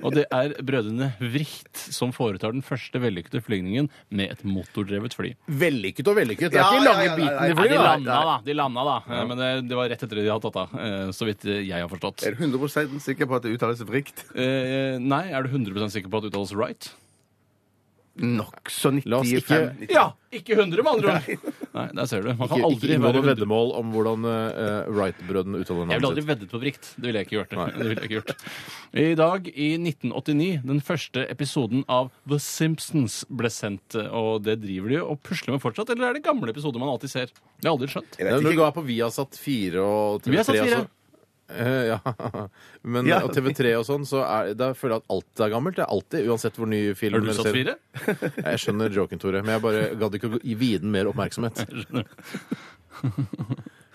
E: og det er brødrene Vricht som foretar den første vellykkede flygningen med et motordrevet fly.
C: Vellykket og vellykket. Det er
D: Ja,
C: ikke
D: ja,
C: lange
D: ja, ja,
C: biten
D: ja.
C: i
E: Nei, de
C: flyet. da.
E: landa, da. de landa da Eh, Men det, det var rett etter at de hadde tatt av, eh, så vidt eh, jeg har forstått.
D: Er du 100 sikker på at det uttales vrikt?
E: Eh, Nei, er du 100 sikker på at det uttales right?
D: Nokså
C: La oss ikke-
D: 95.
E: Ja! Ikke 100, med andre ord! Nei, der ser du. Man kan
C: Ikke,
E: aldri
C: ikke inngå
E: være
C: noe
E: 100
C: veddemål om hvordan eh, Wright-brødrene uttaler
E: Jeg ville
C: navnet
E: aldri
C: sitt.
E: veddet på Brikt. Det ville jeg ikke gjort. Det. Det ville jeg ikke gjort. I dag, i 1989, den første episoden av The Simpsons ble sendt. Og det driver de jo og pusler med fortsatt, eller er det gamle episoder man alltid ser? Det har jeg aldri skjønt.
C: Nei, Når du er på Viasat 4 og TV3
E: Vi har satt fire.
C: altså. Eh, ja. Men
D: Ja.
C: og TV3 og sånn, så er, da føler jeg at alt er gammelt. Det er alltid, Uansett hvor ny film
E: Har du
C: eller
E: satt
C: serie-
E: fire?
C: Jeg skjønner joken, Tore, men jeg bare gadd ikke å gå- gi viden mer oppmerksomhet.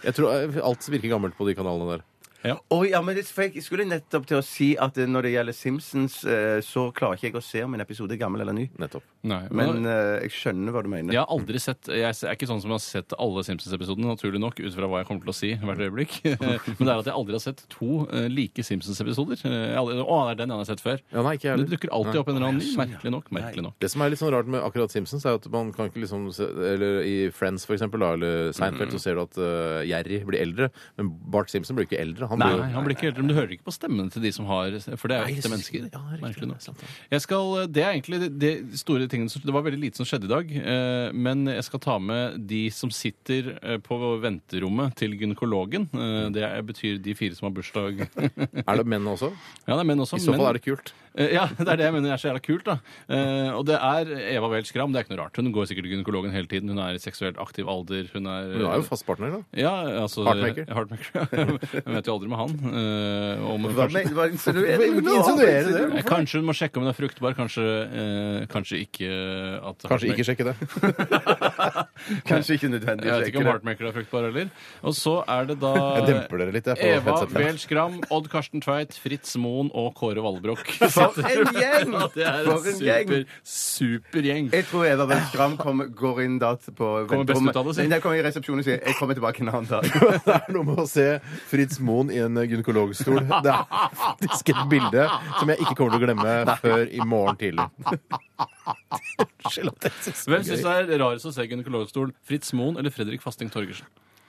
C: Jeg tror eh, Alt virker gammelt på de kanalene der.
D: Oi, ja, men det, for jeg skulle nettopp til å si at eh, når det gjelder Simpsons, eh, så klarer ikke jeg å se om en episode er gammel eller ny.
C: Nettopp.
E: Nei, men,
D: Men eh, jeg skjønner hva du mener.
E: jeg har aldri sett Jeg er ikke sånn som jeg har sett alle Simpsons-episodene, naturlig nok, ut fra hva jeg kommer til å si hvert øyeblikk. Men det er at jeg aldri har sett to eh, like Simpsons-episoder. Eh, jeg har aldri- Å, det er den jeg har sett før.
C: Ja, nei, ikke jeg
E: Men
C: heller.
E: det dukker alltid opp en eller annen ny, merkelig nok. Merkelig nok.
C: Det som er litt sånn rart med akkurat Simpsons, er at man kan ikke liksom se, Eller i Friends, for eksempel, da, eller Seinfeld,
E: Mm.
C: så ser du at eh, Jerry blir eldre. Men Bart Simpson blir ikke eldre. Han
E: Nei,
C: blir jo-
E: han blir ikke eldre, men du hører ikke på stemmene til de som har For det er jo ekte mennesker.
C: Ja, riktig,
E: Merkelig nok.
C: sant det.
E: Jeg skal, det er egentlig det- det store tingene som- Det var veldig lite som skjedde i dag, eh, men jeg skal ta med de som sitter eh, på venterommet til gynekologen. Eh, Det er- betyr de fire som har bursdag.
C: Er det menn også?
E: Ja, det er menn også.
C: I så fall er det kult.
E: Eh, Ja, det er det jeg mener er så jævla kult. da. Eh, og det er Eva Weel Skram. Det er ikke noe rart. Hun går sikkert til gynekologen hele tiden. Hun er i seksuelt aktiv alder. Hun er,
C: Men du er jo fast partner, da.
E: ja, altså,
C: Heartmaker.
E: Heartmaker, ja. Jeg vet jo aldri med han. eh, om hun
D: Hva
E: kanskje-
D: men- hva insinuerer
C: Hvorfor insinuerer du det?
E: Eh, Kanskje hun må sjekke om hun er fruktbar. Kanskje, eh, kanskje ikke eh, at
C: Kanskje ikke sjekke det.
D: Kanskje ikke nødvendig å
E: Jeg vet
D: sjekke
E: ikke om
D: det.
E: Heartmaker er fruktbar heller. Og så er det da
C: Jeg demper dere litt. Jeg, på
E: Eva
C: headsetet.
E: Wehl Skram, Odd Karsten Tveit, Fritz Moen og Kåre Valbrokk.
D: For en gjeng!
E: Ja, Det er en
D: For en gjeng!
E: super, super gjeng.
D: Jeg tror Eva Weel Skram kommer- går inn da på
E: Kommer best ut av det, sier.
D: Nei, jeg kommer i resepsjonen og sier 'jeg kommer tilbake en annen dag'.
C: Det er noe med å se Fritz Moen i en gynekologstol. Det er faktisk et bilde som jeg ikke kommer til å glemme før i morgen tidlig. Unnskyld at jeg synes
E: Hvem syns det er rarest å se gynekologstol? Fritz Moen eller Fredrik Fasting Torgersen?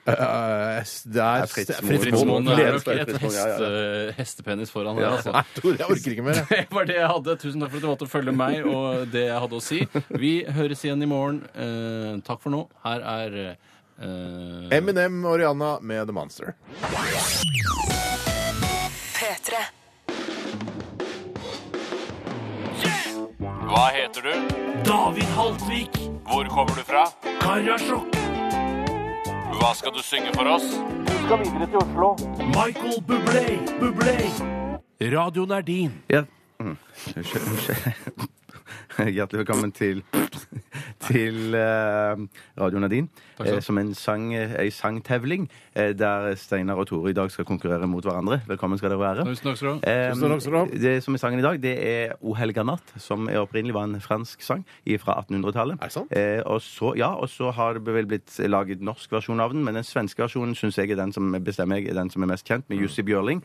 C: Eh, Det er
D: Fritz
C: Fritz
D: Moen.
E: Fritz Moen
C: Moen.
E: er
C: Ledes-
E: nok et
D: Fritz Moen, ja, ja,
E: heste, hestepenis foran her, altså.
C: Nei, Tore, jeg orker ikke mer. jeg.
E: Det var det jeg hadde. Tusen takk for at du valgte å følge meg og det jeg hadde å si. Vi høres igjen i morgen. Eh, takk for nå. Her er eh,
C: Eminem og Rihanna med The Monster.
F: P3.
G: Hva heter du? David Haltvik. Hvor kommer du fra? Karasjok. Hva skal du synge for oss? Du skal videre til Oslo. Michael Bublé, Bublé. Radioen er din.
D: Ja. Mm. Unnskyld, unnskyld. Hjertelig velkommen til, til eh, Radio Nadine, eh, som en, sang, ei sangtevling eh, der Steinar og Tore i dag skal konkurrere mot hverandre. Velkommen skal dere være.
E: Tusen takk skal du ha.
D: Eh,
C: Tusen takk skal du ha.
D: det som er sangen i dag, det er O helga natt, som er opprinnelig var en fransk sang fra 1800-tallet.
C: Er det sant?
D: Eh, og så, ja, og så har det vel blitt laget norsk versjon av den, men den svenske versjonen syns jeg er den som bestemmer jeg er den som er mest kjent,
C: Mm.
D: med Jussi Bjørling.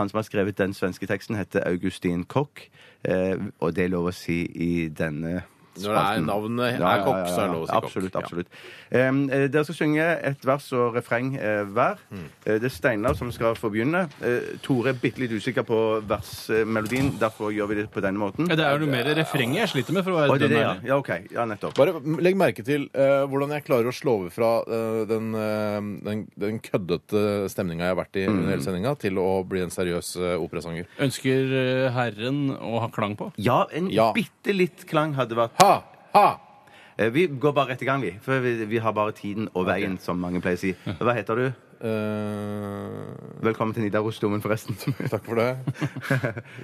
D: Han som har skrevet den svenske teksten, heter Augustin Koch, eh, og det er lov å si i denne
C: Når det er
D: spalten.
C: navnet er
D: Ja, ja, ja,
C: Koch, så er det
D: ja.
C: lov å si Koch.
D: Absolutt,
C: Ja.
D: absolutt. Em, eh, dere skal synge et vers og refreng eh, hver. Eh, det er Steinar som skal få begynne. Eh, Tore er bitte litt usikker på versmelodien, derfor gjør vi det på denne måten.
E: Ja, Det er jo noe mer refrenget jeg sliter med. for
D: Å,
E: å være
D: det er det, ja.
E: dønn ærlig.
D: ja, OK. Ja, nettopp.
C: Bare legg merke til eh, hvordan jeg klarer å slå over fra eh, den, eh, den, den køddete stemninga jeg har vært i under hele sendinga, til å bli en seriøs eh, operasanger.
E: Ønsker eh, Herren å ha klang på?
D: Ja, en
C: Ja.
D: bitte litt klang hadde vært
C: Ha! Ha!
D: Eh, Vi går bare rett i gang, vi. For vi, vi har bare tiden og veien, som mange pleier å si. Hva heter du?
C: Eh,
D: Velkommen til Nidarosdomen, forresten.
C: takk for det.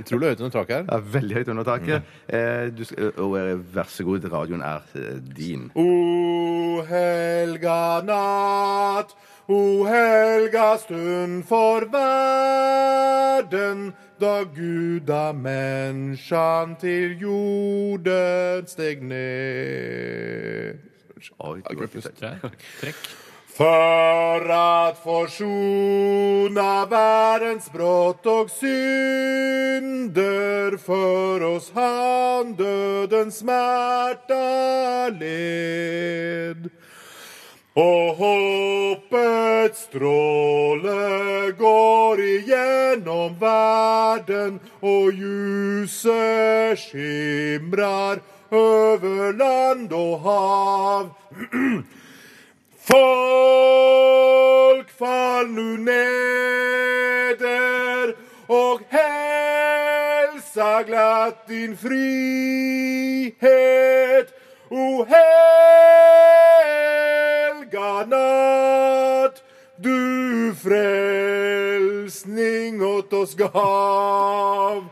C: Utrolig høyt under taket her.
D: Ja, veldig høyt under taket. Eh, du skal, og eh, vær så god, radioen er eh, din.
C: O helga natt, o helga stund for verden, da Gud av menneskene til jorden steg ned.
D: Oi, du er fint.
E: Tre- Trekk.
C: For at forsona verdens brott og synder, for oss han dødens smerta led. Og håpets stråle går igjennom verden, og ljuset skimrar over land og hav. Folk fall nu neder og helsa glatt din frihet. O helga natt, du frelsning åt oss gav.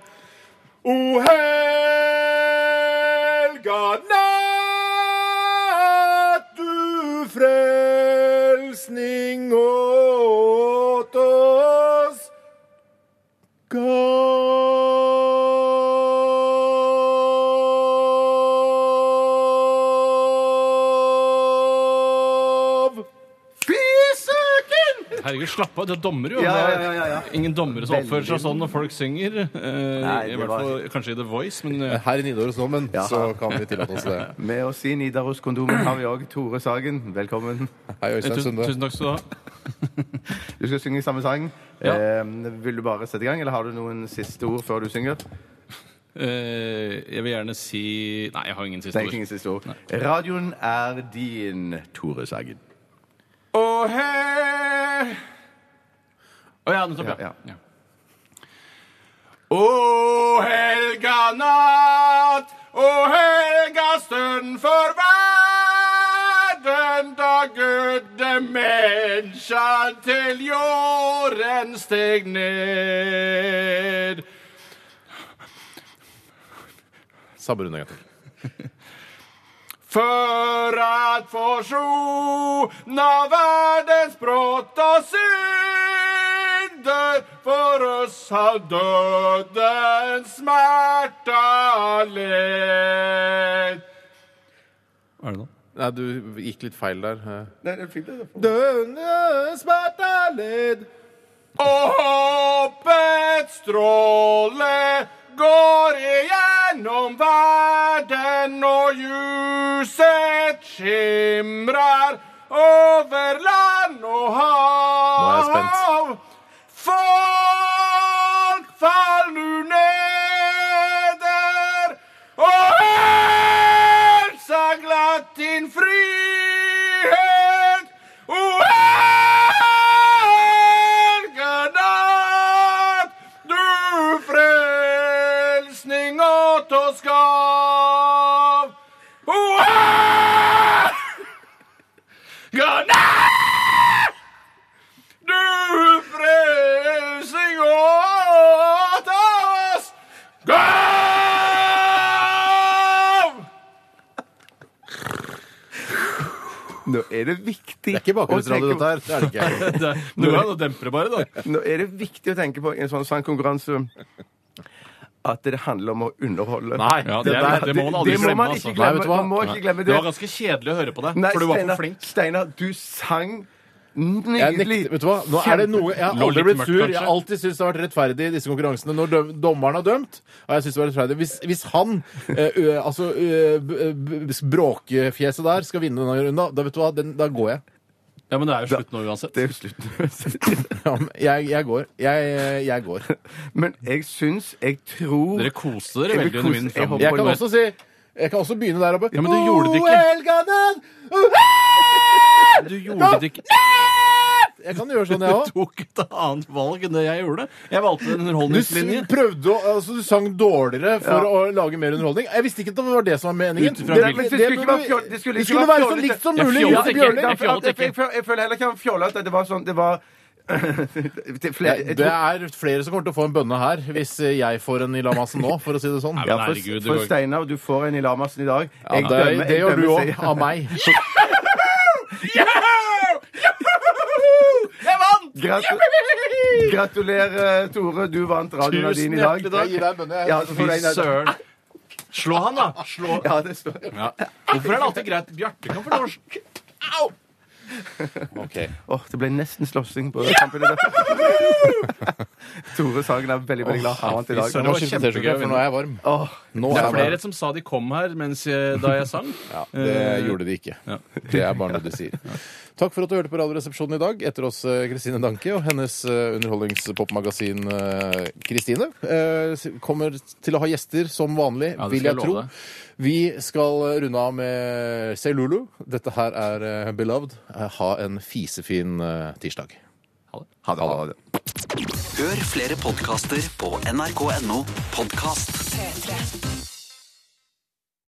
C: O helga natt, du frelsning åt oss gav.
D: Fysøken!
E: Herregud, slapp av. Du er dommer, jo.
D: Ja,
E: Det er
D: ja, ja, ja.
E: Ingen dommere som oppfører seg
D: Veldig.
E: sånn når folk synger. eh,
D: Nei,
E: I
D: det
E: hvert
D: var-
E: fall kanskje i The Voice, men eh,
C: Her i Nidarosdomen
D: Ja.
C: så kan vi tillate oss det.
D: Med oss i Nidaros-kondomen har vi òg Tore Sagen. Velkommen.
C: Hei, Øystein
E: tusen,
C: Sunde.
E: tusen takk skal du ha.
D: Du skal synge samme sang.
E: Ja.
D: Eh, vil du bare sette i gang, eller har du noen siste ord før du synger?
E: Eh, jeg vil gjerne si Nei, jeg har ingen siste
D: Det er ikke
E: ord.
D: ingen siste ord. Radioen er din, Tore Sagen.
E: Å ja, nettopp.
D: Ja,
E: Ja.
D: ja.
E: Ja.
D: O helga natt, o helga stund for verden, da gudde menneskene til jorden steg ned.
C: Sabber unna, gutter.
D: For at forsona verdens brott og synder, for oss har døden smerta led.
E: Er det noe?
C: Nei, du gikk litt feil der.
D: Nei, det er fint, det.
C: Dødens smerte led
D: Og håpets stråle går igjennom verden, og ljuset skimrer over land
C: er
D: og
C: jeg
D: hav.
C: spent.
D: Folk fall nu neder, og helsa glatt din frihet. O helga natt, du frelsning åt oss gav. O helga natt, du frelsning åt oss gav. Nå er det viktig
C: Det er ikke bakgrunnsradio, dette her. Det er det ikke.
E: Det er- Noe av det demper det bare, da.
D: Nå er det viktig å tenke på i en sånn sangkonkurranse at det handler om å underholde.
C: Nei,
E: Ja,
C: det,
E: det er-
C: der,
E: det må man aldri glemme,
D: man
E: altså.
D: ikke
C: Nei, vet
D: glemme.
C: du hva?
D: man må ikke glemme
E: Det
D: det.
E: var ganske kjedelig å høre på deg,
D: Nei,
E: for du var for
D: Steinar,
E: flink.
D: Steinar, du sang
C: jeg
D: nydelig.
C: nekter, vet du hva? Nå er det noe Jeg har
E: Lå
C: aldri
E: litt
C: blitt
E: mørkt,
C: sur. Jeg har
E: kanskje?
C: alltid syntes det har vært rettferdig i disse konkurransene. Når døm, dommeren har dømt, og jeg synes det var rettferdig Hvis, hvis han, eh, ø, altså ø, b- b- bråkefjeset der, skal vinne denne runden, da vet du hva, den, da går jeg.
E: Ja, Men det er jo slutt nå uansett.
D: Det er jo slutt.
C: Ja, men Jeg, jeg går. Jeg, jeg går.
D: Men jeg syns, jeg tror
E: Dere koste dere
D: Jeg vil
E: veldig
D: kose-
E: under min
D: jeg håper-
E: framgang.
C: Jeg kan også si jeg kan også begynne der oppe.
E: Ja, men du gjorde det ikke.
C: Oh, Helganen! Oh,
E: Du gjorde det ikke.
C: Jeg kan gjøre sånn, jeg
E: Du
C: òg.
E: tok et annet valg enn det jeg gjorde. Jeg valgte en
C: Du s-
E: underholdningslinje.
C: prøvde å, altså, du sang dårligere for
D: Ja.
C: å lage mer underholdning. Jeg visste ikke at det var det som var meningen.
E: Ut ifra
C: Det-
E: hvilken-
C: det-
D: Det skulle ikke
C: det-
D: være fjoll- det skulle
C: det
D: ikke
C: skulle
D: være
C: være så
D: fjollete.
C: likt som
E: Jeg
C: mulig.
E: fjollet
C: Jonas
E: ikke.
C: Bjørli.
E: Jeg
D: Jeg,
E: fjollet ikke.
D: jeg, jeg, jeg føler heller ikke han fjollet at det var sånn Det var til flere,
C: Det
D: jeg
C: det
D: tror-
C: er flere som kommer til å få en bønne her, hvis eh, jeg får en i lamassen nå, for å si det sånn.
E: men
D: Ja, for,
E: herregud, du
D: for
E: går-
D: Steinar, du får en i Lamassen i dag.
C: Ja, det, det
D: dømmer- jeg
C: gjør du
D: dømmer
C: òg,
D: seg-
C: av meg.
D: Gratu- Gratulerer, eh, Tore. Du vant radioen din i dag.
C: hjertelig takk. Jeg gir deg en bønne, jeg.
D: Ja, så får du en
E: Fy
D: av-
E: søren. Slå han, da! Slå.
D: Ja, det står
E: Hvorfor er det alltid greit? Bjarte kan få lov å slå.
D: Åh, det ble nesten slåssing på kampen i dag. Tore Sagen er veldig, veldig glad. Han vant i dag.
E: søren.
C: Nå skifter det
E: kjempegøy å
C: for nå er jeg varm.
D: Åh,
C: Nå
E: Det
C: er
E: er
C: jeg
E: flere
C: varm.
E: som sa de kom her mens jeg, da jeg sang.
C: Ja, det
E: Eh,
C: gjorde de ikke. Det er bare noe de sier. Takk for at du hørte på Radioresepsjonen i dag. Etter oss eh, Kristine Danke og hennes eh, underholdningspopmagasin eh, Kristine. eh, s- Kommer til å ha gjester som vanlig,
E: Ja, det
C: vil
E: skal
C: jeg
E: jeg
C: tro.
E: love deg.
C: Vi skal eh, runde av med Selulu. Dette her er eh, Beloved. Eh, Ha en fisefin eh, tirsdag.
D: ha det, ha det.
B: Hør flere podkaster på nrk.no podkast.